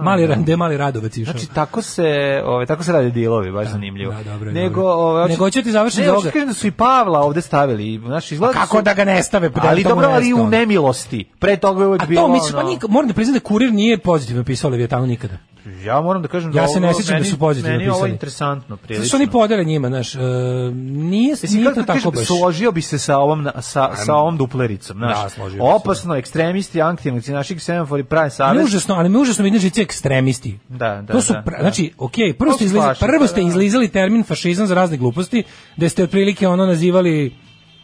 mali, rande, mali radovac išao.
Znači tako se, ovaj tako se rade dilovi, baš zanimljivo.
da, dobro je,
Nego,
dobro.
ovaj
Nego hoću ti završiti
Ne,
za
hoću
ovoga.
ti kažem da su i Pavla ovde stavili, i, znaš, izgleda da
kako
su-
da ga ne stave? Pa da
Ali
to mu
dobro,
ne
ali i
sta,
u
ono.
nemilosti. Pre toga je uvek
A
bilo.
to mislim, pa
ono-
niko, moram da priznam da kurir nije pozitivno pisao Leviatanu nikada.
Ja moram da kažem da
Ja se ne
ovo
sjećam da
meni-
su pozitivno
Meni je ovo
pisali.
interesantno, prilično.
Zato što oni podele njima, znaš, e, nije,
Mislim,
nije
kako
to
da kažem,
tako baš.
Složio bi se sa ovom, na- sa, sa ovom duplericom, znaš.
Da, složio bi se,
Opasno, ekstremisti, antinuci, naši ksenofori, pravi
Ali
savez.
užasno, ali me užasno vidim žice ekstremisti.
Da, da,
to su,
da,
pra-
da.
znači, okej, prvo
To
ste,
su
izliza,
fašisti,
prvo ste
da.
izlizali termin fašizam za razne gluposti, da ste otprilike ono nazivali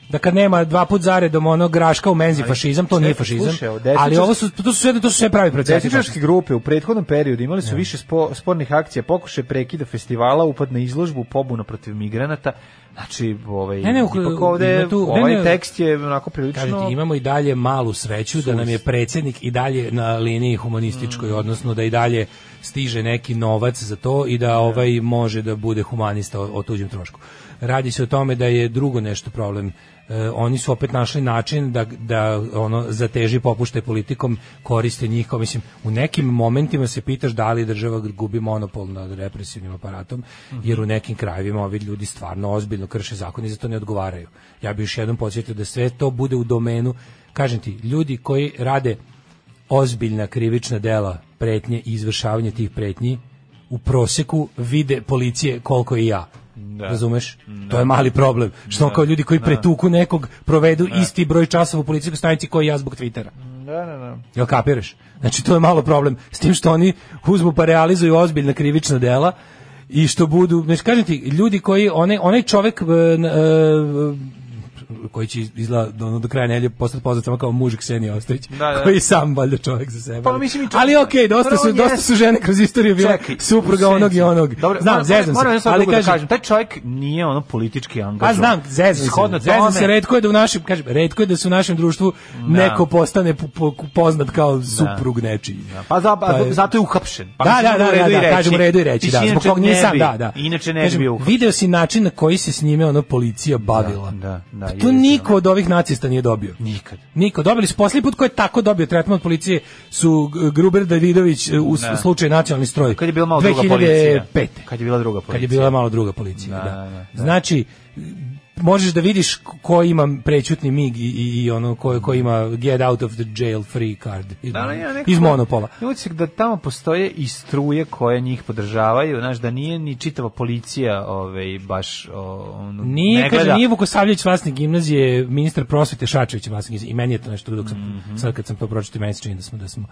da kad nema dva put zaredom ono graška u menzi fašizam, to
čekaj,
nije fašizam.
slušaj, ovo, desničarski-
ali ovo su, to su sve, to su sve pravi procesi.
Desničarske grupe u prethodnom periodu imali su više spo- spornih akcija, pokušaj prekida festivala, upad na izložbu, pobuna protiv migranata. Znači, ovaj,
Ne, ne, u-
ipak ovde,
ima tu- ne,
ovaj
ne.
tekst je onako prilično...
Kažete, imamo i dalje malu sreću da nam je predsjednik i dalje na liniji humanističkoj, odnosno da i dalje stiže neki novac za to i da ovaj može da bude humanista o, o tuđem trošku. Radi se o tome da je drugo nešto problem e, oni su opet našli način da, da ono zateži popušte politikom koriste njih kao mislim u nekim momentima se pitaš da li država gubi monopol nad represivnim aparatom jer u nekim krajevima ovi ljudi stvarno ozbiljno krše zakon i za to ne odgovaraju ja bih još jednom podsjetio da sve to bude u domenu kažem ti ljudi koji rade ozbiljna krivična dela pretnje i izvršavanje tih pretnji u proseku vide policije koliko i ja. Razumeš? To je mali problem. Što kao ljudi koji pretuku nekog provedu isti broj časova u policijskoj stanici koji ja zbog Twittera.
Da, da, da.
Jel kapiraš? Znači to je malo problem s tim što oni uzmu pa realizuju ozbiljna krivična dela i što budu, znači kažem ti, ljudi koji onaj onaj čovjek e, n- e, koji će izla do, do kraja nedelje postati poznat samo kao muž Ksenija Ostrić,
Da, da.
koji je sam valjda čovjek za sebe.
Pa, mislim i čovjek-
ali okej, dosta su
Prvo
dosta
jest-
su žene kroz istoriju bile
Čekaj,
supruga
u
onog i
senci.
onog.
Dobro,
Znam,
moram-
zezam
moram
se,
jednu stvar
ali
drugu da
kažem,
kažem, taj čovjek nije ono politički
Pa
angažovan.
znam, zezam
Shodno
se. Zezam se,
tome- Da.
retko je da u našem, kažem, retko je da se u našem društvu neko postane po- po- poznat kao suprug nečiji.
Pa za, pa,
To je-
zato je uhapšen. Pa
da,
mislim
da,
je
da,
u redu
da, da,
i reći.
kažem u redu i reći, da,
Mislim,
zbog
inače
toga
ne
nisam,
bi-
da, da.
Inače ne bi
Kažem,
bio uhapšen.
Video si način na koji se s njime ono policija bavila.
da, da,
Pa to
jezivo.
niko od ovih nacista nije dobio.
Nikad.
Niko. Dobili su posljednji put ko je tako dobio tretman od policije su G- Gruber Davidović e, u s-
Da.
slučaju nacionalni stroj.
Kad je bila malo druga policija.
2005.
Kad je bila druga policija.
Kad je bila malo druga policija,
Da,
da.
da,
Znači, možeš da vidiš ko ima prećutni mig i, i, i ono ko, ko ima get out of the jail free card iz,
Da, ali ja nekako-
iz monopola.
Utisak da tamo postoje i struje koje njih podržavaju, znaš, da nije ni čitava policija ovaj, baš o, ono, ne
Nije,
gleda.
kaže, nije Vukosavljević vlasnik gimnazije, ministar prosvete Šačević je vlasnik gimnazije. I meni je to nešto dok sam, sad kad sam to pročitao, meni se čini da smo, da smo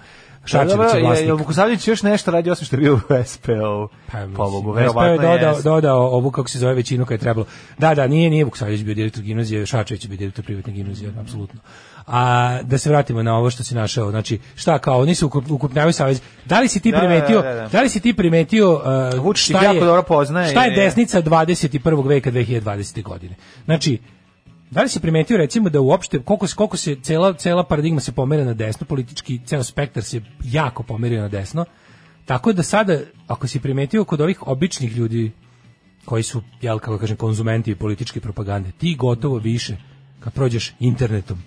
Mhm. Da, dobro,
Šačević je
je-
vlasnik.
Jel Vukosavljević još nešto radi osim što je bio u SPO?
Pa, mislim,
pobogu,
SPO je
verovatno
dodao,
jeste.
dodao ovu, kako se zove, većinu kada je trebalo. Da, da, nije, nije Vukosavljević bio direktor gimnazije, Šačević je bio direktor privatne gimnazije,
Mhm.
apsolutno. A da se vratimo na ovo što si našao, znači šta kao, oni se ukup- ukupnjavaju savez. Da li si ti
Da, da,
primetio, da,
da, da.
li si ti primetio uh,
Vučić ih jako dobro poznaje
Šta je
i-
desnica 21. veka 2020. godine? Znači, Da li si primetio recimo da uopšte koliko se koliko se cela cela paradigma se pomera na desno, politički ceo spektar se jako pomerio na desno. Tako da sada ako si primetio kod ovih običnih ljudi koji su jel kako kažem konzumenti političke propagande, ti gotovo više kad prođeš internetom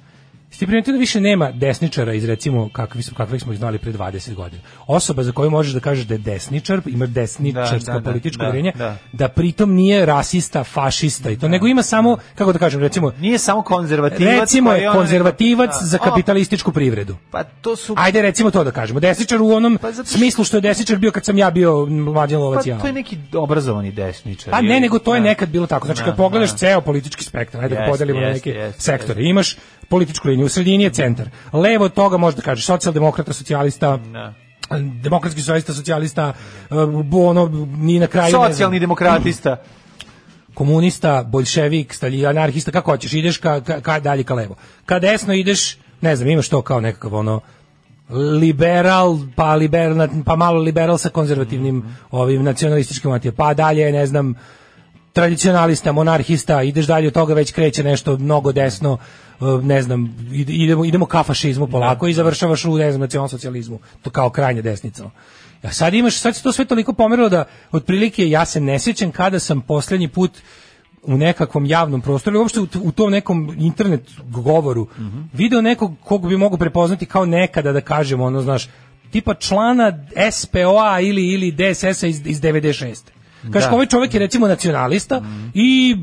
Jeste primetio da više nema desničara iz recimo kakvi su kakvih smo ih znali pre 20 godina. Osoba za koju možeš da kažeš da je desničar, ima desničarsko
Da, da, da,
političko
da,
uverenje,
da.
da pritom nije rasista, fašista i to, nego ima samo, kako da kažem, recimo,
Nije samo konzervativac. pa
recimo
koji
je
ono
konzervativac
neko-
za
Da. A,
kapitalističku privredu.
Pa to su...
Ajde recimo to da kažemo. Desničar u onom
Pa zato što-
smislu što je desničar bio kad sam ja bio mlađan
Pa
lovac ja.
to je neki obrazovani desničar.
Pa ne,
ili-
nego to je
Da.
nekad bilo tako. Znači,
Da,
kad pogledaš
da.
ceo politički spektar, ajde da ga
Jeste,
podelimo na
jeste,
neke
jeste,
sektore. Imaš političku liniju, u sredini je centar. Levo od toga možda kažeš socijaldemokrata, socijalista,
Da.
demokratski socijalista, socijalista, eh, bu- ono, ni na kraju... ne znam,
Socijalni demokratista.
komunista, boljševik, stalji, anarhista, kako hoćeš, ideš ka, ka, ka dalje ka levo. Ka desno ideš, ne znam, imaš to kao nekakav ono liberal, pa, liberal, pa malo liberal sa konzervativnim
Mhm.
ovim nacionalističkim motivima, pa dalje, ne znam, tradicionalista, monarhista, ideš dalje od toga, već kreće nešto mnogo desno, e, ne znam, ide- idemo, idemo ka fašizmu polako i završavaš u, ne znam, nacionalsocijalizmu, to kao krajnja desnica. A sad imaš, sad se to sve toliko pomerilo da otprilike ja se ne sjećam kada sam posljednji put u nekakvom javnom prostoru ili uopšte u, t- u tom nekom internet govoru
Mhm.
video nekog kog bi mogu prepoznati kao nekada da kažem ono znaš tipa člana SPO-a ili ili DSS-a iz, iz 96. Kaže,
Da. Mhm.
ovaj čovjek je recimo nacionalista i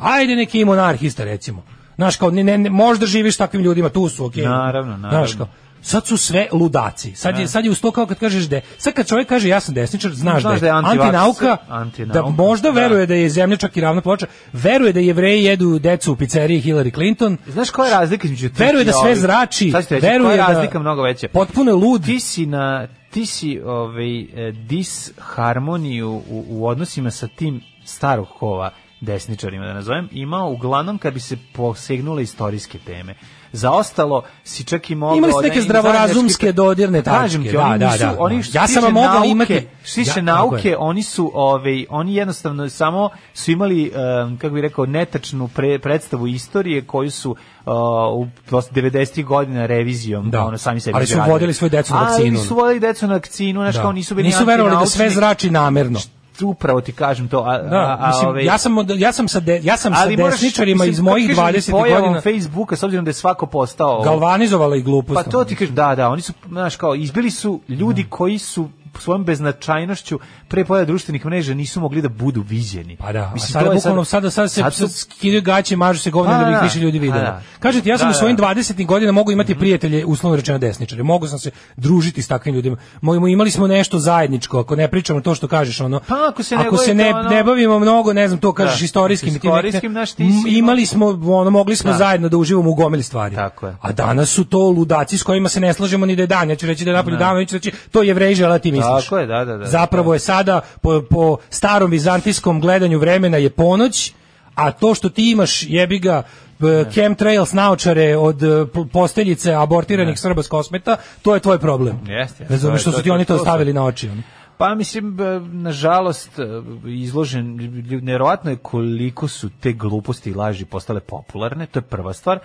ajde neki je monarhista recimo. Znaš, kao, ne, ne, ne, možda živiš s takvim ljudima, tu su, okej.
Naravno, naravno.
Znaš, kao, sad su sve ludaci. Sad je, sad je uz to kao kad kažeš da je- Sad kad čovjek kaže ja sam desničar, znaš,
Znaš
da je
antivaks-
antinauka,
antinauka,
da možda
da.
veruje da je zemlja čak i ravna ploča, veruje da jevreji jedu decu u pizzeriji Hillary Clinton,
Znaš koja je razlika između tih
veruje
i
da sve
ovih?
zrači,
Sad ću ti reći, koja
veruje
je
da...
razlika mnogo veća.
Potpuno je lud.
ti si na ti si ovaj e, disharmoniju u, u odnosima sa tim starog kova desničarima da nazovem imao uglavnom kad bi se posegnule istorijske teme za ostalo si čak i mogao
Imali ste neke
da im
zdravorazumske
zajednički-
dodirne tačke,
Kažem ti,
da,
oni
da,
nisu-
da.
oni što
Ja
se
sam vam
tiče
mogao
nauke-
imati-
što se
Ja, tako
nauke
je.
E, oni su ovaj oni jednostavno samo su imali em, kako bih rekao netačnu pre- predstavu istorije koju su uh, u 90-ih godina revizijom
Da.
ono sami sebi
Ali su
izgradili.
vodili svoju decu na vakcinu,
Ali
ono. Da.
su vodili decu na vakcinu, znači kao nisu bili
Nisu verovali da sve
antinaučni.
zrači namerno.
upravo ti kažem to. A,
Da,
a, a,
mislim,
ovaj-
ja sam, od- ja sam sa, de, ja sam sa
ali moraš-
desničarima
mislim,
iz
kad
mojih
kažem,
20
pojavom
godina
Facebooka, s obzirom da je svako postao...
galvanizovala i
Pa
glupost.
to ti kažem, da, da, oni su, znaš, kao, izbili su ljudi
Da.
koji su svojom beznačajnošću pre pojave društvenih mreža nisu mogli da budu viđeni.
Pa da,
Mislim,
a sada
to je
bukvalno sada sad se
sad su-
sad skidaju gaće, mažu se govno
Pa
da bi
da,
ih više ljudi
pa
videlo.
da.
Kažete, ja sam
Da,
u svojim
da. Mhm.
20. godina mogu imati prijatelje, uslovno rečeno desničare. Mogu sam se družiti s takvim ljudima. Mojimo imali smo nešto zajedničko, ako ne pričamo to što kažeš ono.
Pa, ako se ne
se
bavite,
ne,
ono-
ne bavimo mnogo, ne znam, to kažeš
Da,
istorijskim i tim
istorijskim,
nekim-
znaš, ti si
m, imali smo ono mogli smo zajedno da uživamo u gomili stvari.
Tako je.
A danas su to ludaci s kojima se ne slažemo ni da je dan. Ja ću reći da je napolju dan, ja ću reći to jevreji žele a ti misliš.
Tako je, da, da, da.
Zapravo je sada po, po starom vizantijskom gledanju vremena je ponoć, a to što ti imaš jebi ga b- chemtrails naočare od e, po- posteljice abortiranih Srba s kosmeta, to je tvoj problem.
Jeste, jeste, to je-
Razumeš što
to-
su ti
to-
oni to
to su-
stavili na oči. ono.
Pa mislim, b- nažalost, e, izložen, lju- nevjerojatno je koliko su te gluposti i laži postale popularne, to je prva stvar,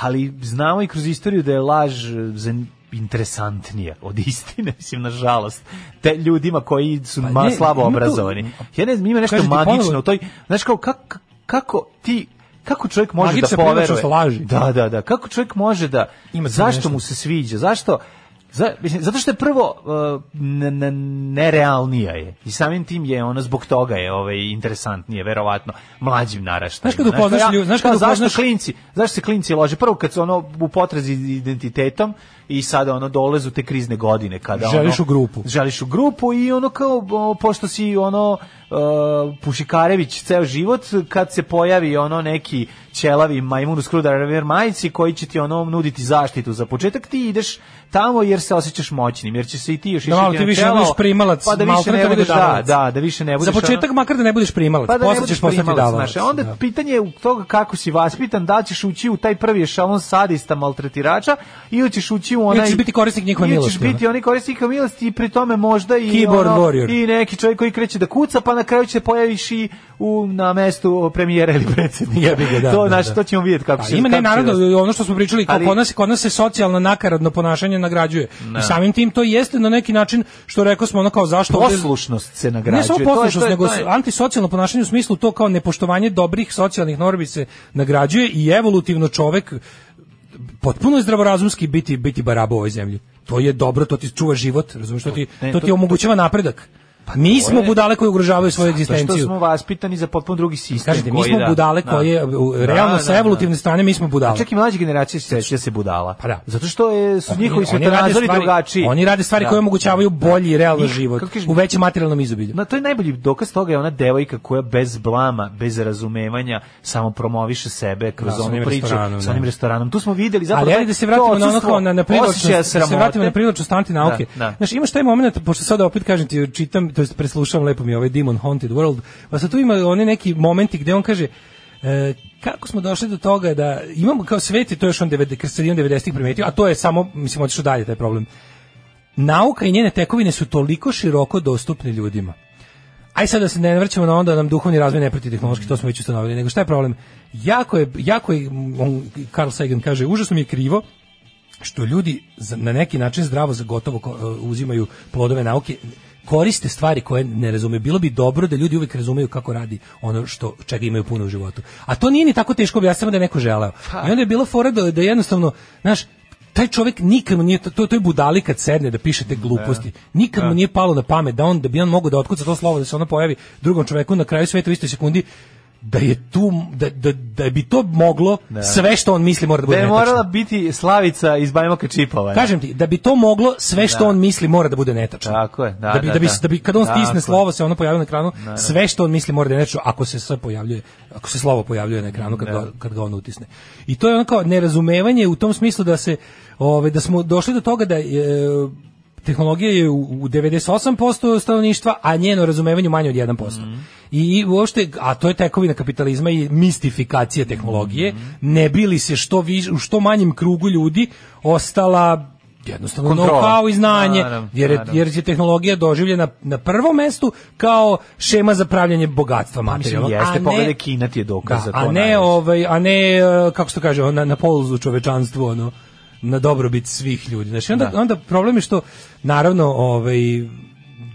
ali znamo i kroz istoriju da je laž e, zan- interesantnija od istine, mislim, nažalost, te ljudima koji su
Pa
ma,
ne,
slabo
ima tu-
obrazovani. Ja ne znam, ima nešto
Kažem ti,
magično
ponovo-
u toj, znaš kao, kako, kako ti, kako čovjek može
Magična
da poveruje?
privlačnost laži.
Da, da, da. Kako čovjek može da
Ima tu
zašto
nešto.
mu se sviđa? Zašto? Za, mislim, zato što je prvo uh, n- n- nerealnija je i samim tim je ona zbog toga je ovaj interesantnije verovatno mlađim naraštajima.
Znaš kad upoznaš
kao
lju- znaš kad
kao
upoznaš-
zašto klinci, zašto se klinci lože prvo kad su ono u potrazi identitetom i sada ono dolaze u te krizne godine kada
Želiš
ono,
u grupu.
Želiš u grupu i ono kao o, pošto si ono e, Pušikarević ceo život kad se pojavi ono neki ćelavi majmun u skrudraver majici koji će ti ono nuditi zaštitu za početak ti ideš tamo jer se osjećaš moćnim jer će se i ti još
Da malo
išiti
ti
na
više ne
čelo,
budeš primalac,
pa da više
maltretan
ne
nego
budeš da,
davalac.
da, da više ne budeš
Za početak
ono-
makar da ne budeš primalac,
pa da ne
posle
budeš
ćeš postati
primalac,
davalac.
znaš. e, Onda
da.
pitanje je u toga kako si vaspitan, da li ćeš ući u taj prvi ešalon sadista maltretirača ili ćeš ući u onaj...
Ili ćeš biti korisnik njihove
Ili ćeš
milosti,
biti oni korisnik njihove milosti i pri tome možda i...
Keyboard warrior.
I neki čovjek koji kreće da kuca, pa na kraju će se pojaviš i u, na mestu premijera ili predsjednika.
Jebi ga, da,
to,
da,
znaš,
da.
to ćemo vidjeti kako
Pa,
će...
ima ne
kako će da-
naravno ono što smo pričali kao
Ali-
kod nas kod nas se socijalno nakaradno ponašanje nagrađuje. I samim tim to jeste na neki način što rekao smo ono kao zašto ovdje-
Poslušnost se nagrađuje.
Ne samo
To je- to je-
poslušnost,
to je-
nego
to je-
antisocijalno ponašanje u smislu to kao nepoštovanje dobrih socijalnih normi se nagrađuje i evolutivno čovek potpuno je zdravorazumski biti biti baraba u ovoj zemlji. To je dobro, to ti čuva život, razumiješ, to ti,
Ne,
to
to- Pa
ti omogućava napredak. Mi smo
je-
budale koje ugrožavaju svoju
Zato što
egzistenciju.
smo vaspitani za potpuno drugi sistem.
Kažete, mi
koji,
smo
da,
budale
da.
koje, u-
Da,
realno
da,
sa
da.
evolutivne strane, mi smo budale.
Čak i mlađe generacije se sećaju da se budala.
Pa da.
Zato što je, su njihovi
Oni- oni rade
svetonazori
stvari-
drugačiji.
Oni rade stvari
Da.
koje omogućavaju bolji i realan
I,
život
kako kažeš-
u većem materijalnom izobilju.
Na to je najbolji dokaz toga je ona devojka koja bez blama, bez razumevanja samo promoviše sebe kroz
Da, sa
onu
onim
priču
restoranom,
sa
da.
onim restoranom. Tu smo videli zapravo
Ali ajde
taj-
da se
to
vratimo na ono
odsustvo
kao na, na privlačnost,
osjećaja
da se
sramote.
vratimo na privlačnost antinauke.
Da, da.
Znaš, imaš taj moment, pošto sada opet kažem ti, čitam, to jest preslušavam lepo mi ovaj Demon Haunted World, pa sad tu ima oni neki momenti gde on kaže, e, kako smo došli do toga da imamo kao svet i to je još on 90, sredinom 90-ih primetio, a to je samo, mislim, otišao dalje taj problem. Nauka i njene tekovine su toliko široko dostupne ljudima. Aj sad da se ne vraćamo na onda da nam duhovni razvoj ne prati tehnološki, to smo već ustanovili, nego šta je problem? Jako je, jako je, m, on, Carl Sagan kaže, užasno mi je krivo što ljudi za- na neki način zdravo za gotovo ko- e, uzimaju plodove nauke, koriste stvari koje ne razumeju. Bilo bi dobro da ljudi uvijek razumeju kako radi ono što čega imaju puno u životu. A to nije ni tako teško objasniti da je neko želeo.
Pa.
I onda je bilo fora da, da jednostavno, znaš, taj čovjek nikad mu nije, to, to je budali kad sedne da piše te gluposti, nikad mu nije palo na pamet da on, da bi on mogao da otkuca to slovo, da se ono pojavi drugom čovjeku na kraju sveta u istoj sekundi, da je tu, da, da, da bi to moglo, sve što on misli mora da
Da
bude
je
netačno.
morala biti Slavica iz Bajmoka Čipova. je.
Kažem ti, da bi to moglo, sve što on misli mora da bude netačno.
Tako je, da,
da, bi,
da,
da, bi,
da.
da bi- kada on
Tako
stisne
je.
slovo, se ono pojavljuje na ekranu, sve što on misli mora da je netačno, ako se sve pojavljuje, ako se slovo pojavljuje na ekranu kad, ga, kad ga on utisne. I to je ono kao nerazumevanje u tom smislu da se, ove, da smo došli do toga da je, tehnologija je u u 98% stanovništva, a njeno razumevanje manje od 1%.
Mhm.
I i uopšte, a to je tekovina kapitalizma i mistifikacija tehnologije,
Mhm.
ne bili se što viš, u što manjem krugu ljudi ostala jednostavno
Kontrola.
know-how i znanje,
Naravno,
jer, je,
naravno.
jer je da tehnologija doživljena na prvom mestu kao šema za pravljanje bogatstva
Pa Mislim,
materijalnog. a
jeste,
ne-
pogledaj Kina ti je dokaz
da,
za to.
a ne
najviše.
ovaj, a ne e, kako se to kaže, na na polzu čovečanstvu ono
Da.
na dobrobit svih ljudi. Znači onda onda problem je što naravno ovaj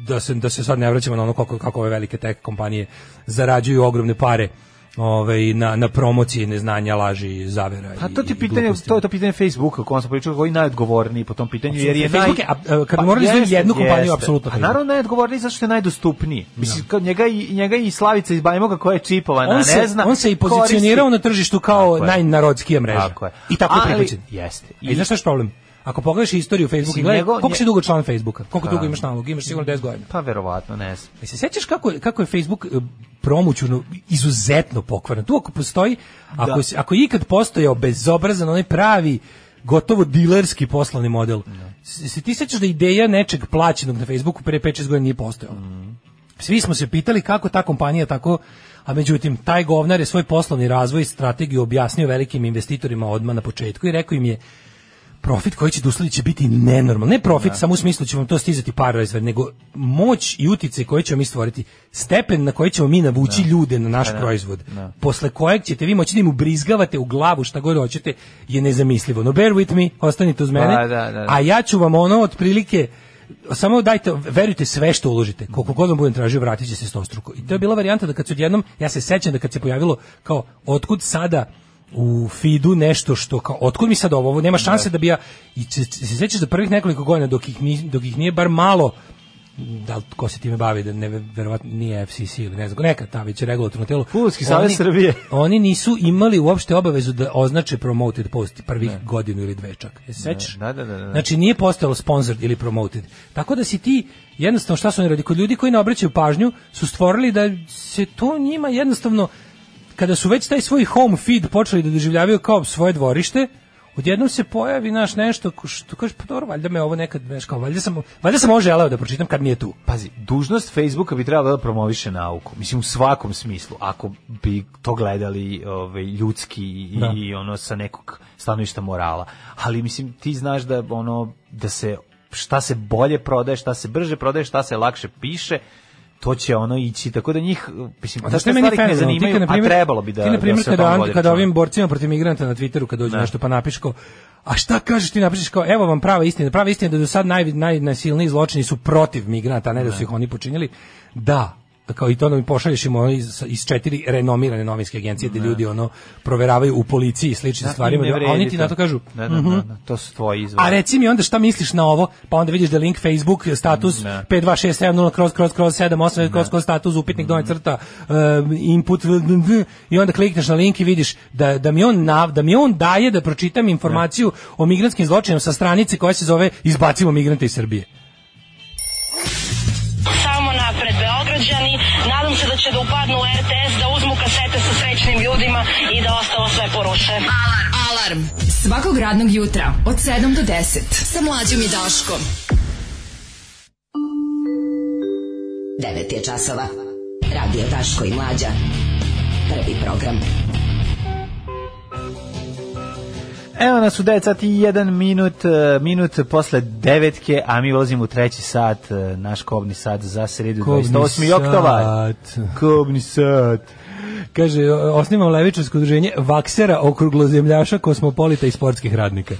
da se da se sad ne vraćamo na ono kako kako ove velike tech kompanije zarađuju ogromne pare ovaj na na promociji neznanja, laži, zavera
Pa to
i-
ti
i
pitanje,
gluposti.
to je to pitanje Facebooka, kom sam pričao, koji je najodgovorniji po tom pitanju, jer je naj... Pa
Facebook je, a, a, e, kad bi morali izdvojiti
jeste,
jednu kompaniju,
jeste.
apsolutno
A
Facebook. Da.
naravno najodgovorniji zato što je najdostupniji. Mislim, kao njega, i, njega i Slavica iz Bajmoga koja je čipovana,
on
da ne
se,
zna.
on se i
koristi.
pozicionirao na tržištu kao
Tako je.
najnarodskija mreža.
Tako je.
I tako je
Ali-
prihvaćen.
Jeste.
I, I znaš šta je problem? Ako pogledaš istoriju Facebooka,
Mislim,
gledaj,
njegov-
koliko si
nje-
dugo član Facebooka? Koliko
Pa.
dugo imaš nalog? Imaš sigurno 10 godina.
Pa verovatno, ne znam.
Jel se sećaš kako, je- kako je Facebook e, promućurno izuzetno pokvaren? Tu ako postoji,
Da.
ako, si- ako je ikad postojao bezobrazan, onaj pravi gotovo dilerski poslovni model. Se, se ti sećaš da ideja nečeg plaćenog na Facebooku pre 5-6 godina nije postojala? Svi smo se pitali kako ta kompanija tako A međutim, taj govnar je svoj poslovni razvoj i strategiju objasnio velikim investitorima odmah na početku i rekao im je profit koji će da usledi će biti nenormalan. Ne profit samo u smislu će vam to stizati para izved, nego moć i uticaj koji ćemo mi stvoriti, stepen na koji ćemo mi navući ljude na naš proizvod, posle kojeg ćete vi moći da im ubrizgavate u glavu šta god hoćete, je nezamislivo. No bear with me, ostanite uz mene,
Da, da, da, da.
a ja ću vam ono otprilike samo dajte, verujte sve što uložite. Koliko god vam budem tražio, vratit će se stostruko. I to je bila varijanta da kad se odjednom, ja se sećam da kad se pojavilo kao, otkud sada u feedu nešto što kao otkud mi sad ovo, ovo nema šanse da, bi ja i se, se sećaš da prvih nekoliko godina dok ih, ni- dok ih nije bar malo da li ko se time bavi da ne verovatno nije FCC ili ne znam neka ta već regulatorno telo
Fudbalski savez
Oni-
Srbije.
oni nisu imali uopšte obavezu da označe promoted post prvih godinu ili dve čak Jel se sećaš
Da, da, da, da.
Znači nije postalo sponsored ili promoted. Tako da si ti jednostavno šta su oni radili? Kod ljudi koji ne obraćaju pažnju su stvorili da se to njima jednostavno kada su već taj svoj home feed počeli da doživljavaju kao svoje dvorište, odjednom se pojavi naš nešto ko- što kaže pa dobro, valjda me ovo nekad znaš kao valjda sam valjda sam ovo želeo da pročitam kad nije tu.
Pazi, dužnost Facebooka bi trebala da promoviše nauku. Mislim, u svakom smislu. Ako bi to gledali ovaj, ljudski i,
Da.
i ono sa nekog stanovišta morala. Ali, mislim, ti znaš da, ono, da se šta se bolje prodaje, šta se brže prodaje, šta se lakše piše, to će ono ići. Tako da njih, mislim,
A znaš
te
šta je
stvari
meni
kad ne
fenomenalno? Ti
zanimaju,
kad, na
a
primjer-
trebalo bi da,
ti, na primjer,
da se o
kada,
tome
an-
vodi
kada
računa.
ovim borcima protiv migranata na Twitteru kad dođe nešto pa napiš kao A šta kažeš ti napišeš kao evo vam prava istina, prava istina je da do sad naj, najnasilniji zločini su protiv migranata, a ne da su ih oni počinili. Da, kao i to nam pošalješ im ono iz, iz četiri renomirane novinske agencije gde ljudi ono proveravaju u policiji i sličnim
Da,
stvarima,
i ne
da, a
vredi
oni ti na to
to.
kažu "Mhm."
Da, da, da, da, to su tvoji izvori.
a reci mi onda šta misliš na ovo, pa onda vidiš da je link Facebook status 52670 kroz kroz kroz 78 kroz kroz status upitnik donja crta e, input v- v- v- i onda klikneš na link i vidiš da, da mi on nav, da mi on daje da pročitam informaciju o migrantskim zločinima sa stranice koja se zove izbacimo migrante iz Srbije.
Samo napred Beograđani, nadam se da će da upadnu u RTS, da uzmu kasete sa srećnim ljudima i da ostalo sve poruše.
Alarm. Svakog radnog jutra od 7 do 10. Sa mlađom i Daškom. 9 je časova. Radio Daško i Mlađa. Prvi program.
Evo nas u 9 sati i 1 minut, e, minut posle devetke, a mi ulazimo u treći sat, e, naš kobni sat za sredu 28. Pa oktobar. Kobni sat.
Kaže, o- osnimam levičarsko udruženje vaksera, okruglozemljaša, kosmopolita i sportskih radnika.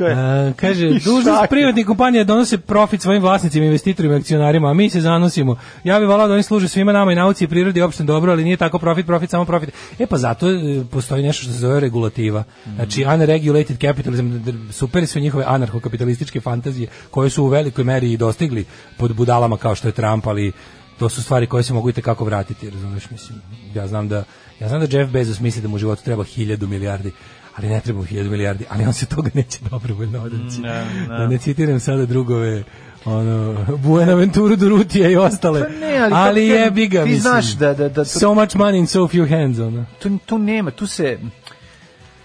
A, kaže,
I
dužnost
šake.
privatnih kompanija donose profit svojim vlasnicima, investitorima i akcionarima, a mi se zanosimo. Ja bih volao da oni služe svima nama i nauci i prirodi i opštem dobro, ali nije tako profit, profit, samo profit. E pa zato e, postoji nešto što se zove regulativa. Znači, unregulated capitalism, d- d- super su njihove anarhokapitalističke fantazije, koje su u velikoj meri i dostigli pod budalama kao što je Trump, ali to su stvari koje se mogu i kako vratiti, razumeš, mislim. Ja znam da ja znam da Jeff Bezos misli da mu u životu treba hiljadu milijardi, ali ne treba mu hiljadu milijardi, ali on se toga neće dobrovoljno odreći. Da ne citiram sada drugove ono Buenaventuru Durutija i ostale.
Pa ne, ali kako ti-
je biga,
ti
mislim.
znaš da- da- da-
so much money in so few hands, ono.
Tu, tu nema, tu se...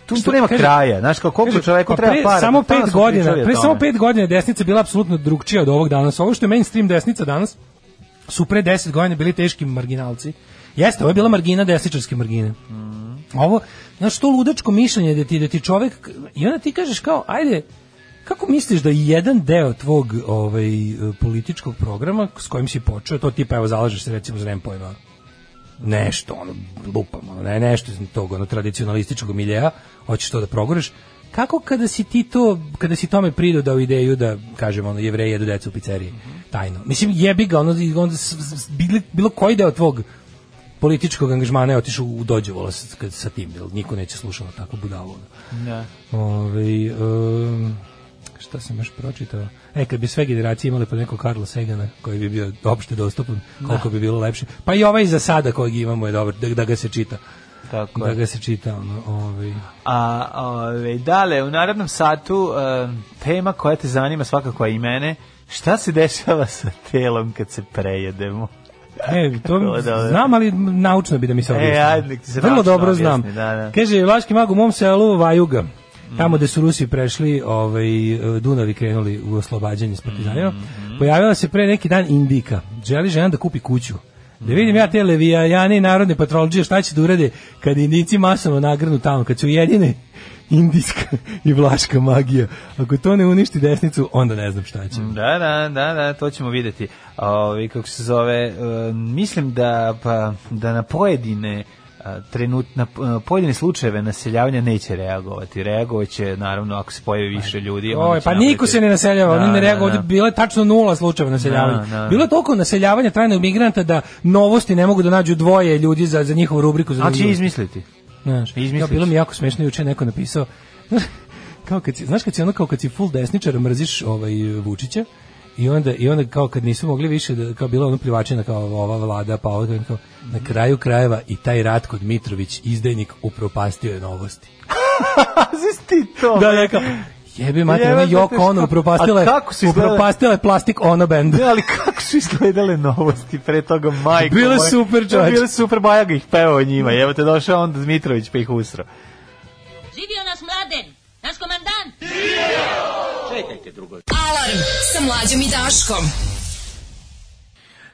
Tu, tu
Što-
nema
kaže-
kraja, znaš, kao koliko
Kaže,
čoveku
pa
treba
pre
para.
Samo
pa stalno
pet
smo
godina,
pričali o
pre samo
tome.
pet godina desnica je bila apsolutno drugčija od ovog danas. Ovo što je mainstream desnica danas su pre 10 godina bili teški marginalci. Jeste, ovo je bila margina desničarske margine.
Mhm.
Ovo, znaš, to ludačko mišljenje da ti, da ti čovek, i onda ti kažeš kao, ajde, kako misliš da jedan deo tvog ovaj, političkog programa s kojim si počeo, to tipa, evo, zalažeš se recimo za nem pojma, nešto, ono, lupam, ono, ne, nešto iz tog, ono, tradicionalističkog miljeja, hoćeš to da progoreš, kako kada si ti to, kada si tome pridodao ideju da, kažem, ono, jevreji jedu decu u pizzeriji, tajno. Mislim, jebi ga, ono, ono s- s- bilo, bilo koji deo tvog političkog angažmana je otišao u dođevola sa, kad- sa tim, jer niko neće slušati tako budalo.
Da.
Ove, um, šta sam još pročitao? E, kad bi sve generacije imale po nekog Karla Segana, koji bi bio opšte dostupan, koliko bi bilo lepše. Pa i ovaj za sada kojeg imamo je dobar, da, da ga se čita.
Tako
da
je.
ga se čita, ono, ovaj.
A, ove, dale, u narednom satu e, tema koja te zanima svakako a i mene, šta se dešava sa telom kad se prejedemo? da,
E,
Bilo
to
je dobro.
znam, ali naučno bi da mi se
E,
objasni.
ajde, nek ti se
Vrlo
naučno
dobro znam.
objasni, da, Mm. da.
Kaže, Vlaški mag u mom selu Vajuga, tamo gde su Rusi prešli, ovaj, Dunavi krenuli u oslobađanje s
Mm,
partizanima, pojavila se pre neki dan Indika. Želi žena da kupi kuću. Da vidim ja te levijajane i narodne patrolđije šta će da urade kad indici masovno nagrnu tamo, kad su jedine indijska i vlaška magija. Ako to ne uništi desnicu, onda ne znam šta će.
Da, da, da, da, to ćemo videti. Ovi, kako se zove, e, mislim da, pa, da na pojedine a, trenut, na e, pojedine slučajeve naseljavanja neće reagovati. Reagovaće, naravno, ako se pojavi više ljudi. onda
Oj,
će
pa
napraviti-
niko se ne naseljava,
Da,
oni ne
da,
reaguju,
da.
ovdje bilo je tačno nula slučajeva naseljavanja.
Da, da.
Bilo je toliko naseljavanja trajnog migranta da novosti ne mogu da nađu dvoje ljudi za, za njihovu rubriku. Za
Ali će
novosti.
izmisliti.
Znaš,
Izmisliš.
ja, bilo mi jako smešno juče je neko napisao. kao kad si, znaš kad si ono kao kad si full desničar mrziš ovaj Vučića i onda i onda kao kad nisu mogli više da kao bilo ono plivačina kao ova vlada pa ovo kao, na kraju krajeva i taj Ratko Dmitrović izdajnik upropastio je novosti.
Znaš ti to?
Da,
bre?
da, kao, jebi mater,
Jebe,
ono
zato
Joko ono
Ovaj, što-
upropastila je,
A kako su izgledale? Da.
upropastila je plastik ono band.
Ne, ali kako su izgledale novosti pre toga, majko
Bile
moja. Da,
super, čoveče.
Bile super, Bajaga ih pevao o njima. Evo te došao onda Dmitrović pa ih usro.
Živio naš mladen, naš komandant.
Alarm sa mlađom i Daškom.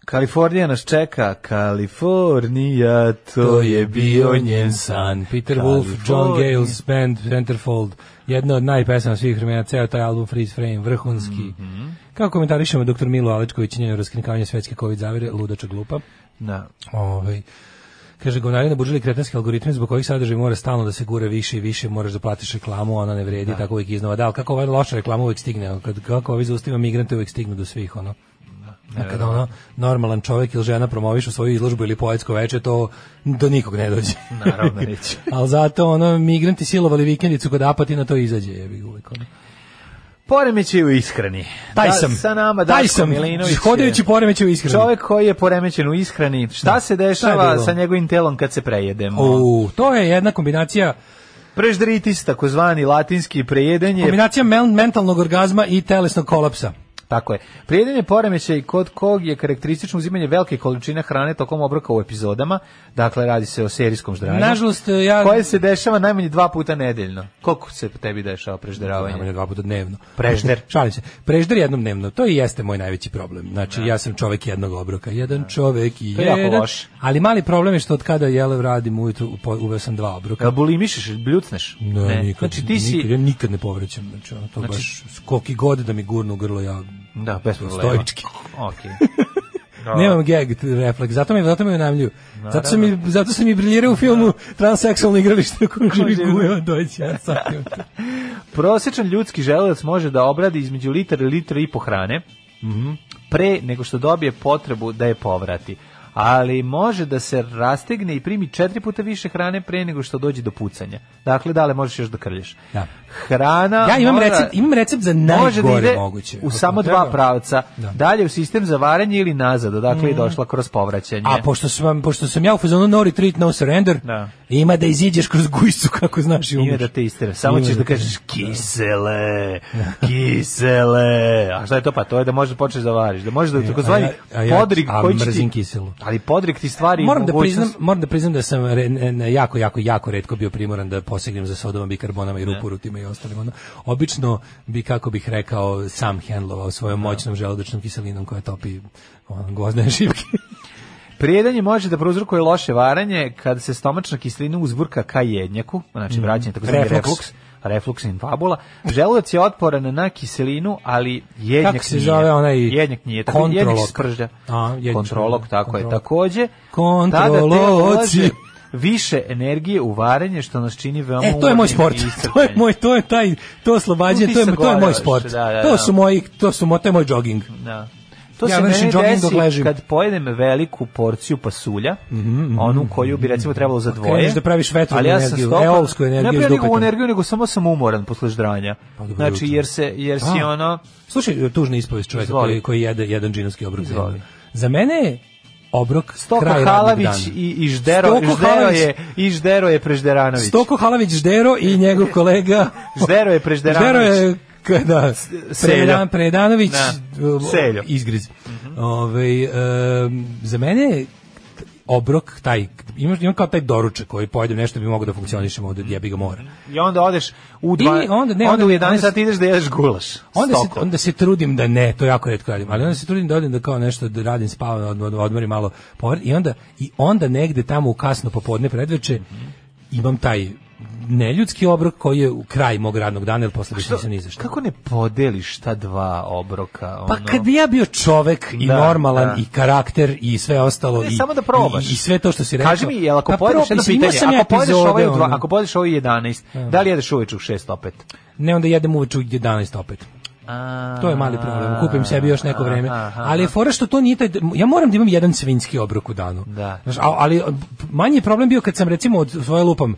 Kalifornija nas čeka, Kalifornija, to je bio njen san.
Peter Wolf, John
Kalifornija.
Gales Band, Centerfold, jedna od najpesama svih vremena, ceo taj album Freeze Frame, vrhunski.
Mhm.
Kako komentarišemo dr. Milo Alečković i njeno raskrinkavanje svetske COVID zavire, ludača glupa.
Da.
Ovaj kaže govnari nabuđili kretenske algoritme zbog kojih sadržaj mora stalno da se gura više i više, moraš da platiš reklamu, a ona ne vredi, tako uvijek iznova. Da, ali kako ova loša reklama uvijek stigne, ono, kad, kako ovi zaustavimo migrante uvijek stignu do svih, ono. A kada ono normalan čovjek ili žena promovišu svoju izložbu ili poetsko veče, to do nikog ne dođe.
Naravno neće.
ali zato ono, migranti silovali vikendicu kod Apatina, to izađe, jebi ga uvijek. Ono.
Poremećaj u ishrani.
Taj
Da,
sam.
sa nama Daško
taj sam,
Milinović. je
hodajući poremeće u ishrani.
Čovjek koji je poremećen u ishrani. Šta
Da.
se
Šta je
dešava
bilo?
sa njegovim telom kad se prejedemo?
U, to je jedna kombinacija
Preždritis, takozvani latinski prejedanje, je
Kombinacija men- mentalnog orgazma i telesnog kolapsa.
Tako je. Prijedenje poremećaj kod kog je karakteristično uzimanje velike količine hrane tokom obroka u epizodama, dakle radi se o serijskom ždranju,
Nažalost, e, ja...
Da, koje se dešava najmanje dva puta nedeljno. Koliko se tebi dešava prežderavanje?
Najmanje dva puta dnevno.
Prežder.
Šalim se. Prežder jednom dnevno. To i jeste moj najveći problem. Znači, ja sam čovek jednog obroka. Jedan čovek i
Da. To je jako
jedan.
loše.
Ali mali problem je što od kada jelev radim ujutru, upo- uveo sam dva obroka.
Jel bulimišeš, bljucneš?
Ne, nikad,
Znači ti si...
nikad, ja nikad ne povrećam. Znači, ono, to
Znači-
baš koliki god da mi gurnu u grlo, ja
Da, bez problema.
stoički. Da.
Okej.
Nemam gag t- refleks, zato me zato me unajmljuju. Zato sam mi zato sam mi briljirao u filmu
Da.
Transseksualno igralište u kojem živi
živi-
Gujo Dojić, ja sad imam-
Prosječan ljudski želudac može da obradi između litra i litra i po hrane
Mhm.
pre nego što dobije potrebu da je povrati. Ali može da se rastegne i primi četiri puta više hrane pre nego što dođe do pucanja. Dakle, dale možeš još da krlješ.
Da.
Hrana
Ja imam
Da, mora-
recept, imam recept za
može da
najgore
ide
moguće.
u
Ako
samo
treba.
dva pravca.
Da. Mm.
Dalje u sistem za varanje ili nazad, odakle je došla kroz povraćanje.
A pošto sam, pošto sam ja u fazonu no retreat, no surrender,
Da.
ima da iziđeš kroz gujsu kako znaš i
Ima
umreš.
da te istira. Samo
Ima
ćeš
da
da
te-
kažeš kisele, kisele. A šta je to pa? To je da možeš da počneš da variš. Da možeš da takozvani
E, a ja- a ja-
podrig
a
koji će
mrzim
ti...
kiselu.
Ali podrig ti stvari
Moram da
mogućnost-
priznam, moram da priznam da sam re- ne- ne- jako jako jako retko bio primoran da posegnem za sodom bikarbonama i
Da.
rupurutima i ostalim ono. Obično bi kako bih rekao sam hendlovao svojom
Da.
moćnom želudačnom kiselinom koja topi ono, gvozdene šipke.
Prijedanje može da prouzrokuje loše varanje kada se stomačna kiselina uzburka ka jednjaku,
Mhm.
znači vraćanje takozvani
Refluks.
refluks, refluks in fabula. Želudac je otporan na kiselinu, ali jednjak
Kako se
nije.
zove onaj
jednjak nije, tako jednjak
kontrolog?
se spržlja.
A, jednjak-
kontrolog, tako
kontrolog.
je. Takođe,
Kontroloci.
tada telo ulaže više energije u varenje što nas čini veoma
E, to je moj sport.
umornim i
To je
iscrpljenim.
moj to je taj to oslobađanje,
Tu ti
to je
se
to je moj
govoriš,
sport.
da, da,
To
da.
su moji to su mo- to je moj jogging.
Da. To
Ja
se
vršim
meni
jogging
desi
dok ležim. Mhm,
kad pojedem veliku porciju pasulja, onu koju bi recimo trebalo za dvoje.
kreneš da praviš vetrovu
ali ja sam
energiju,
stopa-
eolsku energiju
Ne
iz
pravi
dupeta. Pa
energiju, nego samo sam umoran posle ždranja.
dobro
znači,
jutro.
jer, se, jer si
Da.
ono...
Slušaj, tužna ispovest čovjeka
Izvoli.
koji, koji jede jedan džinovski obrok. dnevno.
Izvoli.
Za mene je obrok
Stoko
kraj radnog dana.
Halavić i, i Ždero,
Stoko
Ždero
Halavić-
je, i Ždero je Prežderanović.
Stoko Halavić Ždero i njegov kolega
Ždero je
Ždero
Prežderanović.
je k- da,
Seljo.
Predan, Predanović
Da.
o-
Seljo. Mhm.
Izgriz. Ovaj, em, za mene je obrok taj imaš imam kao taj doručak koji pojedem nešto da bi mogao da funkcionišem ovde jebi ga mora.
I onda odeš u dva,
I onda- ne,
onda,
onda-
u 11
onda-
sati ideš da jedeš gulaš.
Onda se,
Stoko.
onda se trudim da ne, to jako retko radim, ali onda se trudim da odem da kao nešto da radim, spavam, odm- odm- odmorim malo, povr- i onda, i onda negde tamo u kasno popodne predveče
Mhm.
imam taj neljudski obrok koji je u kraj mog radnog dana, jer posle više nisam ni za šta.
Kako ne podeliš ta dva obroka?
Pa
ono?
kad bi ja bio čovek i
Da,
normalan
da.
i karakter i sve ostalo
Ne,
i,
samo da probaš.
i, i sve to što si rekao.
Kaži mi, jel ako
Pa
pojedeš
probi-
jedno
mislim, imao
pitanje,
sam ja
ako pojedeš
epizode,
ovaj u dva,
ono.
ako pojedeš ovaj u 11, da li jedeš uveče u 6 opet?
Ne, onda jedem uveč u 11 opet. To je mali problem. Kupim sebi još neko vreme. Ali je fora što to nije taj... Ja moram da imam jedan svinjski obrok u danu.
Da.
Znaš, a- ali manji je problem bio kad sam recimo od svoje lupam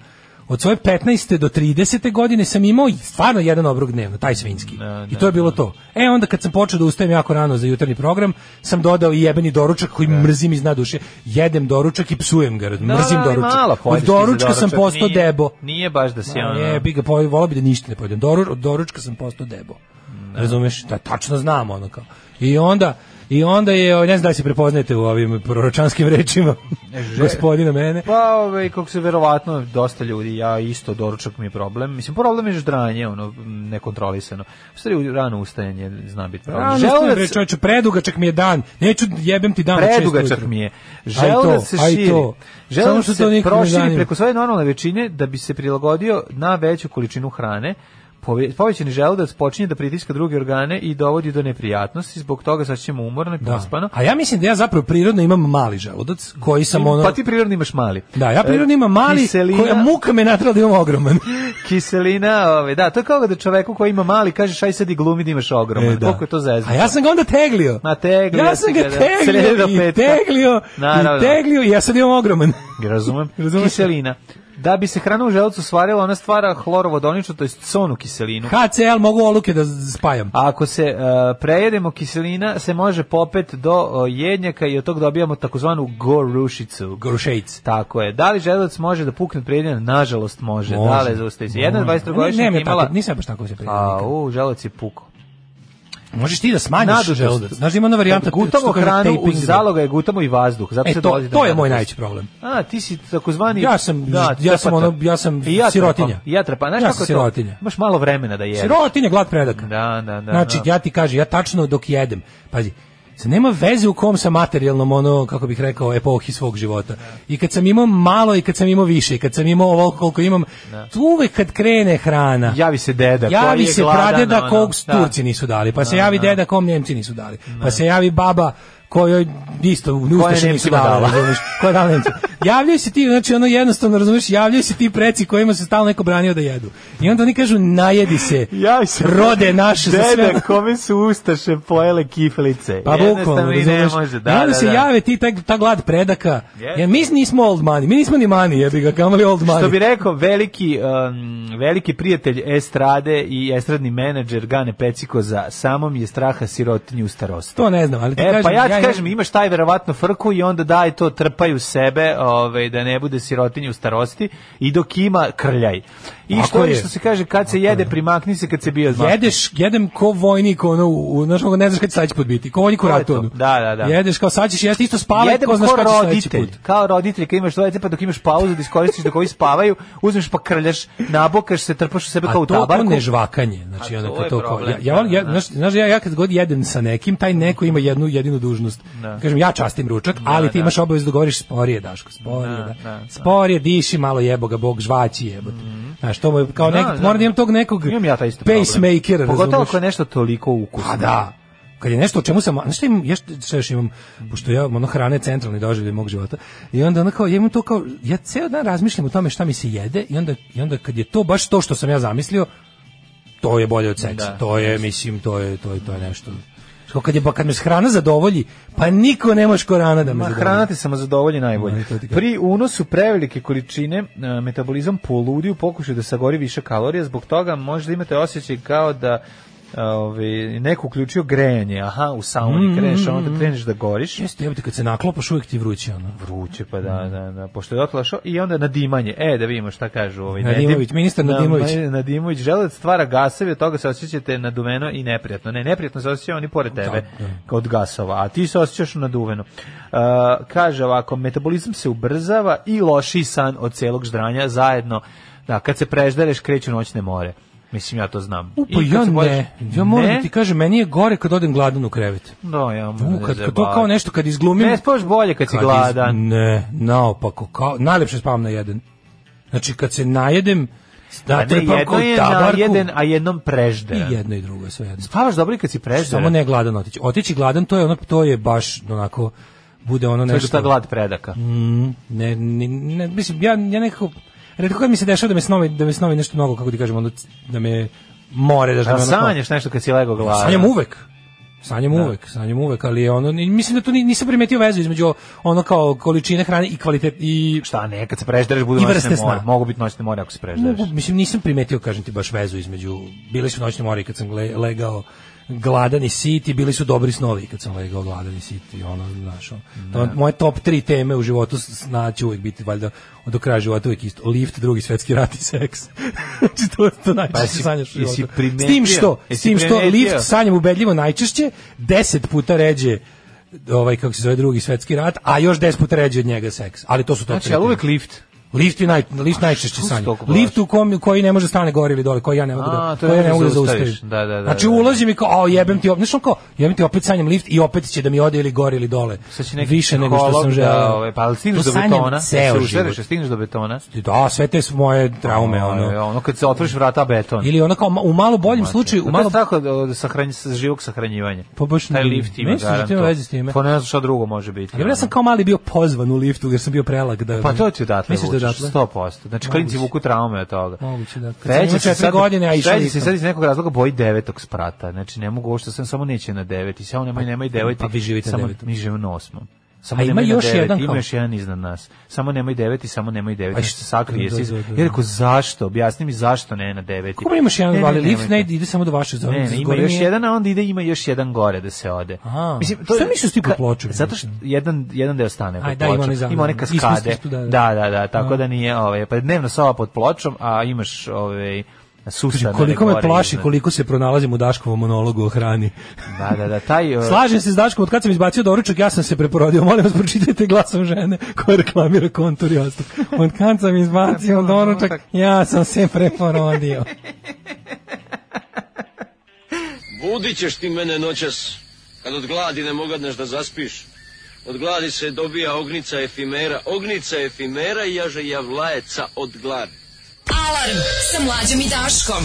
od svoje 15. do 30. godine sam imao stvarno jedan obrok dnevno, taj svinjski.
Da,
I to je bilo to. E onda kad sam počeo da ustajem jako rano za jutarnji program, sam dodao i jebeni doručak
Da.
koji mrzim iz dna duše. Jedem doručak i psujem ga, mrzim
ali
doručak.
Da, malo pojedeš
od
ti za
doručka sam
doručak,
postao
nije-
debo.
Nije baš da si
Ma,
ono...
Je, bi ga pojel, volao bi da ništa ne pojedem. Doru, od doručka sam postao debo. Razumeš? Da, tačno znam ono kao. I onda, i onda je, ne znam da li se prepoznajete u ovim proročanskim rečima gospodina mene.
Pa, ovaj, kako se verovatno dosta ljudi, ja isto doručak mi je problem. Mislim, problem je ždranje, ono, nekontrolisano. U stvari, rano ustajanje zna biti problem. da
Rano
Želudac-
Želudac... bre, da čovječe, predugačak mi je dan. Neću, jebem ti dan. od šest
Predugačak
ujutru.
mi je.
A i to,
Želudac se
a i
širi.
to. Samo
Želudac
što
se
to nikog ne
proširi
zanima.
preko svoje normalne većine da bi se prilagodio na veću količinu hrane. Pove- Povećani želudac počinje da pritiska druge organe i dovodi do neprijatnosti, zbog toga sad ćemo umorno i pospano.
A ja mislim da ja zapravo prirodno imam mali želudac, koji sam ono...
Pa ti prirodno imaš mali. E,
Da, ja prirodno imam mali,
Kiselina-
koja muka me natrala da imam ogroman.
Kiselina, ove, da, to je kao da čoveku koji ima mali kažeš aj sad i glumi da imaš ogroman.
E, da.
Koliko je to zezno?
A ja sam ga onda teglio.
Ma teglio
Ja sam
si
ga
ga, da. Srede do
teglio i
petka.
teglio
Naravno.
i teglio i ja sad imam ogroman.
Razumem.
Razumeš?
Kiselina. Da bi se hrana u želucu svarila, ona stvara hlorovodoničnu, to je sonu kiselinu.
HCL mogu oluke da z- spajam.
A ako se e, prejedemo kiselina, se može popet do o, jednjaka i od tog dobijamo takozvanu gorušicu.
Gorušejc.
Tako je. Da li želudac može da pukne od prejedanja? Nažalost može.
Može.
Da li zaustavi se? Jedna
Može.
22 godišnja
Ne, ne,
imala...
tako, nisam baš tako se
A,
prijavio.
u, želudac je pukao.
Možeš ti da smanjiš
Nadutost.
želudac. Znaš, ima ona varijanta
Gutamo
što kaže
hranu,
taping
uz
da-
zaloga je gutamo i vazduh. Zato
E,
se
to,
dolazi do
to je moj
nadutosti.
najveći problem.
A, ti si takozvani... Da,
Ja sam- ja
trpata.
sam ono- ja sam
I ja
sirotinja.
I ja trpa. Znaš
Ja
kako
sam
je to?
sirotinja.
Imaš malo vremena da jedeš.
Sirotinje, glad predaka.
Da, da, da.
Znači,
da.
ja ti kažem, ja tačno dok jedem, pazi, se nema veze u kom sam materijalnom, ono, kako bih rekao, epohi svog života. I kad sam imao malo i kad sam imao više, i kad sam imao ovo koliko imam,
Da.
tu uvek kad krene hrana,
Javi se deda Da, koji
javi
je
se
gladan,
pradeda
ono,
kog
da.
Turci nisu dali, pa se javi deda kom Njemci nisu dali, pa se javi baba kojoj isto ustaše nisu
Nemcima
dali,
dala.
razumeš, koja je dala Nemcima. Javljaju se ti, znači ono jednostavno, razumeš, javljaju se ti preci kojima se stalno neko branio da jedu. I onda oni kažu, najedi se,
Javi se
rode naše za sve.
Deda kome su ustaše pojele kiflice.
Pa bukvalno,
Jednostavno i ne
razumeš?
može.
I
Da,
onda
da,
se
da.
jave ti ta, ta glad predaka.
Jeste.
Jer mi nismo old money, mi nismo ni money, jebi ga, kamali old money.
Što bi rekao veliki um, veliki prijatelj estrade i estradni menadžer Gane Peciko za samom je straha sirotinju u starosti.
To ne znam, ali ti
E,
Da kažem,
pa ja ti kažem, imaš taj verovatno frku i onda daj to, trpaju sebe ovaj, da ne bude sirotinje u starosti i dok ima, krljaj. I
Tako
što je
je.
što se kaže, kad se jede, primakni se kad se bio zmakni.
Jedeš, jedem ko vojnik, ono, u, u, znaš kako ne znaš kad će sad će podbiti, ko vojnik u
To je
ratu.
to.
ono.
Da, da, da.
Jedeš kao sad ćeš jesti isto spavati,
Jedemo
ko znaš
ko
kad će sledeći
roditelj,
put.
kao roditelj kad imaš dvoje pa dok imaš pauzu da iskoristiš dok ovi spavaju, uzmeš pa krljaš, nabokaš se, trpaš u sebe
A
kao
to,
u tabaku.
to nežvakanje, znači
A
ono
to
kao
je
to kao, ja,
problem,
ja, volim- ja,
da, da.
znaš, znaš, ja, ja kad god jedem sa nekim, taj neko ima jednu jedinu dužnost.
Da.
Kažem, ja častim ručak, ali ti imaš obavezu da govoriš sporije, Daško, sporije, da, sporije, diši malo jeboga, bog žvaći jebote. Znaš, to mu je kao
Da,
nekad,
da.
moram da imam tog nekog
Imam ja taj isto problem.
pacemakera,
Pogotovo
razumeš?
ako je nešto toliko ukusno.
Pa da. Kad je nešto o čemu sam, znaš šta imam, ja šta šta još imam, pošto ja ono hrane je centralni doživljaj mog života, i onda ono kao, ja imam to kao, ja ceo dan razmišljam o tome šta mi se jede i onda, i onda kad je to baš to što sam ja zamislio, to je bolje od seksa,
Da,
to je, mislim, to je, to je, to je nešto. Što kad je pa kad me hrana zadovolji, pa niko ne može korana da me
Ma,
zadovolji.
hrana ti samo zadovolji najbolje.
Ma, to ti kažem.
Pri unosu prevelike količine e, metabolizam poludi u pokušaju da sagori više kalorija, zbog toga možda imate osjećaj kao da e, ovaj, neko uključio grejanje, aha, u sauni
Mm.
kreneš, a onda kreneš da goriš.
Jeste, jebote, kad se naklopaš uvijek ti vruće, ono.
Vruće, pa da, da, da, pošto je otlašao i onda nadimanje. E, da vidimo šta kažu ovaj
Nadimović,
Nedim.
ministar Nadimović.
Na- Nadimović, želac stvara gasovi, od toga se osjećate naduveno i neprijatno. Ne, neprijatno se osjećaju oni pored
Da,
tebe kao od gasova, a ti se osjećaš naduveno. Uh, kaže ovako, metabolizam se ubrzava i loši san od celog ždranja zajedno. Da, kad se preždereš, kreću noćne more. Mislim, ja to znam.
U, pa
I kad
ja
se bojiš-
ne. Ja moram
Ne?
da ti kažem, meni je gore kad odem gladan u krevet.
Da, ja moram
U, kad,
da
kad to
zajebavim.
kao nešto, kad izglumim...
Ne spavaš bolje kad si
Kad iz-
gladan.
Ne, naopako, kao, najlepše spavam na jedan. Znači, kad se najedem,
A
da
ne,
trepam
jedno
kao
je na
tabarku.
jedan, a jednom preždera.
I jedno i drugo, sve jedno.
Spavaš dobro i kad si preždera.
Samo ne gladan otići. Otići gladan, to je ono, to je baš onako, bude ono
Sve što
nešto...
ta glad predaka.
Mm, Ne, ne, ne, mislim, ja, ja nekako, redko kad mi se dešava da me snovi, da me snovi nešto mnogo, kako ti kažem, onda c- da me more, da, da me
A
ono kao-
sanjaš nešto kad si lego gladan? Da.
Sanjam uvek. Sanjam uvek, sanjam uvek, ali je ono ni- mislim da tu ni- nisam primetio vezu između ono kao količine hrane i kvalitet i
Šta ne, kad se preždereš bude
I
noćne
vrste sna.
more. Mogu biti noćne more ako se preždereš.
mogu, mislim nisam primetio kažem ti baš vezu između bili su noćni mori kad sam gle- legao gladan i sit i bili su dobri snovi kad sam legao gladan i sit i ono znaš ono. To je moje top tri teme u životu s- sna će uvek biti valjda do kraja života uvek isto lift drugi svetski rat i seks znači to to najčešće
Pa jesi-
sanjaš u
jesi
životu. s
primetio?
tim što s
Jesi
tim što
primetio?
lift sanjam ubedljivo najčešće 10 puta ređe ovaj kako se zove drugi svetski rat a još 10 puta ređe od njega seks ali to su to
Znači, ali uvek lift.
Lift je naj, lift najčešće
što si
sanje.
toliko baš?
Lift u kom, koji ne može stane gore ili dole, koji ja ne mogu
A,
da,
to
koji
ne
ja ne mogu da
možeš da
zaustavim.
zaustaviš. Da, da, da,
Znači
da, da.
ulazi mi kao, a jebem ti, op-" znaš ono kao, jebem ti opet sanjam lift i opet će da mi ode ili gore ili dole.
Sad će neki
Više nego što
psiholog
sam
da,
želeo.
ovaj, pa ali stigneš
To
do
sanjam
betona.
ceo
se usereš,
život.
jel stigneš do betona.
Da, sve te su moje traume, ono.
Ono, ono kad se otvoriš vrata beton.
Ili ono kao ma- u malo boljem slučaju, u
U malo
malo
tako od sahranj sa živog sahranjivanja.
Pa baš
taj
ne-
lift ima
misliš da to ima
garant to.
veze s time?
Pa ne znam šta drugo može biti.
Ali ja sam
ono.
kao mali bio pozvan u liftu jer sam bio prelag da
Pa to ti odatle
Misliš da
vučeš,
odatle?
100%. Znači, klinci
Moguće.
vuku traume od toga.
Moguće da. Kad sam
Treći
imao
se
četiri
sad,
godine, a išao
treći se
nisam.
sad iz nekog razloga boji devetog sprata. Znači, ne mogu ovo što sam samo neće na devet. I samo nemoj, nemoj deveti.
pa vi živite na
samo,
devetom.
Mi živimo na osmom. Samo
A ima
nemoj na
još
devet,
jedan
Ima
kao?
još jedan iznad nas. Samo nemoj deveti, samo nemoj deveti.
A
Nešto se
što-
sakrije.
da,
se
da,
iz-
da, da.
Ja rekao, zašto? Objasni mi zašto ne na deveti.
Kako imaš
Ne,
jedan
ne,
ali lift ne
nemojte.
ide, ide samo do vaše zone.
Ne, ne, ima
Gore
još
mi je-
jedan, a onda ide ima još jedan gore da se ode.
Aha. Šta misliš ti pod
ka-
pločom,
Zato što
mislim?
jedan jedan deo stane pod
Aj, da, ima
pločom.
onaj
Ima,
zamor.
one
Ispod,
kaskade.
ispod,
da,
da, da.
da, da, tako
A.
da nije, ovaj, pa je dnevna sova pod pločom, a imaš ovaj sustanere
Koliko
gore
me plaši,
iznad.
koliko se pronalazim u Daškovom monologu o hrani.
Da, da, da, taj eh,
Slažem se s Daškom, od kad sam izbacio doručak, ja sam se preporodio. Molim vas, pročitajte glasom žene koja reklamira kontur i ostok. Od kad sam izbacio doručak, ja sam se preporodio.
Budit ćeš ti mene noćas, kad od gladi ne mogadneš da zaspiš. Od gladi se dobija ognica efimera, ognica efimera i jaže javlajeca od gladi.
Alarm sa mlađom i Daškom.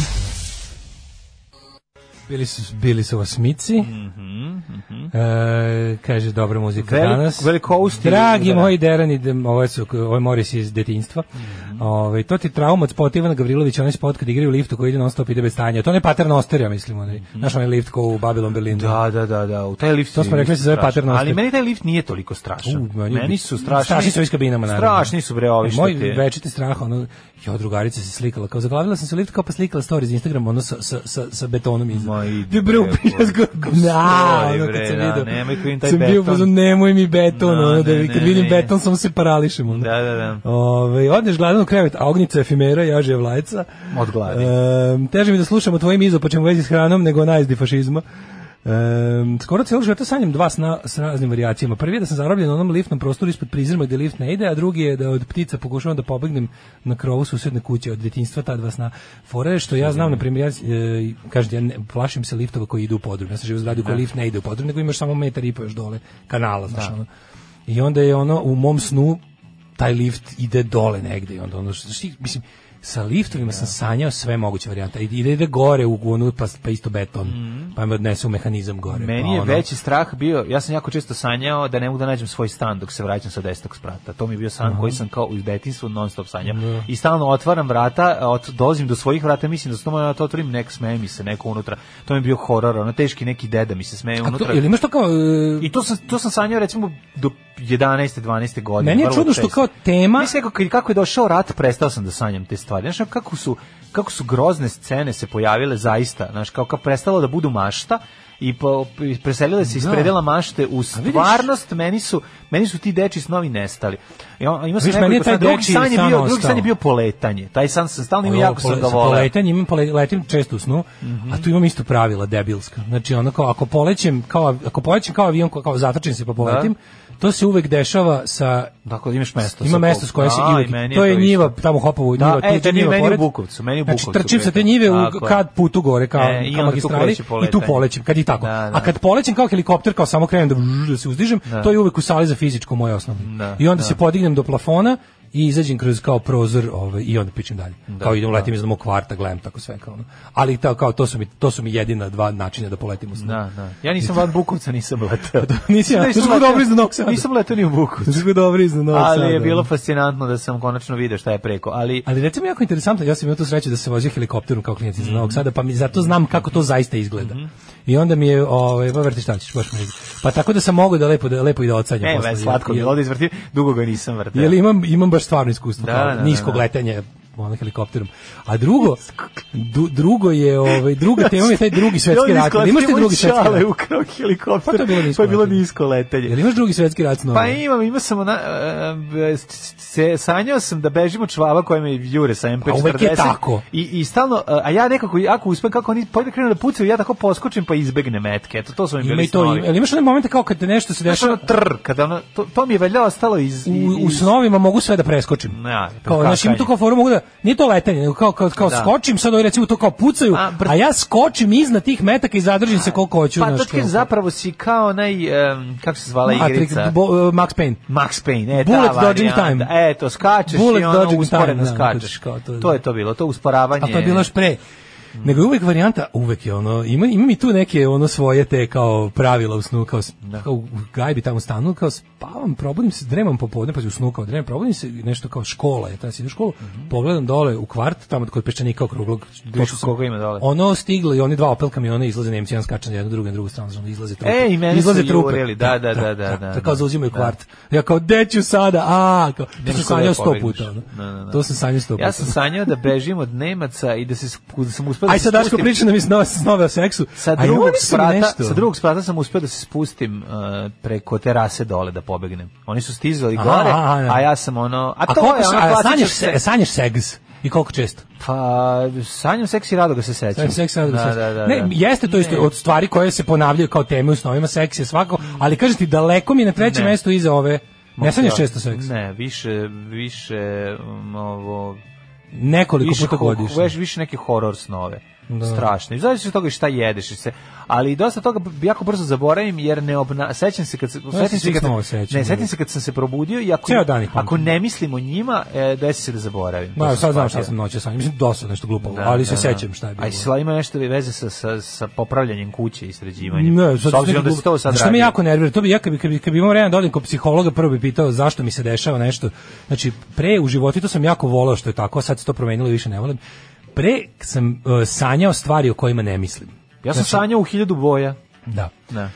Bili su, bili su vas mici.
Mhm,
E, kaže, dobra muzika
Velik-
danas.
velikousti-
Dragi
da.
moji derani, dem- ovo su, ovo je Moris iz detinjstva.
Mhm.
Ovaj, to ti trauma od spota Ivana Gavrilovića, onaj spot kad igraju u liftu koji ide non stop ide bez stanja. To ne pater osterija, mislim. Onaj. Znaš onaj lift ko u Babylon Berlinu.
Mhm. Da, da, da, da, u taj lift
To
je
smo rekli,
lift
se zove
strašan.
pattern
Ali
ostrih.
meni taj lift nije toliko strašan.
U,
meni,
meni-
su strašni.
Strašni su ovi s kabinama, naravno. E,
Strašni su bre ovi što
Moj
te-
večiti strah, ono, jo, drugarica se slikala, kao zaglavila sam se u lift, kao pa slikala stories na Instagram, ono sa, sa, sa, sa betonom iza.
Ma ide,
Ti bre,
bre,
upišaš
boj.
go, na,
Story,
ono
bre,
kad sam
da,
vidio.
nemoj klim taj
sam bio
beton.
u fazonu, nemoj mi beton,
No,
ono, da
ne,
vi, kad
ne,
vidim
ne.
beton, samo se parališem, ono.
Da, da, da.
Ove, odneš gladan u krevet, a ognjica efimera, jaže je vlajca.
Od gladi.
Ehm, teže mi da slušam o tvojim izopačem u vezi s hranom nego o najezdi fašizma. Ehm, skoro cijelog života sanjam dva sna s raznim varijacijama. Prvi je da sam zarobljen na onom liftnom prostoru ispod prizirma gde lift ne ide, a drugi je da od ptica pokušavam da pobegnem na krovu susedne kuće od djetinjstva ta dva sna. Fora je što ja znam, na primjer, ja, e, kažete, ja ne, plašim se liftova koji idu u podrum. Ja sam živo zgradi u kojoj lift ne ide u podrum, nego imaš samo metar i po još dole kanala, znaš ono. I onda je ono u mom snu taj lift ide dole negde i onda ono što, što mislim sa liftovima
Da.
sam sanjao sve moguće varijante. Ide, ide gore u gunu, pa, pa isto beton, pa me odnese u mehanizam gore.
Mhm. Meni
pa
je
ono.
veći strah bio, ja sam jako često sanjao da ne mogu da nađem svoj stan dok se vraćam sa desetog sprata. To mi je bio san koji sam kao u detinjstvu non stop sanjao.
Da.
I stalno otvaram vrata, a od, dolazim do svojih vrata, mislim da samo ja to otvorim, nek smeje mi se neko unutra. To mi je bio horor, ono teški neki deda mi se smeje
A to,
unutra.
ili imaš to kao... e,
I to sam, to sam sanjao recimo do 11. 12. godine.
Meni je
vrlo
čudno što
često.
kao tema-
Mislim kako, kad- kako je došao rat, prestao sam da sanjam te stvari. Znaš, kako su, kako su grozne scene se pojavile zaista, znaš, kao kad prestalo da budu mašta, i po, i preselile se iz
Da.
predela mašte u
vidiš-
stvarnost, meni su, meni su ti deči snovi nestali. I on, imao sam
Vidiš, meni je
nekoliko
taj
sna- drugi
dečiji
san je
san
bio, drugi san je
ostao.
bio poletanje. Taj san sam stalno imao,
Ono,
da jako Mhm. sam
pole-
ga
sa
voleo.
poletanjem imam pole- letim često u snu, a tu imam isto pravila debilska. Znači ono kao ako polećem kao ako polećem kao avion kao, kao zatočim se pa poletim,
Da.
to se uvek dešava sa
Dakle, imaš mesto.
Ima mesto s koje se
Aj,
uvek-
meni
to je
isto.
njiva tamo hopovo
Da,
njiva,
e,
tu
to
je
nije
njiva
meni u
pored.
Bukovcu, meni u Bukovcu
Znači trčim sa te
preko.
njive u,
Tako je.
kad putu gore kao,
E, i onda
ka
tu
magistrali
kreće
i tu
poletanje.
polećem, kad i tako.
Da, da.
A kad polećem kao helikopter kao samo krenem da, vrž, da se uzdižem, to je uvek u sali za fizičko moje osnovno.
Da,
I onda se podignem do plafona i izađem kroz kao prozor ovaj, i onda pičem dalje.
Da,
kao idem, letim iz mog kvarta, gledam tako sve. Kao, ono. Ali ta, kao, to, su mi, to su mi jedina dva načina da poletim u snu.
Da, da. Ja nisam van Bukovca, nisam letao.
Pa Nisi ja, nisam
letao.
dobro iz Novog Sada.
Nisam letao ni u Bukovcu.
Zato je dobro iz Novog
ali je
Sada,
bilo
ono.
fascinantno da sam konačno video šta je preko, ali
Ali recimo jako interesantno, ja sam imao tu sreću da se vozio helikopterom kao klijent iz Novog Sada, pa mi zato znam kako to zaista izgleda.
Mhm.
I onda mi je, ovaj, pa vrti šta ćeš, baš me briga. Pa tako da sam mogao da lepo, da lepo i da odsanjam.
ne,
posle,
ve,
jer-
slatko je
jer-
bilo da izvrtim, dugo ga nisam vrtao.
Jer imam, imam baš stvarno iskustvo
Da,
kao
da, da,
niskog
da.
letenja ono, helikopterom. A drugo, du- drugo je, ovaj, druga tema je taj drugi svetski
Ja
rat. Jel Imaš ti drugi svetski rat?
Čale ukrao helikopter,
Pa to je bilo nisko
pa je bilo
letanje.
nisko letanje.
Jel imaš drugi svetski rat? s Novim?
Pa imam, imao sam ona, e, se, sanjao sam da bežim od čvava koja me jure sa MP40.
A uvek je tako.
I, I stalno, e, a ja nekako, ako uspem, kako oni pojde krenu da pucaju, ja tako poskočim pa izbegne metke. Eto, to su mi
Ima
bili
i to,
snovi.
ima, jel imaš one momente kao kad te nešto se
Znaš
dešava
ono trr, kada ono, to, to mi je valjda ostalo iz... iz-
u, u snovima mogu sve da preskočim.
Ja,
kao, znači, ima to kao foru mogu da, nije to letenje, nego kao, kao, kao
Da.
skočim, sad ovi recimo to kao pucaju, a,
A, br-
ja skočim iznad tih metaka i zadržim se koliko hoću.
Pa
znaš,
to ti kažem,
kao-
zapravo si kao onaj, em, kako se zvala
Matrix,
igrica?
bo- e, Max Payne.
Max Payne, e,
Bullet
ta
dodging
varijanta.
time.
Eto, skačeš
Bullet
i ono
dodging
usporeno
time, da,
skačeš.
kao to,
to,
da.
je to bilo, to usporavanje.
A to je bilo još pre. Nego je uvek varijanta, uvek je ono, ima, ima mi tu neke ono svoje te kao pravila u snu, kao, s-
Da.
kao u gajbi tamo u stanu, kao spavam, probudim se, dremam popodne, pa u snu kao dremam, probudim se, nešto kao škola je, tada si ide u školu, pogledam dole u kvart, tamo kod peščanika okruglog, došao sam-
Mhm. koliko ima dole?
Ono stiglo i oni dva Opel kamiona izlaze Nemci, jedan skače na jednu, drugu na drugu stranu, znači izlaze trupe.
E, i mene su
izlaze
jurili, da, da, da, da, da,
To kao
da.
zauzimaju
Da.
kvart. Ja kao, deću sada, a, kao, to sam
Nemaš kuda da
sanjao sto
pobegneš.
puta. ono.
Da, da, da.
To sam sanjao sto puta.
Ja sam sanjao da bežim od Nemaca i da, se, sp- da sam uspeo da
Aj
se
sad Daško
spustim.
priča nam iz nove, s nove o seksu.
Sa
A i
drugog,
oni su mi
sprata,
nešto.
sa drugog sprata sam uspeo da se spustim uh, preko terase dole da pobegnem. Oni su stizali
Aha,
gore,
aha, aha.
a ja sam ono... A,
A
to
koliko
je
se-
ono
a
klasično
sanjaš,
se-
se, sanjaš seks? I koliko često?
Pa, sanjam seks i rado ga se sećam.
Sanjaš seks, sanjaš
da,
seks.
Da, da,
ne,
da.
jeste to isto od stvari koje se ponavljaju kao teme u snovima, seks je svako, ali kažem ti, daleko mi je na trećem
Ne. da.
mjestu iza ove. Ne sanjaš često seks?
Ne, više, više, um, ovo...
Nekoliko
Više,
puta
ho-
godišnje.
veš- više neke horor snove.
Da.
Strašno. I zavisi od toga i šta jedeš i se. Ali dosta toga b- jako brzo zaboravim jer ne obna... sećam se kad se
se
sećam se
svih
kad
snova sećam,
Ne,
da.
sećam se kad sam se probudio i ako
Ceo dan ih pamtim.
ako ne mislim o njima, e, desi se da zaboravim. To
Ma,
sam
sad znam šta
shvatio.
sam noće sanjao. Mislim, dosta nešto glupo,
Da,
ali se
da, da.
sećam šta je bilo.
A i sla ima nešto veze sa, sa, sa popravljanjem kuće i sređivanjem.
Ne, sad
S obzirom
neki
da se to
glup-
sad
Što me
radi.
jako nervira, to bi ja kad bi, kad bi, kad bi imao vremena da odem kod psihologa, prvo bi pitao zašto mi se dešava nešto. Znači, pre u životu, i to sam jako volao što je tako, a sad se to promenilo i više ne volim, pre sam e, sanjao stvari o kojima ne mislim.
Ja
Znači-
sam sanjao u hiljadu boja.
Da.
Da.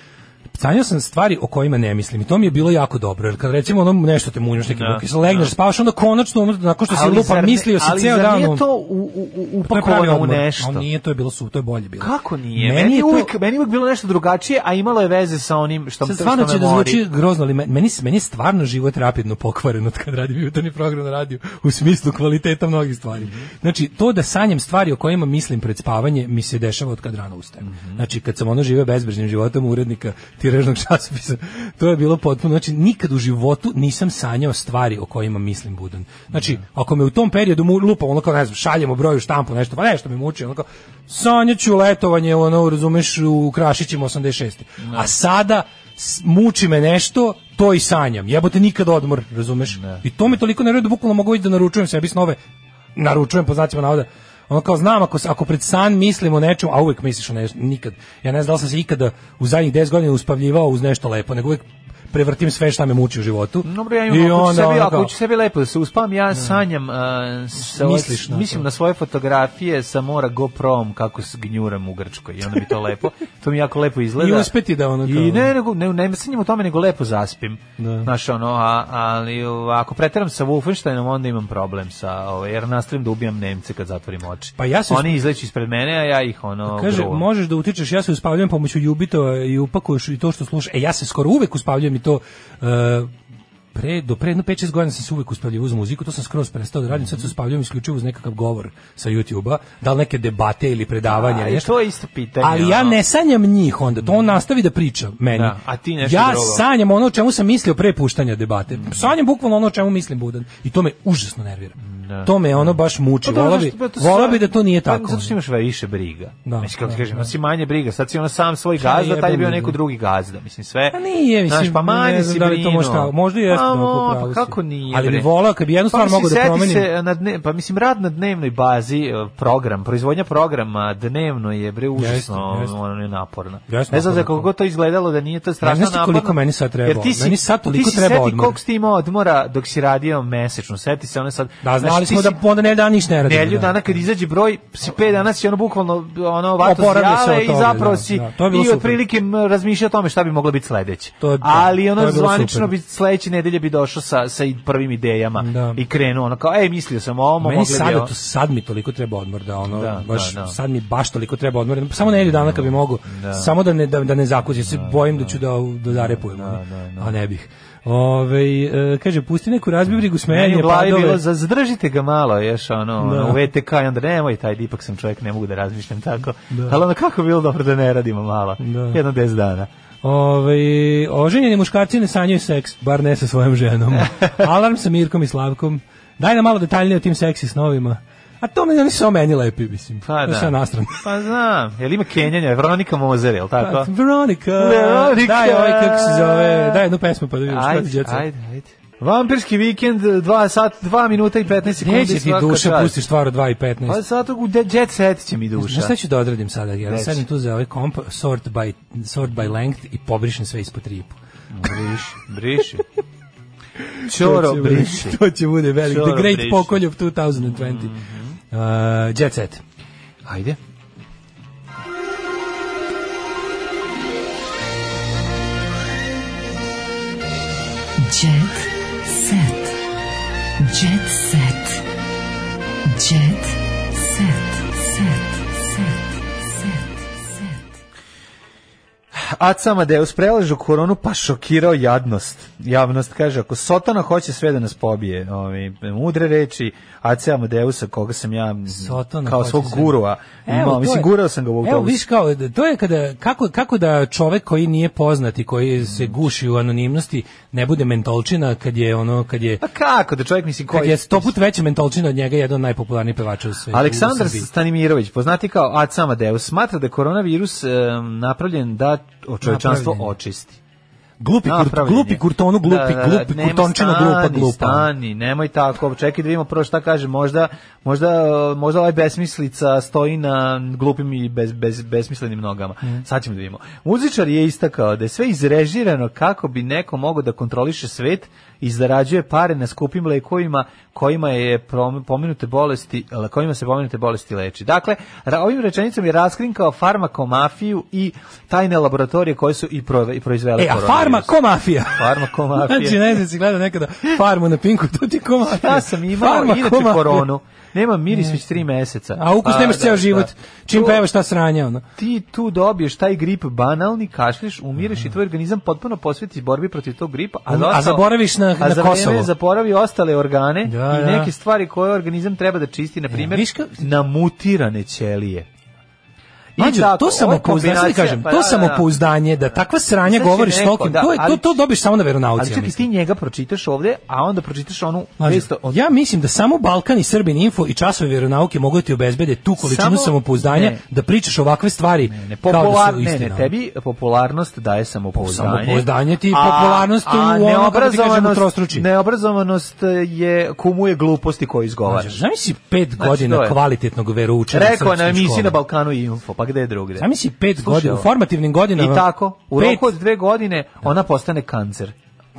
Sanjao sam stvari o kojima ne mislim i to mi je bilo jako dobro, jer kad recimo ono nešto te munješ neke
Da,
buke, sad legneš, spavaš, onda konačno, ono, nakon što si
Ali
lupa,
zar ne-
mislio si
ali
ceo
zar
dan...
nije
ono-
to u, u, u,
To je pravi
upakovano u
odmor.
nešto.
Ali nije, to je bilo su, to je bolje bilo.
Kako nije?
Meni
Meni,
je
je
to-
uvijek, meni je uvijek bilo nešto drugačije, a imalo je veze sa onim što,
Sad
što
stvarno
me
će da
mori.
zvuči grozno, ali meni, meni, meni je stvarno život rapidno pokvaren od kad radim jutarnji program na radiju, u smislu kvaliteta mnogih stvari.
Mhm.
Znači, to da sanjam stvari o kojima mislim pred spavanje mi se dešava od kad rano ustajem.
Mhm.
Znači, kad sam ono živeo bezbrižnim životom urednika tiražnog časopisa, to je bilo potpuno, znači, nikad u životu nisam sanjao stvari o kojima mislim budan.
Mhm.
Znači, ako me u tom periodu mu, lupa, ono kao, ne znam, šaljemo broju štampu, nešto, pa nešto me muči, ono kao, sanjaću letovanje, ono, razumeš, u Krašićima 86.
Da.
A sada, s- muči me nešto, to i sanjam. Jebote nikad odmor, razumeš? I to me toliko nervira da bukvalno mogu ići da naručujem sebi snove naručujem po znacima navoda. Ono kao znam ako s- ako pred san mislim o nečemu, a uvek misliš o nečemu, nikad. Ja ne znam da li sam se ikada u zadnjih 10 godina uspavljivao uz nešto lepo, nego uvek prevrtim sve šta me muči u životu.
Dobro, ja imam, ako, ću sebi, ako ću sebi lepo da se uspam, ja sanjam, a, sa,
Misliš na to.
mislim na svoje fotografije sa mora GoPro-om kako se gnjuram u Grčkoj i onda mi to lepo, to mi jako lepo izgleda.
I uspeti da ono kao-
I ne, nego, ne, ne, sanjam o tome, nego lepo zaspim. Da. Znaš, ono, a, ali o, ako preteram sa Wolfensteinom, onda imam problem sa, ovaj, jer nastavim da ubijam Nemce kad zatvorim oči.
Pa ja se
Oni izleću ispred mene, a ja ih, ono,
Kaže,
gruvam.
možeš da utičeš, ja se uspavljujem pomoću ljubitova i upakuješ i to što slušaš. E, ja se skoro uvek uspavljujem i to... e, pre, do pre jedno 5-6 godina sam se uvek uspavljivao uz muziku, to sam skroz prestao da radim, sad se uspavljujem isključivo uz nekakav govor sa YouTube-a, da li neke debate ili predavanja.
A, Da, i
nešto.
to je isto pitanje.
Ali ja
ono.
ne sanjam njih onda, to on nastavi da priča meni.
Da, a ti nešto
ja
drugo.
sanjam ono o čemu sam mislio pre puštanja debate. Sanjam bukvalno ono o čemu mislim budan. I to me užasno nervira. To me ono baš muči.
Da. Pa dobro,
Vola Znači, bi,
zašto- to
vola
sve-
bi da to nije
pa
tako.
Zato što imaš više briga.
Da,
mislim, kako ti
da,
kažem,
da.
si manje briga. Sad si ono sam svoj
Pa
gazda, taj je bio
jebem
neko
ga.
drugi gazda. Mislim, sve...
Pa nije, mislim,
znaš, pa manje
ne znam
si
da li to
brinuo.
možda, tako- možda i jeste,
Pa,
onako,
mo,
u pravu
pa
si.
kako nije,
Ali bi
bre?
volao kad bi jednu stvar
Pa mislim,
mogao da
seti
promenim.
Se na dne, pa mislim, rad na dnevnoj bazi, eh, program, proizvodnja programa dnevno je, bre, užasno
Jeste, jeste.
ono, je naporno.
Jeste,
ne znam za
naporno.
koliko god to izgledalo da nije to strašno
Ne znaš ti
naporno.
koliko meni sad treba?
Jer ti si,
Meni sad toliko
ti si
treba
seti
odmora.
koliko si ti imao odmora dok si radio mesečno. Seti se one sad...
Da,
znaš,
znali
ti
smo
si-
da onda ne da ništa ne radimo.
Nelju
da.
dana kad izađe broj, si pet dana si ono bukvalno ono vato
Oporavlja se
zjave
od
i
toga,
zapravo
da,
si
da, to je bilo
i
super.
otprilike m, razmišlja o tome šta bi moglo biti sledeće.
To je- da,
Ali
to
ono
je bilo
zvanično
super.
bi sledeće nedelje bi došao sa, sa i prvim idejama
Da.
i krenuo ono kao, ej, mislio sam o ovom, a
Meni
mogli bi
sada,
ovo.
to, sad mi toliko treba odmor da ono
Da,
baš
da, Mm, da.
sad mi baš toliko treba odmor. Samo nedelju dana kad bi mogao. Samo da ne da, da ne zakuzim, se bojim da ću da da zarepujem, ono.
da.
a ne bih. Ove, e, kaže, pusti neku razbibrigu
Meni u
smenje,
glavi
padove.
bilo, za- zadržite ga malo, još ono,
Da.
ono, u VTK, i onda nemoj, taj, ipak sam čovjek, ne mogu da razmišljam tako. Ali ono, kako bi bilo dobro da ne radimo malo, jedno 10 dana.
Ove, Ovaj, oženjeni muškarci ne sanjaju seks, bar ne sa svojom ženom. Alarm sa Mirkom i Slavkom. Daj nam malo detaljnije o tim seksi snovima. A to ne, oni su samo meni lepi, mislim.
Pa
To
da.
se ja nastran.
Pa znam, jel ima Kenjanja, Veronika Mozer, jel
Pa,
tako?
Veronika,
Pa Veronika.
daj ovaj kako se zove, daj jednu pesmu pa da vidimo šta ti
Ajde,
djeca.
ajde, ajde. Vampirski vikend, 2 sat, 2 minuta i 15 sekundi.
Neće ti
svaka
duša
čast.
pusti stvar od 2 i 15.
Pa zato u de- jet set će mi duša.
Znaš šta ću da odradim sada? Ja
Reci.
sedim tu za ovaj komp, sort by, sort by length i pobrišem sve ispod tripu.
Briši, briši. Ćoro briši.
To će bude velik.
Ćoro
The Great
briši. Mhm.
Pokolj of 2020. Uh, jet set.
Ajde.
Jet set. Jet set. Jet set. Set. Set. Set. Set.
Aca Amadeus preležu koronu pa šokirao jadnost. Javnost kaže, ako Sotona hoće sve da nas pobije, ovi, mudre reči Aca Amadeusa, koga sam ja m,
Sotona
kao
hoće
svog
sve. da-
gurua
to
imao.
je-
Mislim, gurao sam ga u
Evo,
autobus.
viš kao, to je kada, kako, kako da čovek koji nije poznat i koji se guši u anonimnosti ne bude mentolčina kad je ono, kad je,
Pa kako da čovjek, mislim,
kad
koji...
je sto put veća mentolčina od njega jedan od najpopularnijih pevača u svetu.
Aleksandar
u Srbiji.
Stanimirović, poznati kao Aca Amadeus, smatra da je koronavirus em, napravljen da čovečanstvo
Napravljen je.
očisti.
Glupi, kur,
Napravljen
glupi
je.
kurtonu, glupi,
Da, da, da,
glupi,
nemoj
kurtončino,
stani,
glupa, glupa.
Stani, nemoj tako, čekaj da vidimo prvo šta kaže, možda, možda, e, možda ovaj besmislica stoji na glupim i bez, bez, besmislenim nogama.
Mhm.
Sad ćemo da vidimo. Muzičar je istakao da je sve izrežirano kako bi neko mogao da kontroliše svet i zarađuje pare na skupim lekovima kojima je prom- pomenute bolesti, kojima se pomenute bolesti leči. Dakle, ra- ovim rečenicom je raskrinkao farmakomafiju i tajne laboratorije koje su i, prove- i proizvele
E, a
koronavirus.
farma ko mafija?
Farmakomafija.
Znači, ne znam, si gledao nekada farmu na pinku, to ti ko mafija.
Ja sam imao
Farma ko
inače
mafija.
koronu. Nema miris već tri meseca.
A ukus
Pa,
nemaš
da,
ceo
da.
život. Čim
Tu-
pevaš ta sranja, ono.
Ti tu dobiješ taj grip banalni, kašliš, umireš i tvoj organizam potpuno posveti borbi protiv tog gripa.
Um,
A,
A-
za
a zaboraviš na-
a
na
za vreme
Kosovo.
zaboravi ostale organe
Da, E,
i
da.
neke stvari koje organizam treba da čisti, na primjer,
viš ka-
na mutirane ćelije.
Mlađo,
tako,
to
ovo je
samopouzdanje, sad ti
kombinacija,
kažem,
pa
to
da, da, da.
samopouzdanje da takva sranja
Znači,
govoriš s
neko,
nekim,
da,
to, je- to,
ali-
to dobiš samo na veronauci.
Ali
ja
čekaj,
mislim.
ti njega pročitaš ovde, a onda pročitaš onu
Mlađo,
vest o
ja mislim da samo Balkan i Srbin info i časovi veronauke mogu da ti obezbede tu količinu
Samo-
samopouzdanja
ne.
da pričaš ovakve stvari
Ne,
kao da
popular,
su
ne,
istina.
ne, tebi popularnost daje samopouzdanje.
Samopouzdanje ti
a-
popularnost u
a
ono, kako ti
neobrazovanost-
kažemo, trostruči.
Neobrazovanost je kumuje gluposti koje
Mlađo,
izgovaraš.
znaš si pet
Znači, to
godina
je.
kvalitetnog veroučenja
Rekao je na
srpskim
emisiji
školama.
na Balkanu Info, pa gde je drugde?
Zamisli si pet
Slušaj
godina, u
ovo.
formativnim godinama.
I tako, u
pet- Da.
roku od dve godine ona postane kancer.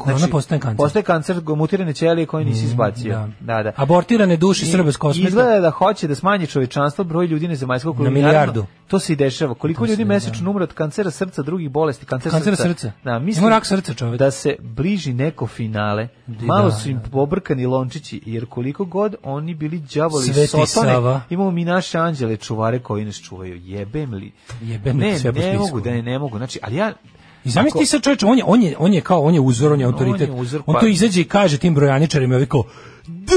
Ona postane kancer.
znači, Postaje kancer mutirane ćelije koje nisi
Mm,
izbacio. Da, da.
Abortirane duše Srba s kosmeta.
Izgleda da hoće da smanji čovečanstvo broj ljudi na zemaljskog kolonijarno.
milijardu.
To se i dešava. Koliko
To se
ljudi
i
mesečno umre od kancera srca, drugih bolesti, kancer
Kancera srca.
Da,
Ima
mislim
rak srca, čoveče.
Da se bliži neko finale. Malo
da,
su im pobrkani lončići, jer koliko god oni bili đavoli
Sveti
sotone,
Sava.
imamo mi naše anđele čuvare koji nas čuvaju. Jebem li?
Jebem li
ne,
ti sve po
ne
spisku.
mogu, da ne, ne mogu. Znači, ali ja
I zamisli
Ako-
ti sad čovječe, on je, on, je, on je kao, on je uzor, on je autoritet.
on
On,
je uzor, pa-
to izađe i kaže tim brojaničarima, ovi kao, "Da,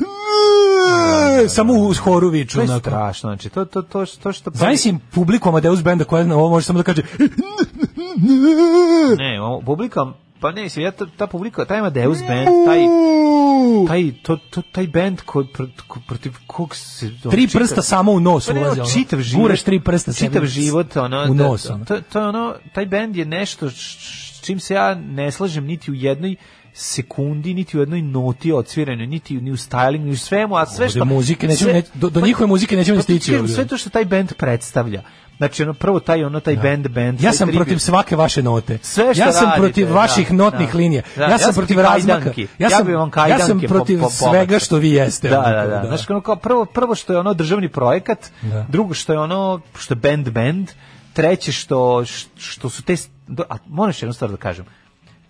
ne, ne", samo u horu viču.
da, to je
onako.
strašno. Znači, to, to, to, to što...
Zamisli im publiku Amadeus benda koja na ovo može samo da kaže,
Ne, ovo, publika, pa ne, mislim, ja, ta, ta publika, taj Amadeus band, E, taj, taj, to, to, taj band ko, pr, ko, protiv kog se... ono,
tri
čitav-
prsta samo u nos
Pa ne, ono,
ulazi. ono.
čitav život.
Guraš tri prsta sebi
Čitav život, ono,
u
da-
nos.
da-
ono.
to, to je ono, taj band je nešto š- š- s čim se ja ne slažem niti u jednoj sekundi, niti u jednoj noti odsvirenoj, niti ni u stylingu, ni u svemu, a sve
Ovde
što...
muzike nećemo,
sve-
ne- do, do
pa-
njihove muzike nećemo
pa
ni
ti
stići.
kažem,
ovde.
Sve to što taj band predstavlja. Znači, ono, prvo taj, ono, taj band, band.
Da. Ja
taj
sam
tribut.
protiv svake vaše note.
Sve što
ja sam
radite,
protiv
da,
vaših notnih
da.
linija.
Da,
ja, sam protiv razmaka.
kajdanki.
Ja sam,
bi vam
ja sam
kajdanke po-
protiv
po- pomacao.
svega što vi jeste.
Da,
onako,
da, da. Znaš, ono kao prvo, prvo što je ono državni projekat,
Da.
drugo što je ono što je band band, treće što, što su te... A moram još jednu stvar da kažem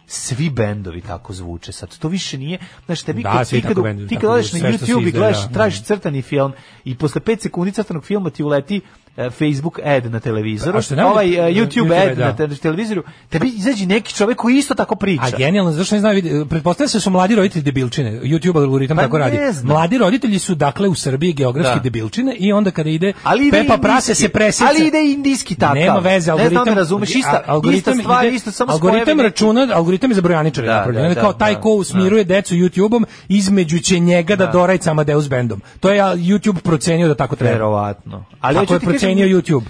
svi bendovi tako zvuče sad. To više nije, znaš, tebi
Da,
kad,
svi
ti
tako
kad, u-
bendovi
ti kad
tako
odeš na
zvuče, sve što se
YouTube i
izdaje,
gledaš,
da.
tražiš crtani film i posle 5 sekundi crtanog filma ti uleti e, Facebook ad na televizoru,
A što je najbolje-
ovaj e, YouTube,
YouTube
ad
ad, da.
na te- televizoru, tebi izađe neki čovjek koji isto tako priča.
A genijalno, zašto ne znaju, vidi, pretpostavlja se da su mladi roditelji debilčine, YouTube algoritam
Pa
tako
ne
radi.
znam.
Mladi roditelji su dakle u Srbiji geografski
Da.
debilčine i onda kada ide
ali ide
Pepa
indijski,
Prase se preseca.
Ali ide indijski takav.
Nema veze,
Ne
algoritam.
znam, da razumeš, ista,
a- algoritam
ista stvar,
ide-
isto samo
Algoritam
spojevi neki-
računa, algoritam je za brojaničare
Da,
napravljen.
da,
On je
da,
kao taj
da,
ko usmiruje decu YouTube-om, između će njega da, dorajca dora Amadeus bandom. To je a, YouTube procenio da tako treba.
Verovatno. Ali
tako
hoću
je
ti kažem- da-
procenio YouTube.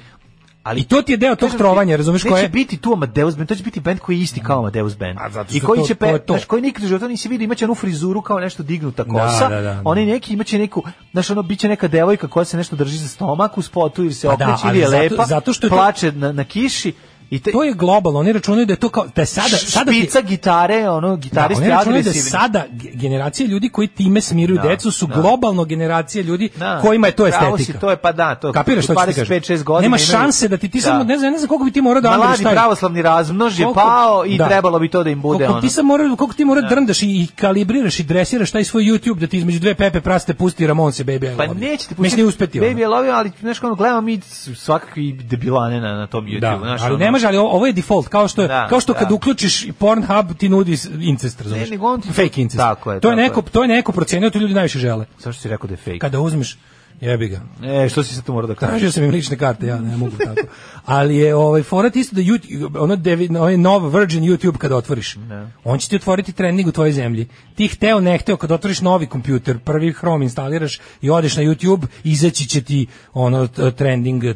Ali
I to ti je deo tog
Kažem ti,
trovanja, razumeš koje?
Neće biti tu Amadeus Band, to će biti band koji je isti kao Amadeus Band.
Da. A zato
I
što
koji
to-
će
to
pe,
je to.
znaš, koji nikad u životu nisi vidio, imaće onu frizuru kao nešto dignuta kosa.
da, da, da.
Oni neki imaće neku, znaš, ono biće neka devojka koja se nešto drži za stomak u spotu ili se
Pa da,
okreće
ali
ili je
zato-
lepa,
zato što je to-
plače na, na kiši i te,
To je globalno, oni računaju da je to kao da je sada sada ti-
špica gitare, ono
Da,
gitaristi
oni računaju da
agresivni.
sada ge- generacije ljudi koji time smiruju decu su globalno generacije ljudi
Da.
kojima je to
Pravo si,
estetika.
to je, pa da, to-
Kapiraš što ti kažem?
25-6 godina
Nema
imaju-
šanse da ti ti
Da.
samo ne znam ne znam koliko bi ti morao da Andrej,
Mladi
šta je-
pravoslavni razmnož je
koliko-
pao i
da.
trebalo bi to da im bude
koliko
ono. Da.
ti sam morao koliko ti mora drndaš i, i kalibriraš i dresiraš taj svoj YouTube da ti između dve pepe praste pusti Ramonse baby I
Pa
Love You.
neće ti
Mislim,
pustiti.
ne uspeti ono.
Baby je lovio, ali znaš ono, gledamo mi svakakvi debilane na, na tom YouTube.
Da,
znaš,
ali
ono.
ne može, ali ovo ovo je default, kao što je,
Da,
kao što kad
da.
uključiš Pornhub ti nudi s- incest, razumeš?
nego on ti-
Fake incest.
Tako je,
to je
tako
neko,
je.
to je neko procenio, to ljudi najviše žele.
Zašto si rekao da je fake?
Kada uzmeš, jebi ga,
E, što si sad tu morao da kažeš?
Tražio sam im lične karte, ja ne mogu tako. Ali je ovaj forat isto da YouTube, ono devi, ovaj nov Virgin YouTube kad otvoriš. On će ti otvoriti trening u tvojoj zemlji. Ti hteo ne hteo kad otvoriš novi kompjuter, prvi Chrome instaliraš i odeš na YouTube, izaći će ti ono t- trending eh,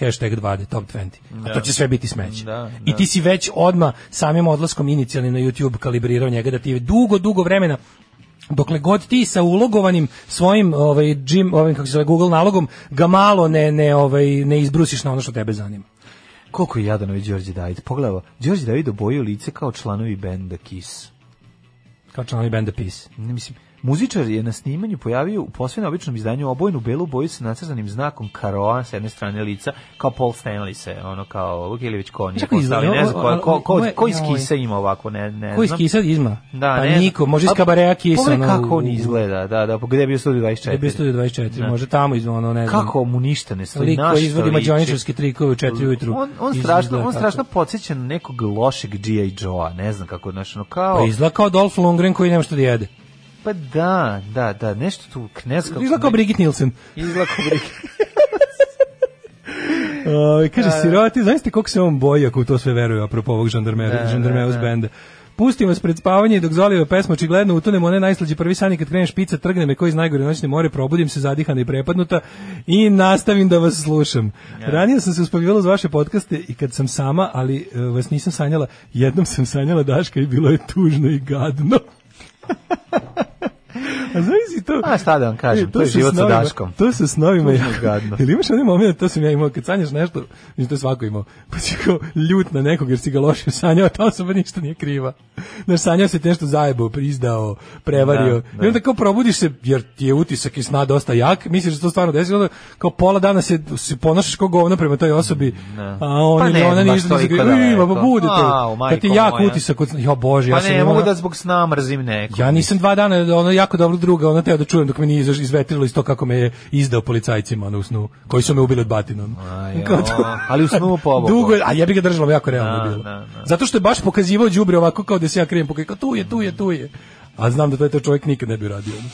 hashtag 20 top 20. A to će sve biti smeće.
Da,
I ti si već odma samim odlaskom inicijalnim na YouTube kalibrirao njega da ti je dugo dugo vremena dokle god ti sa ulogovanim svojim ovaj Jim ovim kako se zove Google nalogom ga malo ne ne ovaj ne izbrusiš na ono što tebe zanima.
Koliko je jadan ovaj Đorđe David? Pogledaj, ovo. Đorđe David obojio lice kao članovi benda Kiss.
Kao članovi benda Peace.
Ne mislim, muzičar je na snimanju pojavio u posve neobičnom izdanju obojenu belu boju sa nacrtanim znakom karoa s jedne strane lica, kao Paul Stanley se, ono kao, ili već ko nije
Čekaj,
Paul Stanley, ne
izdanju,
znam,
ovo-
ko, ko, ko,
ovo je-
ko iz
joj.
Kisa ima ovako, ne, ne znam.
Ko iz Kisa izma?
Da,
pa
ne znam.
niko, može iz
A,
Kabareja Kisa.
Pogledaj
ono,
kako
u-
on izgleda, da, da, gde je bio Studio 24.
Da je bio studio 24, može tamo iz ono, ne znam.
Kako mu ništa ne stoji,
Lik
na
koji
što
izvodi
liči.
mađioničarske trikove u 4 ujutru.
On, on
Izgleda
strašno,
tako.
on strašno podsjeća na nekog lošeg G.I. Joe-a, ne znam kako, znaš, ono kao...
Pa izgleda kao Dolph Lundgren koji nema što da jede.
Pa da, da, da, nešto tu knezka...
Izgleda kao Brigitte Nielsen.
Izlako brik.
Ovaj
Da,
kaže siroti, znaš koliko se on boji ako u to sve veruje apropo ovog žandarmera,
Da,
žandarmeus
da, da.
benda. Pustim vas pred spavanje i dok Zolijeva pesma očigledno utonem one najslađi prvi san i kad krene špica trgne me koji iz najgore noćne more probudim se zadihana i prepadnuta i nastavim da vas slušam. Ranije sam se uspavljivala uz vaše podcaste i kad sam sama, ali e, vas nisam sanjala, jednom sam sanjala Daška i bilo je tužno i gadno. A znaš si to?
A šta da vam kažem,
E,
to je
su
život sa
snovima-
Daškom.
To sa snovima.
Tužno i gadno.
Jel imaš onaj moment, to sam ja imao, kad sanjaš nešto, mislim to je svako imao, pa si kao ljut na nekog jer si ga loše sanjao, a ta osoba ništa nije kriva. Znaš, sanjao si te nešto zajebao, prizdao, prevario.
Da, da.
I onda kao probudiš se, jer ti je utisak i sna dosta jak, misliš da se to stvarno desilo, onda kao pola dana se, se ponašaš kao govno prema toj osobi,
Da.
a on
Pa
ili
ne,
ona
baš
ništa
toliko
nije kriva. Ima,
daleko.
pa bude
Au,
to. Kad pa ti
majko
jak
moja.
utisak, od sna- jo bože,
Pa
ja sam
ne
imao
mogu
ono-
da zbog sna mrzim nekog.
ja nisam dva dana, ono jako dobro druga, ono teo da čujem dok me nije izaš- izvetrilo iz to kako me je izdao policajcima ono, u snu, koji su me ubili od batina. ono.
Aj,
Kao
o,
to.
ali u snu pobogu.
Dugo, je- a ja bih ga držalo jako realno
Da,
bilo.
da, da.
Zato što je baš pokazivao đubre ovako kao da se ja krijem, pokaj, kao tu je, tu je, tu je. A znam da taj to čovjek nikad ne bi radio. ono.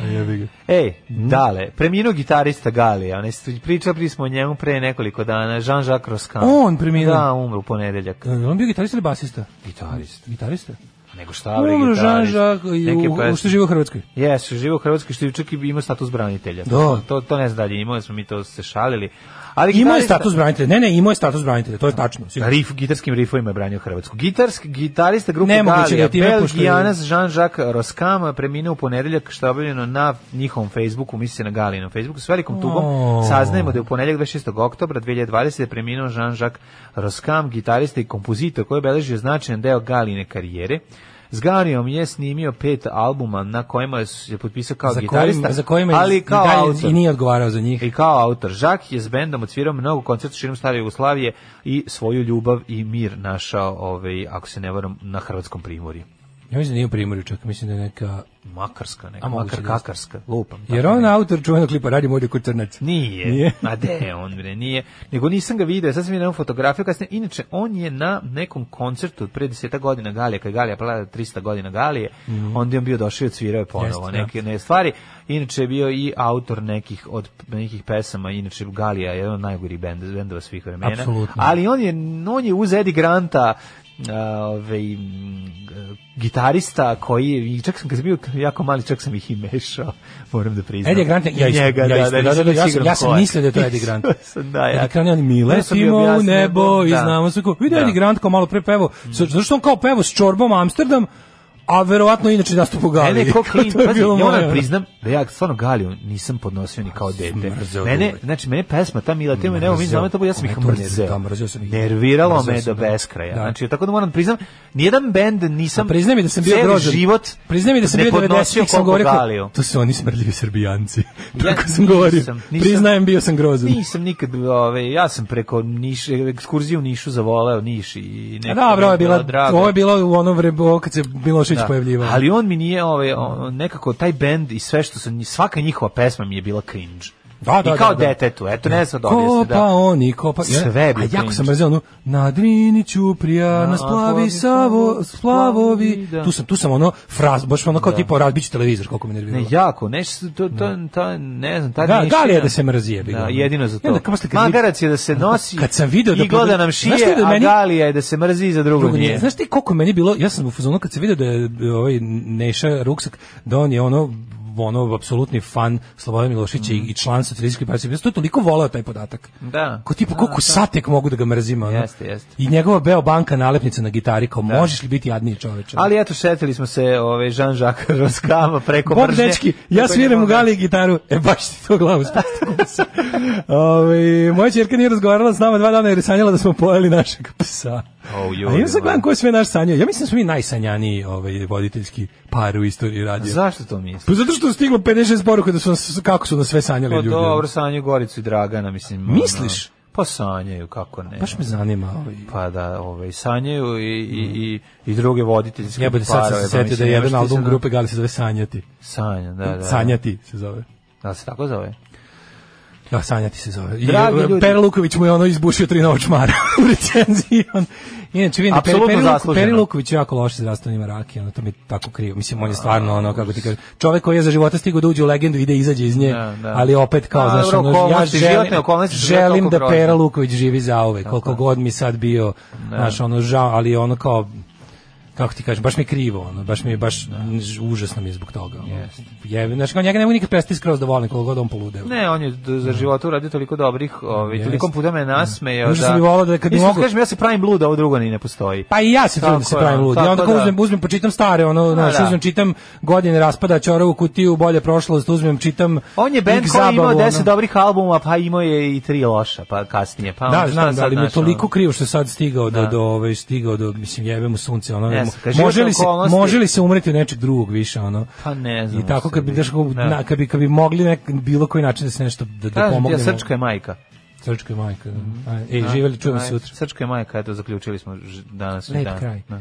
A jebi ga.
Ej, E, dale, preminuo gitarista Galija, onaj st- pričali smo o njemu pre nekoliko dana, Jean-Jacques Roscan.
On preminuo?
Da, umro u ponedeljak.
E, On bio gitarista ili basista?
Gitarist.
Gitarista?
Nego šta bre,
Dobro,
gitarist.
Jean-Jacques, i
Neke
u- u-
pesme. Da,
što živi u Hrvatskoj.
Jes, živo u Hrvatskoj što je čak i imao status branitelja.
Da.
To, to ne znam dalje, imali smo mi to da se šalili. Ali
Imao je
gitarista- Da,
status branitelja. Ne, ne, imao je status branitelja, to je tačno. sigurno.
Rif, gitarskim rifovima je branio Hrvatsku. Gitarski, gitarista grupe
Nemoguće da
Galija,
je time, pošto je-
Belgijanac Jean-Jacques Roskam preminuo u ponedeljak, što je objavljeno na njihovom Facebooku, misli se na Galijinom Facebooku, s velikom tugom
O.
saznajemo da je u ponedeljak 26. oktobra 2020. preminuo Jean-Jacques Roskam, gitarista i kompozitor koji je beležio značajan deo Galijine karijere. S Galijom je snimio pet albuma na kojima je potpisao kao
za
gitarista,
kojim, za kojima je
ali
i
kao
dalje
autor.
i nije odgovarao za njih.
I kao autor, Žak je s bendom odsvirao mnogo koncerta širom stare Jugoslavije i svoju ljubav i mir našao, ovaj, ako se ne varam, na Hrvatskom primorju.
Ja mislim da nije u Primorju čak, mislim da je neka...
Makarska, neka,
A moguće
makar
da jeste.
kakarska, lupam.
Jer
tako
on
ne-
autor čuvenog klipa radi moj kod crnac.
Nije,
Nije.
a de je on bre, nije. Nego nisam ga video, sad sam vidio jednu fotografiju kasnije. Inače, on je na nekom koncertu od pre deseta godina Galije, kad je Galija plavila 300 godina Galije, onda je on bio došao i odsvirao je ponovo
Mhm. Jeste, da.
neke ne stvari. Inače je bio i autor nekih od nekih pesama, inače Galija je jedan od najgorih bend, bendova svih vremena.
Apsolutno.
Ali on je, on je uz Eddie Granta, a, ovaj, m, gitarista koji je, i čak sam kad sam bio jako mali, čak sam ih i mešao, moram da priznam.
Eddie Grant, ja isto,
Njega,
ja
da, da,
isto, da, da,
nisam
da,
bio
ja sam-
siguran
ja sam
ko je.
mislio da je to Eddie Grant.
Mislio sam, da, ja.
Eddie Grant, on mi
Onda sam
letimo
bio
u
objasnio,
nebo i
da.
znamo se ko. Vidio
Da. Mm.
Eddie Grant kao malo pre pevo. Zato što on kao pevo s čorbom Amsterdam, a verovatno inače nastup u
Ne,
Galiji.
ne, ko
Kao
klin,
to je
pazi, ja
bilo moje,
moram
ono.
priznam da ja stvarno Galiju nisam podnosio ni kao dete.
Mrzeo
Mene,
ljubav.
znači, mene pesma, ta Mila Tema, nemo mi
Mrzeo.
znamo to, ja sam
Ona
ih
je to mrzeo,
mrzeo.
da, mrzeo sam ih.
Nerviralo
Mrzeo
me
sam,
do
da.
beskraja.
Da.
Znači, tako da moram priznam, nijedan bend nisam
Priznaj mi da sam bio
cijeli
grozan.
život
Priznaj mi da sam
ne
bio
podnosio
90-ih, sam
koliko
govorio. kao,
Galiju.
To su oni smrdljivi srbijanci. Tako sam
nisam,
govorio.
nisam.
Priznajem, bio sam grozan.
Nisam nikad, ove, ja sam preko Niš, ekskurziju u Nišu zavoleo Niš i
A
nekako
Dobro, ovo
mi
Da, je bila,
drago.
ovo je bilo u ono vreme ovo kad se Milošević
Da.
pojavljivao.
Ali on mi nije ovaj on- nekako taj bend i sve što su nji- svaka njihova pesma mi je bila cringe.
Da, da,
I kao
da, pa da.
detetu, eto ne sad
Kopa
ovdje se da.
oni, kopa... Ja,
Sve je bio
A jako
cringe.
sam mrzeo onu, na Drini Ćuprija, nas plavi
plavi
savo,
Savo,
splavovi.
da.
Tu sam, tu sam ono, fraz, baš ono kao tipa, razbit ću televizor, koliko me nerviralo.
Ne, jako, nešto, to, to, to, ne znam, ta
Da,
dnešina-
Galija da se mrzi, jebi ga.
Da, jedino za
I onda
to.
kao posle kad vidim-
Magarac je da se nosi
Kad sam video da
i gleda nam
Znaš šta
šije,
da
a
meni-
Galija je da se mrzi i za drugo,
Drugo nije.
nije.
Znaš ti koliko je meni bilo, ja sam u fazonu kad se vidio da je ovaj Neša Ruksak, da on je ono ono apsolutni fan Slobodana
Mm.
Miloševića i- i član socijalističke partije. Ja sam to toliko voleo taj podatak.
Da.
Ko tipa koliko satek mogu da ga mrzim, ono.
Jeste, jeste. Da.
I njegova Beo banka nalepnica na gitari kao možeš li biti jadniji čoveče.
Ali eto, šetili smo se ove, Jean-Jacques Roskama preko
Bog
mržnje.
dečki, ja
Tako
sviram u
njegove-
gali gitaru. E baš ti to glavu spustilo. Ovaj moja ćerka nije razgovarala s nama dva dana jer je sanjala da smo pojeli našeg psa.
Au, Oh, joj,
A ja sad gledam
dobro.
ko je sve naš sanjao. Ja mislim da smo mi najsanjaniji ovaj voditeljski par u istoriji radija.
Zašto to misliš?
Pa zato što je stiglo 56 poruka da su nas, kako su nas sve sanjali
Pa
ljudi.
dobro, sanjaju Goricu i Dragana, mislim. ono.
Misliš?
Pa sanjaju, kako ne.
Baš me zanima ovaj.
Pa da, ovaj, sanjaju i, i, i, i druge voditeljske pa
Jebote, sad sam se setio da je jedan album grupe Gali se zove Sanjati.
Sanja, da, da.
Sanjati se zove.
Da se tako zove?
Da, sanjati se zove. I, e,
Dragi ljudi.
Pera Luković mu je ono izbušio tri nočmara u recenziji. On, inače, vidim, da Peri,
Apsolutno
Peri, Luko,
zasluženo.
Peri Luković je jako loše zdravstveno ima rak i ono, to mi je tako krivo. Mislim, on je stvarno, ono, kako ti kažem, čovek koji je za života stigao da uđe u legendu ide i izađe iz nje,
Da, da.
ali opet kao,
A,
znaš,
dobro,
ono, ja
okolnosti, životne
želim,
okolnosti su bile
želim
toliko
da
Da, grozne.
Pera Luković živi zauvek, koliko god mi sad bio,
Da.
znaš, ono, žao, ali ono kao, kako ti kažem, baš mi je krivo, ono, baš mi je, baš,
Da.
ž- užasno mi je zbog toga. Ono. Jebe, znaš, kao njega ne mogu nikad prestati skroz da volim, koliko god on poludeo.
Ne, on je d-
Da.
za života uradio toliko dobrih, ovaj,
Jest.
toliko puta me nasmejao.
Da. Možda sam i volao da kad bi
Mislim,
mogu-
kažem, ja se pravim lud, a ovo drugo ni ne postoji.
Pa i ja se trudim
Tako
da se
je,
pravim lud. Ja onda
tako
kao
da.
uzmem, uzmem, počitam stare, ono, znaš,
da.
uzmem, čitam godine raspada Ćorovu kutiju, bolje prošlost, uzmem, čitam
On je band
Ig
koji je imao
zabavu,
10
ono.
dobrih albuma, pa imao je i tri loša, pa kasnije. Pa onda
Da,
šta
znam, da,
sad,
ali mi je
znaš, ono?
toliko krivo što je sad stigao do,
Da.
do, ovaj, stigao do, mislim, jebe mu sunce, ono,
Ne
mo-
znam, kaže,
može, li
životne
se,
okolnosti-
može li se umreti od nečeg drugog više, ono,
Pa ne znam.
i tako kad bi, daš, kao-
Da.
na, kad bi, kad bi mogli nek, bilo koji način da se nešto, da, da
Kažem ti, ja,
pomognemo.
srčka Mhm. je majka.
Srčka je majka. da. Aj, Ej, živjeli, čujemo se
Aj,
sutra.
Srčka je majka, eto, zaključili smo ž- danas.
Lep
dan.
kraj.
Da.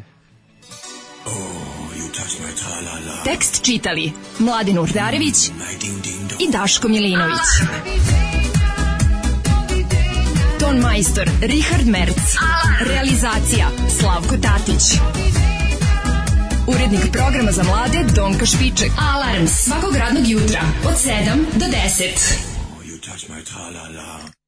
Tekst čitali Mladin Urdarević i Daško Milinović. Ton majstor Richard Merc. Realizacija Slavko Tatić. Urednik programa za mlade Donka Špiček. Alarms svakog radnog jutra od 7 do 10.
You touch my tra-la-la.